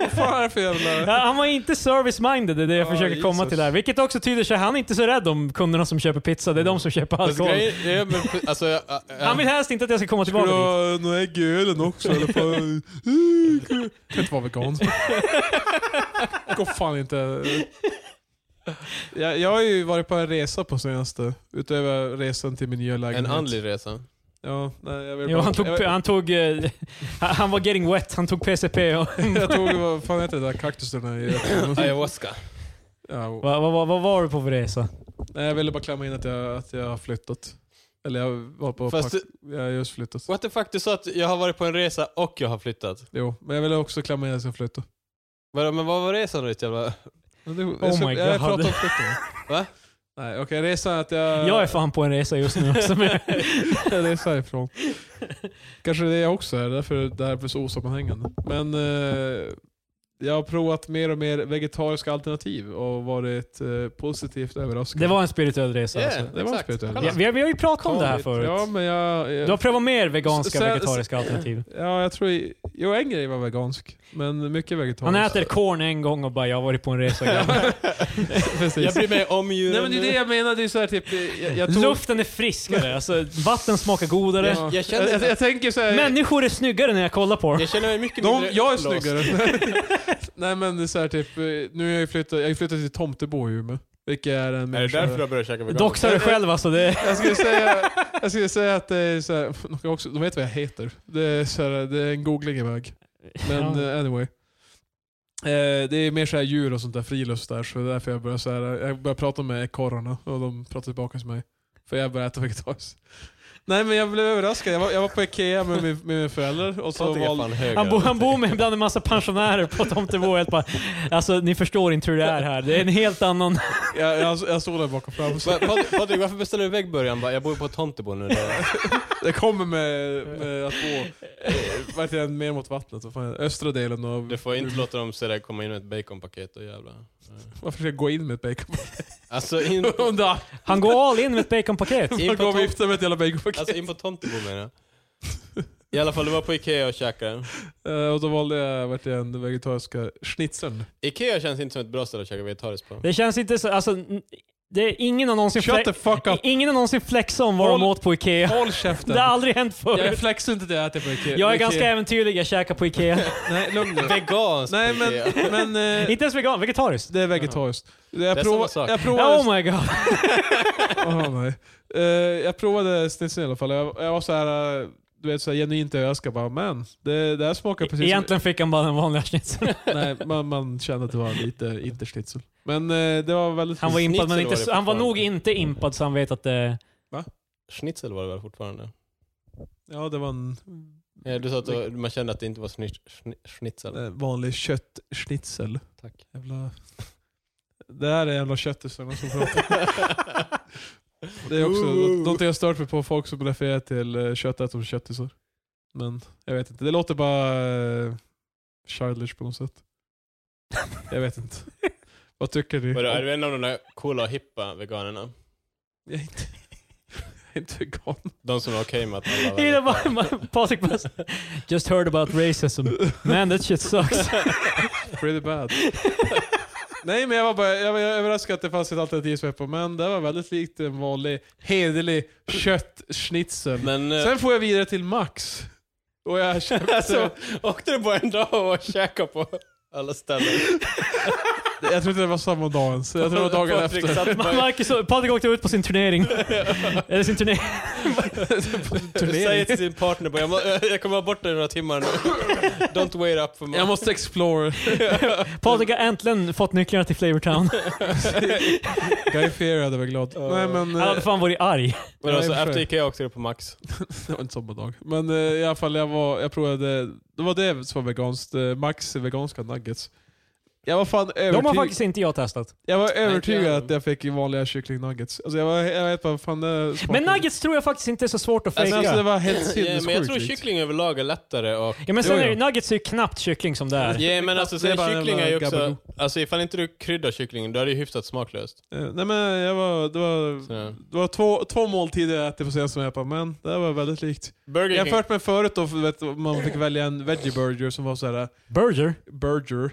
Speaker 2: Vad fan är det för jävla...
Speaker 1: Ja, Han var inte service-minded, det är det jag
Speaker 2: Ja,
Speaker 1: försöker komma
Speaker 2: Jesus.
Speaker 1: till där. Vilket också tyder sig, han är inte så rädd om kunderna som köper pizza, det är de som köper
Speaker 3: Alltså,
Speaker 1: alkohol.
Speaker 3: grejen, ja, men, alltså, jag,
Speaker 1: Han vill helst inte att jag ska komma
Speaker 2: Ska
Speaker 1: tillbaka
Speaker 2: du
Speaker 1: dit.
Speaker 2: ha några ägg i ölen också eller? Fan, eh, Kan kan inte vara vegan. Går fan inte. Jag, jag har ju varit på en resa på senaste. Utöver resan till min nya
Speaker 3: en
Speaker 2: lägenhet.
Speaker 3: andlig resa.
Speaker 2: Ja, nej, jag vill
Speaker 1: Jo,
Speaker 2: bara,
Speaker 1: han, tog,
Speaker 2: jag, jag,
Speaker 1: han, tog, eh, han han var getting wet, han tog PCP och...
Speaker 2: tog, vad fan heter det där, kaktusarna i
Speaker 3: Ayahuasca.
Speaker 2: ja, och-
Speaker 1: Vad vad- vad- vad var du på för resa?
Speaker 2: nej, Jag ville bara klämma in att jag, att jag har flyttat. Eller jag var på
Speaker 3: Fast
Speaker 2: Fast pack, Jag har just flyttat.
Speaker 3: What the fuck, du sa att jag har varit på en resa och jag har flyttat.
Speaker 2: Jo, men jag ville också klämma in att jag flyttat.
Speaker 3: Vadå, Men vad var resan då ditt jävla...
Speaker 2: Men det-
Speaker 1: Oh
Speaker 2: jag ska-
Speaker 1: my
Speaker 2: Jag
Speaker 1: God.
Speaker 2: pratar om flytten.
Speaker 3: Va?
Speaker 2: Nej, okej. resan är att jag...
Speaker 1: Jag är fan på en resa just nu. Alltså, men,
Speaker 2: Jag resa ifrån. Kanske det är jag också är, därför det här blir så osammanhängande. Men eh, Jag har provat mer och mer vegetariska alternativ och varit eh, positivt överraskad.
Speaker 1: Det var en spirituell resa.
Speaker 3: Yeah,
Speaker 1: Alltså.
Speaker 2: det var
Speaker 3: exakt.
Speaker 2: spirituellt.
Speaker 1: Ja, vi, har, vi har ju pratat om det här
Speaker 3: Kommit,
Speaker 1: förut.
Speaker 2: Ja, men jag... jag
Speaker 1: Du har provat mer veganska
Speaker 2: S- sen-
Speaker 1: vegetariska alternativ.
Speaker 2: Ja, jag tror... Jo, en grej var vegansk. Men mycket vegetariskt.
Speaker 1: Han äter korn en gång och bara “jag har varit på en resa”. grabbar."
Speaker 2: Precis.
Speaker 3: Jag bryr mig om djuren.
Speaker 2: Nej men det är det jag menar, det är så här, typ, jag, jag, tog,
Speaker 1: Luften är friskare, alltså, vatten smakar godare.
Speaker 2: Ja.
Speaker 3: Jag
Speaker 2: jag,
Speaker 3: känner-
Speaker 2: jag, jag tänker så här,
Speaker 1: Människor är snyggare när jag kollar på dem.
Speaker 3: Jag känner mig mycket
Speaker 2: de,
Speaker 3: mindre
Speaker 2: jag är
Speaker 3: låst.
Speaker 2: snyggare. Nej men så här, typ, nu har jag ju flyttat, jag har ju flyttat till Tomtebo i Umeå. Vilket är en
Speaker 3: Är det
Speaker 2: människa-
Speaker 3: därför du har börjat käka veganskt?
Speaker 1: Doxar du själv alltså. Det,
Speaker 2: jag skulle, säga, jag skulle säga att det är så här, de, kan också, de vet vad jag heter. Det är, så här, det är en googling iväg. Men
Speaker 1: ja.
Speaker 2: eh, anyway. Eh, det är mer så här djur och sånt där, friluft där. Så det är därför jag börjar, så här, jag börjar prata med ekorrarna och de pratar tillbaka till mig. För jag börjar äta vegetariskt. Nej men jag blev överraskad. Jag var, jag var på Ikea med, min, med mina föräldrar och så
Speaker 3: Patrik är
Speaker 2: valde...
Speaker 3: fan högre.
Speaker 1: han, bo, han bor med bland en massa pensionärer på Tomtebo. helt bara, Alltså ni förstår inte hur det är här. Det är en helt annan...
Speaker 2: Jag, jag, jag stod där bakom fram. Så
Speaker 3: Va- Patrik, Patrik, varför beställer du väggburgaren? Bara, Jag bor ju på Tomtebo nu.
Speaker 2: jag kommer med, med att gå eh, verkligen mer mot vattnet. Vad fan är det? Östra delen av...
Speaker 3: Du får inte låta dem se dig komma in med ett baconpaket och jävlar.
Speaker 2: Varför ska jag gå in med ett bacon?
Speaker 3: Alltså in,
Speaker 2: Under
Speaker 1: Han går all in med ett baconpaket.
Speaker 3: in,
Speaker 2: Jag
Speaker 3: på
Speaker 2: går och
Speaker 3: tom,
Speaker 2: viftar med ett jävla baconpaket.
Speaker 3: alltså in på Tomtebo menar jag. I alla fall, du var på Ikea och käkade.
Speaker 2: Eh, och då valde jag verkligen den vegetariska schnitzeln.
Speaker 3: Ikea känns inte som ett bra ställe att käka vegetariskt på.
Speaker 1: Det känns inte så... Alltså, n- det är ingen har någonsin,
Speaker 2: Shut
Speaker 1: fle-
Speaker 2: the fuck up!
Speaker 1: ingen har någonsin flexat om vad de
Speaker 2: Håll-
Speaker 1: åt på Ikea.
Speaker 2: Håll
Speaker 1: Det har
Speaker 2: käften!
Speaker 1: aldrig hänt
Speaker 2: Jag
Speaker 1: förut.
Speaker 2: flexar inte det jag äter på Ikea.
Speaker 1: Jag är
Speaker 2: Ikea.
Speaker 1: ganska äventyrlig, jag käkar på Ikea.
Speaker 2: Nej, lugn nu.
Speaker 3: Veganskt
Speaker 2: Nej
Speaker 3: på
Speaker 2: men,
Speaker 3: Ikea.
Speaker 2: men eh,
Speaker 1: Inte ens vegan, vegetariskt.
Speaker 2: det är vegetariskt.
Speaker 3: Det
Speaker 2: Jag,
Speaker 3: är
Speaker 2: prova,
Speaker 3: samma sak.
Speaker 2: jag provade...
Speaker 1: Oh my god.
Speaker 2: Åh, nej. Eh, jag provade schnitzeln i alla fall. Jag, jag var så här, eh, du vet, så här genuint överraskad. Bara, men, det, det här smakar precis
Speaker 1: Egentligen fick han bara den vanliga schnitzeln.
Speaker 2: som... Nej, man, man kände att det var lite, inte schnitzel. Men eh, det var väldigt...
Speaker 1: Han var, impad, men
Speaker 3: Schnitzel
Speaker 1: inte,
Speaker 3: var det
Speaker 1: han var nog
Speaker 3: fortfarande.
Speaker 1: inte impad så han vet att det...
Speaker 3: Schnitzel var det väl fortfarande?
Speaker 2: Ja, det var en
Speaker 3: Ja, Du sa att du- man kände att det inte var schni- schni- schnitzel.
Speaker 2: eh, vanlig köttschnitzel.
Speaker 3: Tack.
Speaker 2: Jävla... Det här är jävla köttisarna som pratar. Det är också
Speaker 3: Ooh.
Speaker 2: någonting jag stört mig på, folk som refererar till eh, köttätare som köttisar. Men jag vet inte, det låter bara eh, childish på något sätt. Jag vet inte. Vad tycker ni?
Speaker 3: Vadå, är du en av de där coola och hippa veganerna?
Speaker 2: Jag är inte, jag är inte vegan.
Speaker 3: De som är okej med att alla
Speaker 1: Jag gillar bara- man- Patrik bara... Just heard about racism. Man that shit sucks.
Speaker 2: Pretty bad. Nej men jag var bara jag var överraskad att det fanns ett alternativ som jag på, men det var väldigt likt en vanlig hederlig köttschnitzel.
Speaker 3: Men... eh,
Speaker 2: Sen får jag vidare till Max. Och jag köpte...
Speaker 3: Alltså, åkte du på en dag och käkade på alla ställen?
Speaker 2: jag tror inte det var samma dag ens. Jag tror det var dagen
Speaker 3: Patrik
Speaker 2: efter.
Speaker 3: satt bara-
Speaker 1: Marcus, och- Patrik åkte ut på sin turnering. Eller sin turné.
Speaker 3: Säger till sin partner bara, jag, må, jag kommer vara borta i några timmar nu. Don't wait up for me.
Speaker 2: Jag måste explore.
Speaker 1: Patrik har äntligen fått nycklarna till Flavortown.
Speaker 2: Guy Fieri hade varit glad.
Speaker 3: Ja.
Speaker 2: Nej men...
Speaker 1: Han hade
Speaker 2: eh,
Speaker 1: fan varit arg.
Speaker 3: Men alltså,
Speaker 2: Nej, för-
Speaker 3: efter Ikea åkte du på Max.
Speaker 2: Det var inte samma dag. Men eh, i alla fall, jag, var, jag provade... Det var det som var veganskt. eh, Max veganska nuggets. Jag var fan
Speaker 1: De har
Speaker 2: övertygad,
Speaker 1: faktiskt inte jag testat.
Speaker 2: jag var
Speaker 3: inte
Speaker 2: övertygad
Speaker 3: jag.
Speaker 2: att jag fick vanliga kycklingnuggets. Alltså jag var jag vet bara, fan det smakar-
Speaker 1: Men nuggets tror jag faktiskt inte är så svårt att
Speaker 2: Alltså, alltså det
Speaker 1: fejka.
Speaker 2: var helt
Speaker 3: Ja,
Speaker 2: sinnessjukt. liksom.
Speaker 3: men jag tror
Speaker 2: likt.
Speaker 3: kyckling överlag är lättare och...
Speaker 1: Ja men sen
Speaker 2: Jo,
Speaker 1: är
Speaker 2: jo.
Speaker 1: det, nuggets är ju knappt kyckling som det är.
Speaker 3: Ja men alltså
Speaker 2: Det är
Speaker 3: sen
Speaker 2: bara en
Speaker 3: kyckling är ju
Speaker 2: jävla
Speaker 3: också...
Speaker 2: gabagoo.
Speaker 3: Alltså ifall inte du kryddar kycklingen, då är det ju hyfsat smaklöst.
Speaker 2: Eh, Nej men jag var, det var,
Speaker 3: Så.
Speaker 2: det var två, två måltider jag ätit på senaste jag bara, men det här var väldigt likt.
Speaker 3: Burger King.
Speaker 2: Jämfört med förut då, för, vet, du, man fick välja en veggie burger som var så här
Speaker 1: Burger?
Speaker 2: burger.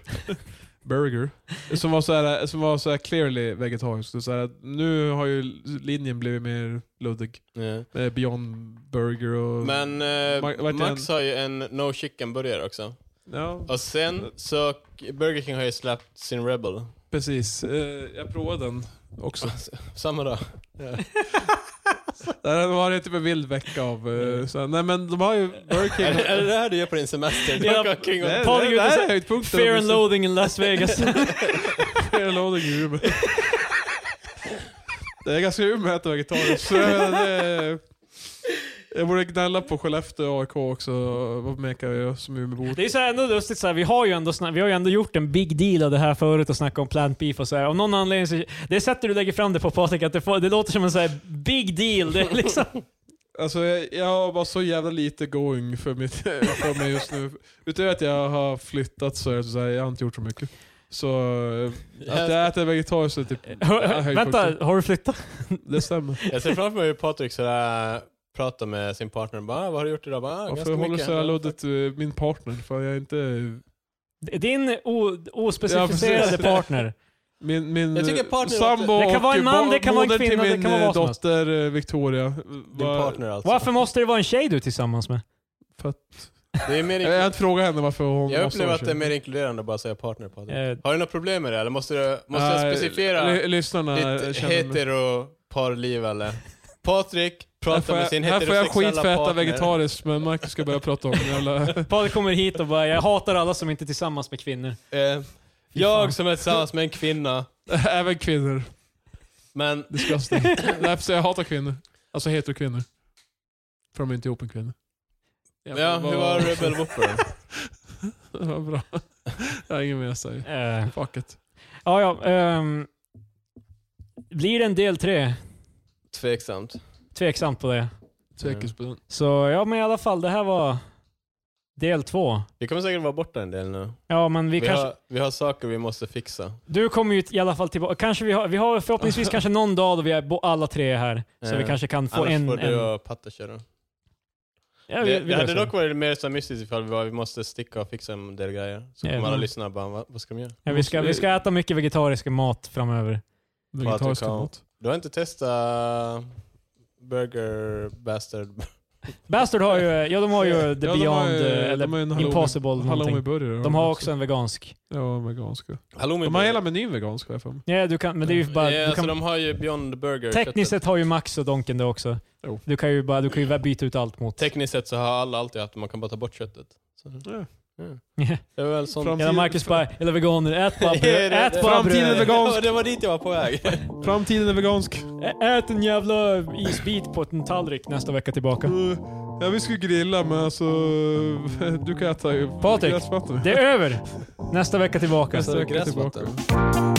Speaker 2: burger. Som var så här, som var så här clearly vegetarisk. Så så här, nu har ju linjen blivit mer luddig.
Speaker 3: Ja.
Speaker 2: Eh, Beyond burger och...
Speaker 3: Men eh,
Speaker 2: Mark- vart är
Speaker 3: Max har ju en no chicken burgare också.
Speaker 2: ja,
Speaker 3: Och sen så, Burger King har ju släppt sin Rebel.
Speaker 2: precis. Eh, jag provade den också.
Speaker 3: Samma dag.
Speaker 2: Det här var det typ en vild vecka av... Eh, så här, nej men de har ju Burger King.
Speaker 3: Är, är det det här du gör på din semester?
Speaker 1: Ja.
Speaker 3: Burger King
Speaker 2: Det,
Speaker 3: och
Speaker 2: det,
Speaker 1: Patrik
Speaker 2: det här
Speaker 1: ute-
Speaker 2: är höjdpunkten.
Speaker 1: Fear and loading in Las Vegas.
Speaker 2: Fair and loading i Umeå. Det är ganska Umeå att äta vegetariskt. så det- Jag borde gnälla på Skellefteå och AIK också. Vad mekar jag som Umeåbo?
Speaker 1: Det är så här ändå lustigt, så här, vi, har ju ändå sna- vi har ju ändå gjort en big deal av det här förut och snackat om plant beef och så här. Av någon anledning så, det sättet du lägger fram det på Patrik, att det, får, det låter som en så här big deal. Det är liksom,
Speaker 2: Alltså jag, jag har bara så jävla lite going för, mitt, för mig just nu. Utöver att jag har flyttat så, är det så här, jag har inte gjort så mycket. Så eh, att jag äter vegetariskt är typ... höjdpunkten.
Speaker 1: Vänta, har du flyttat?
Speaker 2: Det stämmer.
Speaker 3: Jag ser framför mig hur Patrik sådär pratar med sin partner och bara ah, vad har du gjort idag? Bara, ah,
Speaker 2: Varför
Speaker 3: ganska
Speaker 2: håller
Speaker 3: mycket.
Speaker 2: så här luddigt eh, min partner? För jag är inte...
Speaker 1: Din o- ospecificerade
Speaker 2: Ja, precis.
Speaker 1: partner.
Speaker 2: Min, min
Speaker 3: Jag tycker partner
Speaker 2: sambo
Speaker 1: låter- Det kan vara en
Speaker 2: och
Speaker 1: man,
Speaker 2: ba-
Speaker 1: det kan vara en
Speaker 2: moder till
Speaker 1: kvinna, det
Speaker 2: min
Speaker 1: kan vara
Speaker 2: eh,
Speaker 1: vad som helst.
Speaker 2: dotter eh, Victoria.
Speaker 3: Din
Speaker 2: Var-
Speaker 3: partner alltså.
Speaker 1: Varför måste det vara en tjej du är tillsammans med?
Speaker 2: För att,
Speaker 3: Det är mer
Speaker 2: jag har
Speaker 3: inkl-
Speaker 2: inte frågat henne varför hon
Speaker 3: jag
Speaker 2: måste
Speaker 3: upplever
Speaker 2: vara
Speaker 3: att det är
Speaker 2: tjej.
Speaker 3: mer inkluderande att bara säga partner Patrik.
Speaker 1: Eh,
Speaker 3: Har du några problem med det eller måste du måste jag
Speaker 2: Nej,
Speaker 3: specificera
Speaker 2: ly- Lyssnarna
Speaker 3: ditt
Speaker 2: känner mig-
Speaker 3: hetero-parliv eller? Patrik
Speaker 2: Här
Speaker 3: pratar
Speaker 2: får
Speaker 3: med
Speaker 2: jag-
Speaker 3: sin
Speaker 2: Här får
Speaker 3: heterosexuella
Speaker 2: jag skit för att äta
Speaker 3: partner.
Speaker 2: vegetariskt, men Marcus ska börja prata om jävla...
Speaker 1: Patrik kommer hit och bara, jag hatar alla som inte är tillsammans med kvinnor.
Speaker 3: Eh, jag som är tillsammans med en kvinna,
Speaker 2: Även kvinnor.
Speaker 3: men
Speaker 2: Disgusting. Därför så jag hatar kvinnor. Alltså heter kvinnor. För de är inte ihop med kvinnor.
Speaker 3: ja, hur var Rebel Whopper?
Speaker 2: det var bra. Jag har inget mer att säga.
Speaker 1: Eh,
Speaker 2: Fuck it.
Speaker 1: ja, ja. ehm, blir det en del tre?
Speaker 3: Tveksamt.
Speaker 1: Tveksamt på det.
Speaker 2: Tvekis på den.
Speaker 1: Så ja, men i alla fall, det här var del två.
Speaker 3: Vi kommer säkert vara borta en del nu.
Speaker 1: Ja, men vi,
Speaker 3: Vi,
Speaker 1: kanske...
Speaker 3: har, vi har saker vi måste fixa.
Speaker 1: Du kommer ju i alla fall tillbaka. Kanske vi har, vi har förhoppningsvis kanske någon dag då vi är bo- alla tre här. Så
Speaker 3: Eh,
Speaker 1: vi kanske kan få
Speaker 3: Annars
Speaker 1: en...
Speaker 3: får du
Speaker 1: en
Speaker 3: och Patte köra.
Speaker 1: ja, vi, vi
Speaker 3: det, det hade
Speaker 1: löser det.
Speaker 3: dock varit mer så här mystiskt ifall vi, var, vi måste sticka och fixa en del grejer. Så
Speaker 1: Ja.
Speaker 3: kommer alla lyssna och bara, "Va? vad ska de göra?
Speaker 1: ja, vi, ska, vi ska äta mycket vegetarisk mat framöver.
Speaker 2: Vegetarisk
Speaker 3: Patrik har-
Speaker 2: mat.
Speaker 3: Du har inte testat Burger Bastard?
Speaker 1: Bastard har ju, ja de har ju The
Speaker 2: Ja, de
Speaker 1: Beyond,
Speaker 2: har ju-
Speaker 1: eh,
Speaker 2: de har ju en
Speaker 1: eller
Speaker 2: halloumi-
Speaker 1: Impossible någonting.
Speaker 2: Halloumiburgare.
Speaker 1: De har också en vegansk.
Speaker 2: Ja, veganska.
Speaker 3: Halloumi
Speaker 2: De har hela menyn vegansk har jag för mig.
Speaker 1: Ja, du kan, men det är ju bara...
Speaker 3: ja,
Speaker 1: Du
Speaker 3: alltså,
Speaker 1: kan,
Speaker 3: de har ju Beyond Burger.
Speaker 1: tekniskt sett har ju Max och Donken det också.
Speaker 2: Jo.
Speaker 1: Du kan ju bara, du kan ju bara byta ut allt mot...
Speaker 3: Tekniskt sett så har alla alltid haft man kan bara ta bort köttet. Så,
Speaker 2: Ja.
Speaker 3: det är väl sånt.
Speaker 2: Fram-
Speaker 1: Eller Marcus bara, eller veganer, ät bara
Speaker 3: Ja, det-
Speaker 1: bröd.
Speaker 3: det-
Speaker 1: Ät bara
Speaker 2: Framtiden är
Speaker 1: bröd.
Speaker 2: vegan- vegansk.
Speaker 3: Ja, Det var dit jag var på väg.
Speaker 2: Framtiden är vegansk.
Speaker 1: Ä- Ät en jävla isbit på en tallrik nästa vecka tillbaka.
Speaker 2: Ja, vi skulle grilla men alltså... Du kan äta
Speaker 1: Patrik,
Speaker 2: gräsmattor.
Speaker 1: Det är över! Nästa vecka tillbaka.
Speaker 2: Nästa vecka
Speaker 3: Gräsmattor.
Speaker 2: tillbaka.